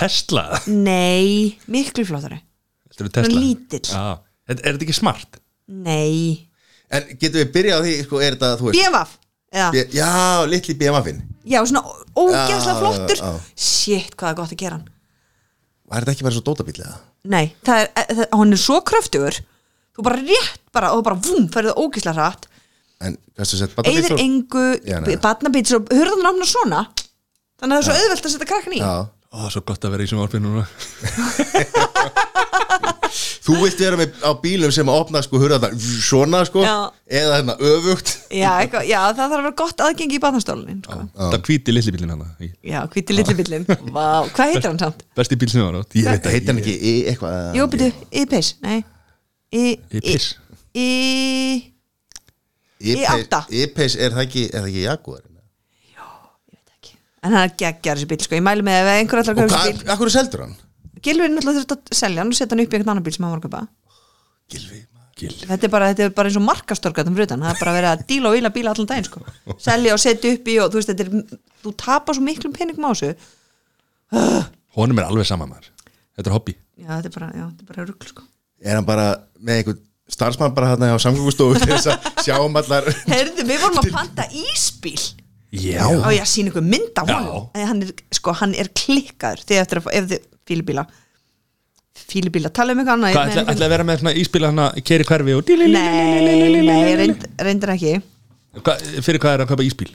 S1: Tesla
S5: nei, miklu flottari
S1: Þetta er Tesla
S5: lítill.
S1: Já, er, er þetta ekki smart?
S5: nei,
S2: En getum við byrjað á því, sko, er þetta, þú veist
S5: BMF eða,
S2: B- Já, litli BMF-in
S5: já, svona ó- ógeðslega
S2: Já,
S5: flottur
S2: já, já.
S5: shit, hvað er gott að gera hann
S2: Var þetta ekki bara svo dótabíl eða?
S5: nei, það er, e- það, hann er svo kröftugur þú bara rétt bara og þú bara vum, ferðu ógeðslega hratt
S2: En hvað stu sett
S5: eyðir
S2: barnabíl?
S5: engu,
S2: Já, nei.
S5: batnabíts og hurðan rámna svona þannig að það er svo auðvelt að setja krakkan í
S2: Já
S1: Ó, svo gott að vera í sjónvarpinu núna
S2: Þú vilt vera með á bílum sem að opna sko hurða þetta svona sko
S5: Já.
S2: eða hérna öfugt
S5: já, eitthvað, já, það þarf að vera gott aðgengi í batnastólinin sko.
S1: Þetta hvíti litli bílinn hana
S5: Já, hvíti litli bíllinn Vá, hvað heitir hann samt?
S1: Besti bíl sem var átt Ég veit
S2: heitir
S1: ekki
S2: hann ekki í eitthvað
S5: Jú, byrju, Ípis, nei Í,
S1: Ípis.
S5: Í,
S2: Í
S5: E átta.
S2: Ípeis E er það ekki, er það ekki Jaguar
S5: í En hann er geggjar þessi bíl, sko Ég mæli með ef einhver ætlar
S2: Og
S5: að kaupa
S2: hvað,
S5: þessi bíl
S2: akkur seldur hann?
S5: Gilvin náttúrulega þurft að selja hann og setja hann upp í einhvern annan bíl sem hann var að kaupa
S2: Gilvi maður.
S1: Gil
S5: Þetta er bara, þetta er bara eins og markastorgat um frutan Það er bara verið að díla og vila bíla allan daginn, sko Selja og setja upp í og þú veist, þetta er Þú tapar svo miklum peningum á þessu Já,
S1: Honum er alveg sama maður Þetta er hobby
S5: þetta er bara, já, þetta er bara rugl, sko
S2: Er hann bara með einhvern starfsmann bara hérna á samgöngustofu til þess að sjá um allar
S5: Herðu, við vorum að panta ísbíl
S1: Já
S5: á ég að sína ykkur mynd á
S1: Já.
S5: honum Þegar hann er, sko, hann er klikkaður þegar eftir að fá, ef þið fílibíla fílibíla, tala um eitthvað annað
S1: Hvað, ætla,
S5: ég meina
S1: ætla að vera með svona íspila hana Keri hverfi og
S5: einhvern- nei, nei, reynd, reyndir ekki
S1: Hva, Fyrir hvað er að kaupa íspil?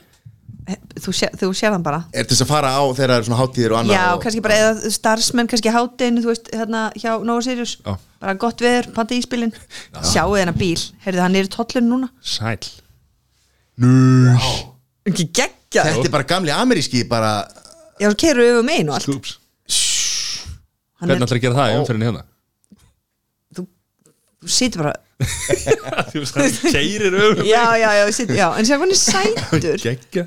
S5: þú, sé, þú sér hann bara
S2: Er til þess að fara á þegar það eru svona hátíðir og annað
S5: já,
S2: og,
S5: kannski bara, eða starfsmenn, kannski hátinn þú veist, hérna, hjá Nova Sirius
S1: Já.
S5: bara gott veður, panta ísbílin sjáu þennan bíl, heyrðu, hann er í tollun núna
S1: Sæl Nú
S5: ekki geggja,
S2: Þetta er bara gamli ameríski bara
S5: já, svo keiru yfir megin og allt
S1: Skúps
S5: Hann
S1: Hvernig
S5: er,
S1: ætlar að gera það í umferðinni hérna?
S5: þú situr bara,
S1: Þú veist, hann keirir um
S5: já, já, já, situr, já en sér hann er sætur
S1: Gekka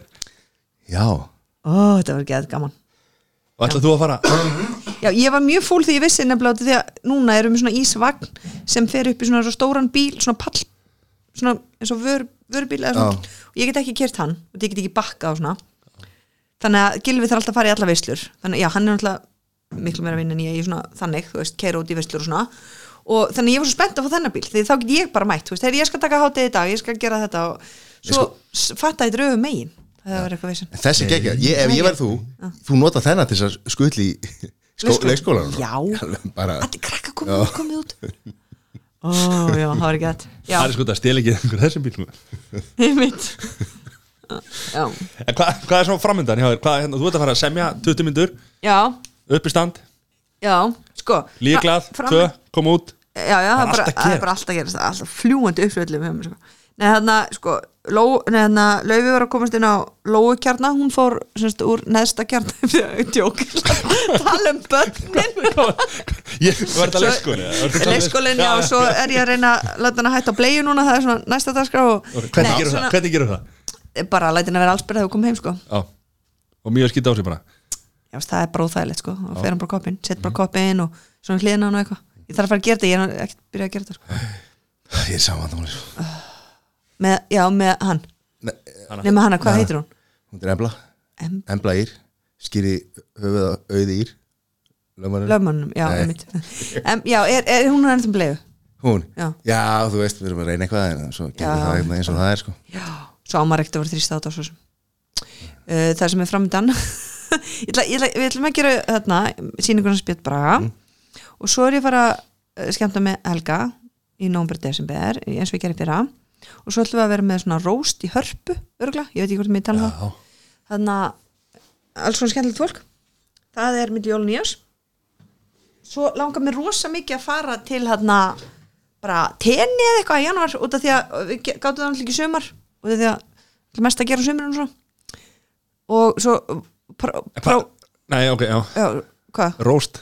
S2: Já
S5: ó, þetta var geð gaman
S1: Og ætlar þú að fara?
S5: Já, ég var mjög fúl því ég vissi nefnilega út af því að núna erum við svona ísvagn sem fer upp í svona, svona stóran bíl, svona pall svona eins og vör, vörubíl eða svona, og ég get ekki kert hann og ég get ekki bakkað og svona þannig að Gilvi þarf alltaf að fara í alla veislur þannig að já, hann er náttúrulega miklu meira vinn en ég, ég er svona þannig, þú veist, keira út í veislur og svona og þannig að ég var svo spennt að fá þennan bíl því þá get ég bara mætt, þú veist, þegar ég skal taka hátið í dag ég skal gera þetta og svo sko, fatta ég dröfu megin, það var eitthvað vissin
S2: En Þessi geggja, ég, ef ég verð þú
S5: Ah.
S2: Þú nota þennan til þess að skutli í skó,
S5: Leikskóla.
S2: leikskólanum
S5: Já.
S2: Alveg bara
S5: allir krakka komið út, komið út ó, já, það var ekki þetta
S1: Það er sko þetta að stela ekki einhver þessum bíl
S5: Einmitt Já,
S1: En hvað, hvað er svona framöndan hjá þér? Hvað, er hérna, þú ert að fara að semja 20 myndur
S5: já,
S1: upp í stand,
S5: já, sko
S1: líklað,
S5: Fra- fram-
S1: tvö, koma út
S5: Já, já, það er
S1: allt
S5: bara,
S1: að
S5: það er
S1: gerast.
S5: bara alltaf að gerast það er Alltaf fljúandi uppfjöldum hjá mér sko. Nei, þarna, sko, Ló, nei, þarna Laufi var að komast inn á Lóukjarna Hún fór, semst, úr neðsta kjarna Þegar tjók Tala um börnin
S1: Ég var þetta leikskóli eða? Var þetta
S5: Leikskólinn, já, svo er ég að reyna að láta hann að hætta á bleju núna, það er svona næsta dagskrá og
S1: Hvernig gerur það?
S5: svona,
S1: Hvernig gerur það?
S5: bara að læta hann að vera allsbyrð þegar við komum heim, sko
S1: Já. Og mjög skýta á sig bara
S5: já, veist, það er bara óþægilegt sko og fer hann bara koppin, set
S2: Mhm.
S5: bara koppin og svona hliðina hann og eitthvað ég þarf að fara að gera þetta, ég er nú ekkert byrjað að gera þetta sko.
S2: Ég er saman þannig
S5: með, já, með hann,
S2: Hún
S5: Nei, með hana, hvað heitir hún?
S2: er embla
S5: Em,
S2: Embla ír Skýri höfuð á auði ír Löfmanum
S5: lögmannum, já,
S2: Nei.
S5: einmitt em, já, er, er hún er ennþá bleiðu
S2: Hún
S5: Já.
S2: Já, þú veist, við erum að reyna eitthvað en svo
S5: Já.
S2: gerði það eitthvað eins og það er sko
S5: já, svo ámar ekkert að vera þrýst át á svo sem uh, það sem er framöndan ég ætla, ég ætla, við ætlum að gera hérna, þarna sýningurinn spjöld braga
S2: Mm.
S5: og svo er ég að fara uh, skemmta með Helga í nómbrið desember eins og ég gerði fyrra og svo ætlum við að vera með svona róst í hörpu örgla, ég veit ekki hvort mér tala um það þannig að alls svona skemmtilegt fólk það er mitt jólun í oss svo langar mér rosa mikið að fara til hérna bara tenni eða eitthvað í januar út af því að við ge- gátum það náttúrulega ekki í sumar út af því að það er mest að gera sumar og svo og svo eh, pró, pró,
S1: Hvað? Nei, ok, já
S5: já, hvað?
S1: Róst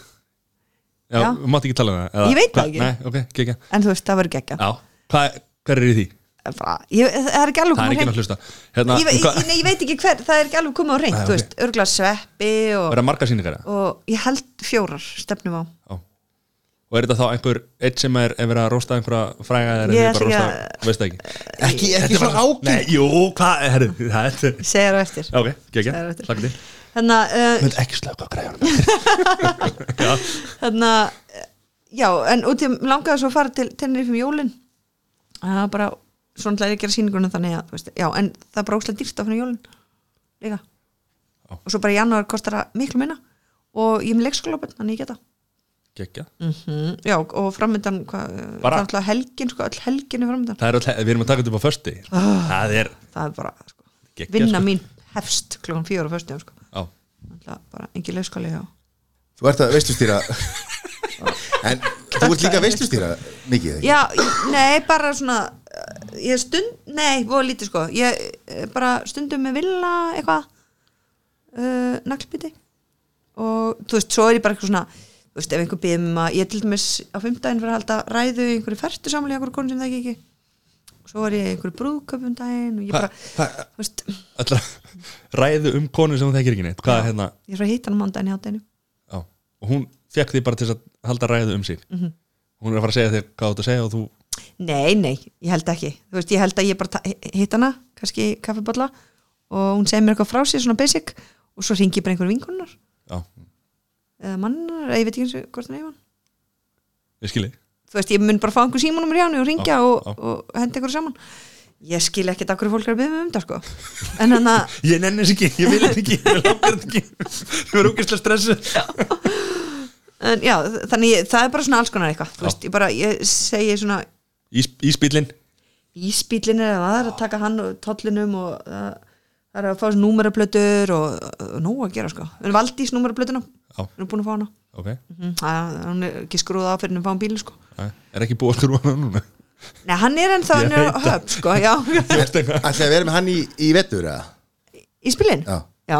S1: Já,
S5: Já.
S1: við mátt ekki tala um það eða
S5: Ég veit það
S1: hvað?
S5: ekki.
S1: Nei, ok, gekk
S5: en þú veist, það verður geggja
S1: Já, hvað, hver er í því?
S5: Bara- Eh, ég- það er ekki alveg
S1: Það er
S5: komið á
S1: ekki
S5: hreint
S1: að hlusta Hérna,
S5: ég, ég,
S1: hvað-
S5: ég, nei, ég veit ekki hver, það er ekki alveg komið á hreint
S1: Nei,
S5: þú
S1: ok.
S5: veist, örgulega sveppi og,
S1: verða margar sýningar eða?
S5: og ég held fjórar stefnum á
S1: Já. og er þetta þá einhver, eitt sem er ef verið að rósta einhverja fræga eða er
S5: Ég
S1: bara að
S5: ætla ekki
S1: rósta,
S5: að-
S1: veist það ekki
S2: Ekki, ekki svona
S1: Nei,
S2: ágeng
S1: jú, hvað, herru, það er
S5: Ég segi það á eftir
S1: Ok, gekkja,
S5: Það er eftir.
S1: slakka til
S5: þannig að uh,
S1: Mönd ekki slöka græðanum
S5: þannig að uh, já, en út í að mig langaði svo að fara til Tenerife um jólin það var bara, svona ætlaði ég að gera sýninguna þannig að, þú veist, já, en það er bara óslega dýrt að finna jólin líka
S1: Já.
S5: og svo bara í janúar kostar það miklu minna og ég er með leikskólabönn, þannig ég geta
S1: Gekkja
S5: mm. já, og framöndan hvað, uh, það
S1: Bara-
S5: er alltaf helgin, sko, öll helgin er framöndan
S1: Það er alltaf, við erum að taka þetta upp á fösti
S5: Ah.
S1: Það er
S5: það er bara, sko,
S1: Geggjað,
S5: vinna
S1: sko.
S5: mín hefst klokkan fjóra og föstu, sko
S1: á,
S5: alltaf bara engin leikskóli hjá
S2: Þú ert að veistustýra En þú ert líka veistustýra mikið eða ekki?
S5: Já, ég- nei, bara svona eh, ég stund, nei, voða lítið sko ég eh, bara stundum með villa eitthvað uh, naglbiti og þú veist, svo er ég bara eitthvað svona þú veist, ef einhver byrðum að ég til dæmis á fimmtdæðin fyrir að halda ræðu í einhverju færtu samlega einhverju konu sem það ekki svo er ég í einhverju brúðköpum daginn og ég bara, þú veist ég
S1: allra, Ræðu um konu sem hún þekkir ekki neitt Hvað er hérna
S5: er svo að hitta hann á mándaginn í hátæðinu
S1: á, Og hún fekk því bara til þess að halda ræðu um sig Hún er að fara að segja þig hvað þú ert að segja og þú
S5: Nei, nei, ég held ekki Þú veist, ég held að ég bara ta- hitt hana kannski kaffiballa og hún segir mér eitthvað frá sér, svona basic og svo ringi ég bara einhverjum vinkonunnar
S1: Já,
S5: eða mannar, eða ég veit ekki eins og hvort hann eifan
S1: ég skilji
S5: Þú veist, ég mun bara fá einhver símanum í hann og ringja
S1: Já,
S5: og,
S1: já.
S5: og henda einhverju saman Ég skil ekkert af hverju fólk er að byrja mig um þetta sko en hann að
S1: Ég nenni þess ekki, ég vil þetta ekki, ég langar þetta ekki Ég var úkislega stressu
S5: en, já, þ- þannig ég, það er bara svona alls konar eitthvað Þú
S1: Já.
S5: veist, ég bara, ég segi svona
S1: Íspillin,
S5: íspílinir eða það er að taka hann og tollinum og það það er að fá þessu númeraplötur og, og nóg að gera sko en Valdís númeraplötuna,
S1: Já.
S5: hann er búin að fá hana
S1: ok
S5: mm, hann er ekki skrúða á fyrir hann fá hann bíl sko
S1: Æ, Er ekki búið að skrúa hana núna
S5: Nei, hann er ennþá,
S1: Ég
S5: hann er
S1: veit
S5: á
S1: það.
S5: höfn sko, já
S2: Ætlaði að vera með hann í, í vetur eða?
S5: Íspílin?
S2: Já.
S5: Já,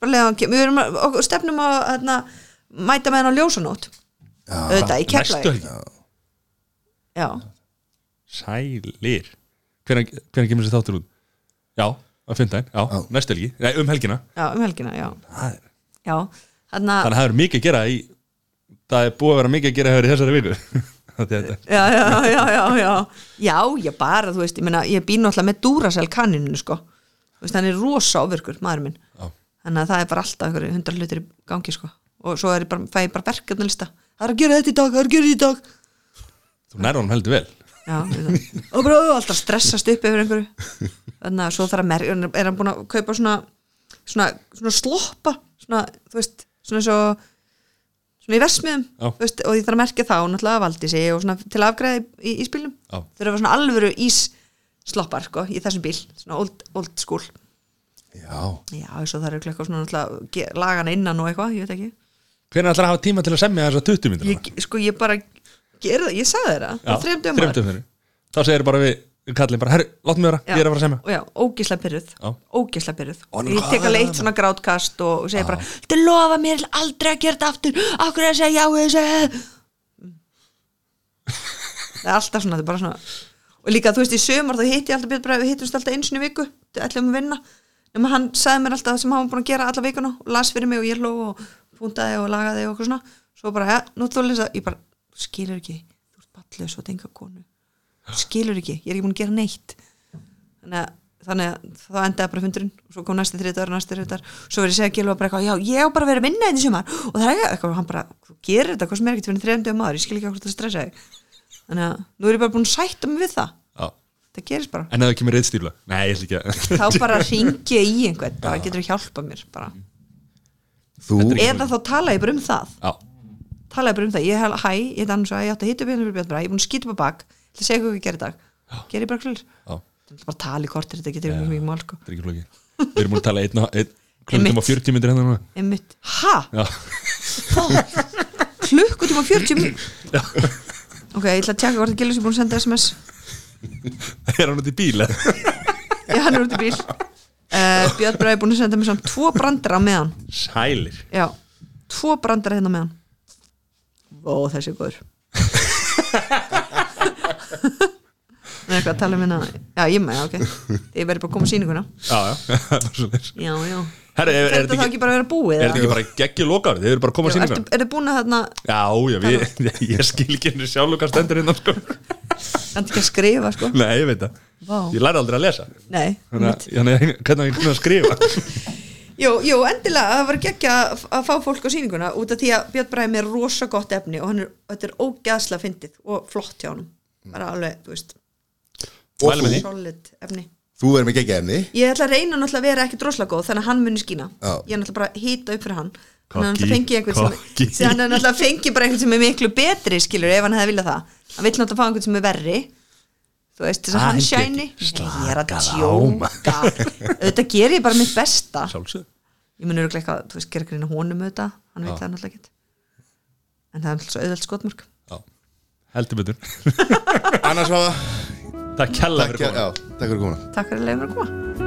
S5: bara leiða hann kemur Við erum að, og stefnum að hérna, mæta með hann á ljósanót auðvitað, í
S1: Næstu
S5: keflaði
S1: helgi
S5: Já,
S1: Sælir Hvernig kemur þessi þáttur út? Já, að fynda einn, já,
S2: Já.
S1: næstu helgi Nei, um helgina
S5: já, um helgina, já
S1: Það er-
S5: Já, þannig
S1: Þannig
S5: að
S1: að það er mikið að gera í Það er búið að vera mikið að gera hefur í þessari viku Þetta er þetta
S5: já, já, já, já, já já, ég bara, þú veist, ég meina ég býr náttúrulega með Duracell kaninu sko. þú veist, hann er rosa ofurkur, maður minn
S1: Já.
S5: þannig að það er bara alltaf einhverju hundra hlutir í gangi, sko, og svo er ég bara, fæ ég bara verkefnalista, það er að gera þetta í dag það er að gera þetta í dag
S1: Þú nærður hann heldur vel
S5: já, við það. og bara ó, alltaf stressast upp yfir einhverju þannig að svo þarf að merja, er hann búin að kaupa svona, svona, svona sloppa svona, þú veist, svona svo svona í versmiðum
S1: Já.
S5: þú veist, og ég þarf að merkja þá, náttúrulega að valdi sig og svona til að afgræða í, í, í spilnum
S1: Já.
S5: þau eru svona alvöru ís sloppar, sko, í þessum bíl, svona old, old school
S2: Já
S5: já, svo það eru eitthvað svona náttúrulega ge- laga hana innan og eitthvað, ég veit ekki
S1: Hvernig ætlar að hafa tíma til að semja þessa 20 myndir
S5: ég, sko, ég bara gerði, það, ég sagði þeirra á þrem dögum var.
S1: þreymdum Þá segir bara við, við kallum bara Herri, látum við vera,
S5: Já.
S1: ég er að fara að semja
S5: Og já, ógisla pyrruð,
S1: Já.
S5: ógisla pyrruð
S1: Ó, nú,
S5: ég
S1: hvað
S5: tek
S1: er
S5: alveg
S1: það?
S5: eitt svona grátkast og, og segja bara, þetta lofa mér aldrei að gera þetta aftur, okkur er að segja já og þessu Mm. það er alltaf svona, þetta er bara svona og líka, þú veist, í sömur þá hitti ég alltaf Björn Braga, við hittumst alltaf eins og í viku ætlum að vinna, nema hann sagði mér alltaf það sem hann var búin að gera alla vikuna og las fyrir mig og ég hló og púntaði og lagaði og okkur svona svo bara, ja, nú þú lýsa, ég bara skilur ekki, þú ert ballið svo tenga konu skilur ekki, ég er ekki búin að gera neitt þannig að, þannig að þá endaði bara fundurinn og svo kom næsti þriðdagar og næsti þriðdagar svo verið ég segja Gilva bara eitthvað, já ég á bara að vera að vinna þetta í sumar og það er ekki, eitthvað, og hann bara þú gerir þetta, hvað sem er ekkert fyrir þriðdagar maður ég skil ekki okkur að stressa þig þannig að nú er ég bara búin að sætta mig við það
S1: Já.
S5: það gerist bara,
S1: En ef það kemur reyðstýrla Nei, ég ætla ekki að
S5: þá bara ringi ég í einhvern það getur hjálpa mér bara
S2: Þú
S5: eða þá tala ég bara um það
S1: Já,
S5: tala ég bara um það, ég hef, hæ, ég heit annars að ég átti að hitta upp hérna fyrir Björn Braga, ég er búin að skýta upp á bak til að segja hvað ég gerir í dag, gerir ég bara klur
S1: já
S5: bara tala í kortir, þetta getur mjög mjög mál sko.
S1: Það er ekki flóki Við erum múin að tala einn, einn klukkutíma
S5: Einmitt.
S1: og 40 myndir hérna núna
S5: einmitt, ha?
S1: Já,
S5: klukkutíma og 40 minn ok, ég ætla að tjekka hvort að Gilvis er búin að senda sms
S1: er hann út í bíla
S5: já, hann er út í bíl uh, Björn Bræði er búin að senda mér samt um tvo brandara meðan
S1: Sælir
S5: já, tvo brandara hérna meðan ó, þessi er góður með eitthvað að tala um hérna já, ég með, ok ég verði bara að koma á sýninguna
S1: Já, já, það var svo leir
S5: já, já
S1: Herra, er, er
S5: þetta þá
S1: þetta ekki,
S5: ekki bara að vera búið
S1: er þetta
S5: eða?
S1: ekki bara geggju lokar? Þið eru bara að koma að
S5: Jú,
S1: síningar
S5: ertu- ertu búin að þarna
S1: Já, já, við, ég skil ekki henni sjálf hvað stendur innan sko
S5: kannski ekki að skrifa sko
S1: Nei, ég veit það
S5: Vá.
S1: Ég læri aldrei að lesa
S5: Nei,
S1: Þannig að þannig að- hvernig á ég kunni að skrifa
S5: Jú, jú, endilega, það var geggja að að fá fólk á sýninguna út af því að Björn Bræmi er rosa gott efni og hann er, þetta er ógeðslega fyndið og flott hjá hann bara alveg, þú veist,
S1: Mælum Mm. með því
S5: solid efni
S2: Þú verður með geggjæfni
S5: Ég ætla að reyna náttúrulega að vera ekkit rosalega góð þannig að hann muni skína,
S2: Já.
S5: ég er náttúrulega bara að hýta upp fyrir hann þannig að hann
S1: Cocky,
S5: náttúrulega fengi einhvern
S1: cocky.
S5: sem sem hann er náttúrulega fengi bara einhvern sem er miklu betri skilur ef hann hefði viljað það hann vill náttúrulega fá einhvern sem er verri þú veist, þess að
S1: Ah,
S5: hann
S1: hann getur-
S5: shiny Nei, ég er að
S1: Slakaðu á,
S5: tjóka auðvitað ger ég bara mitt besta
S1: Sjálfsög
S5: ég mun öruglega eitthvað, þú veist, gera grína honum auðvitað, hann veit það náttúrulega ekki en það er náttúrulega svo auðvelt skotmörk
S1: Heldur betur
S2: Annars var
S1: Takk kella
S2: Takk
S1: fyrir komuna
S2: já, takk fyrir komuna
S5: takk fyrir að leiða mér að koma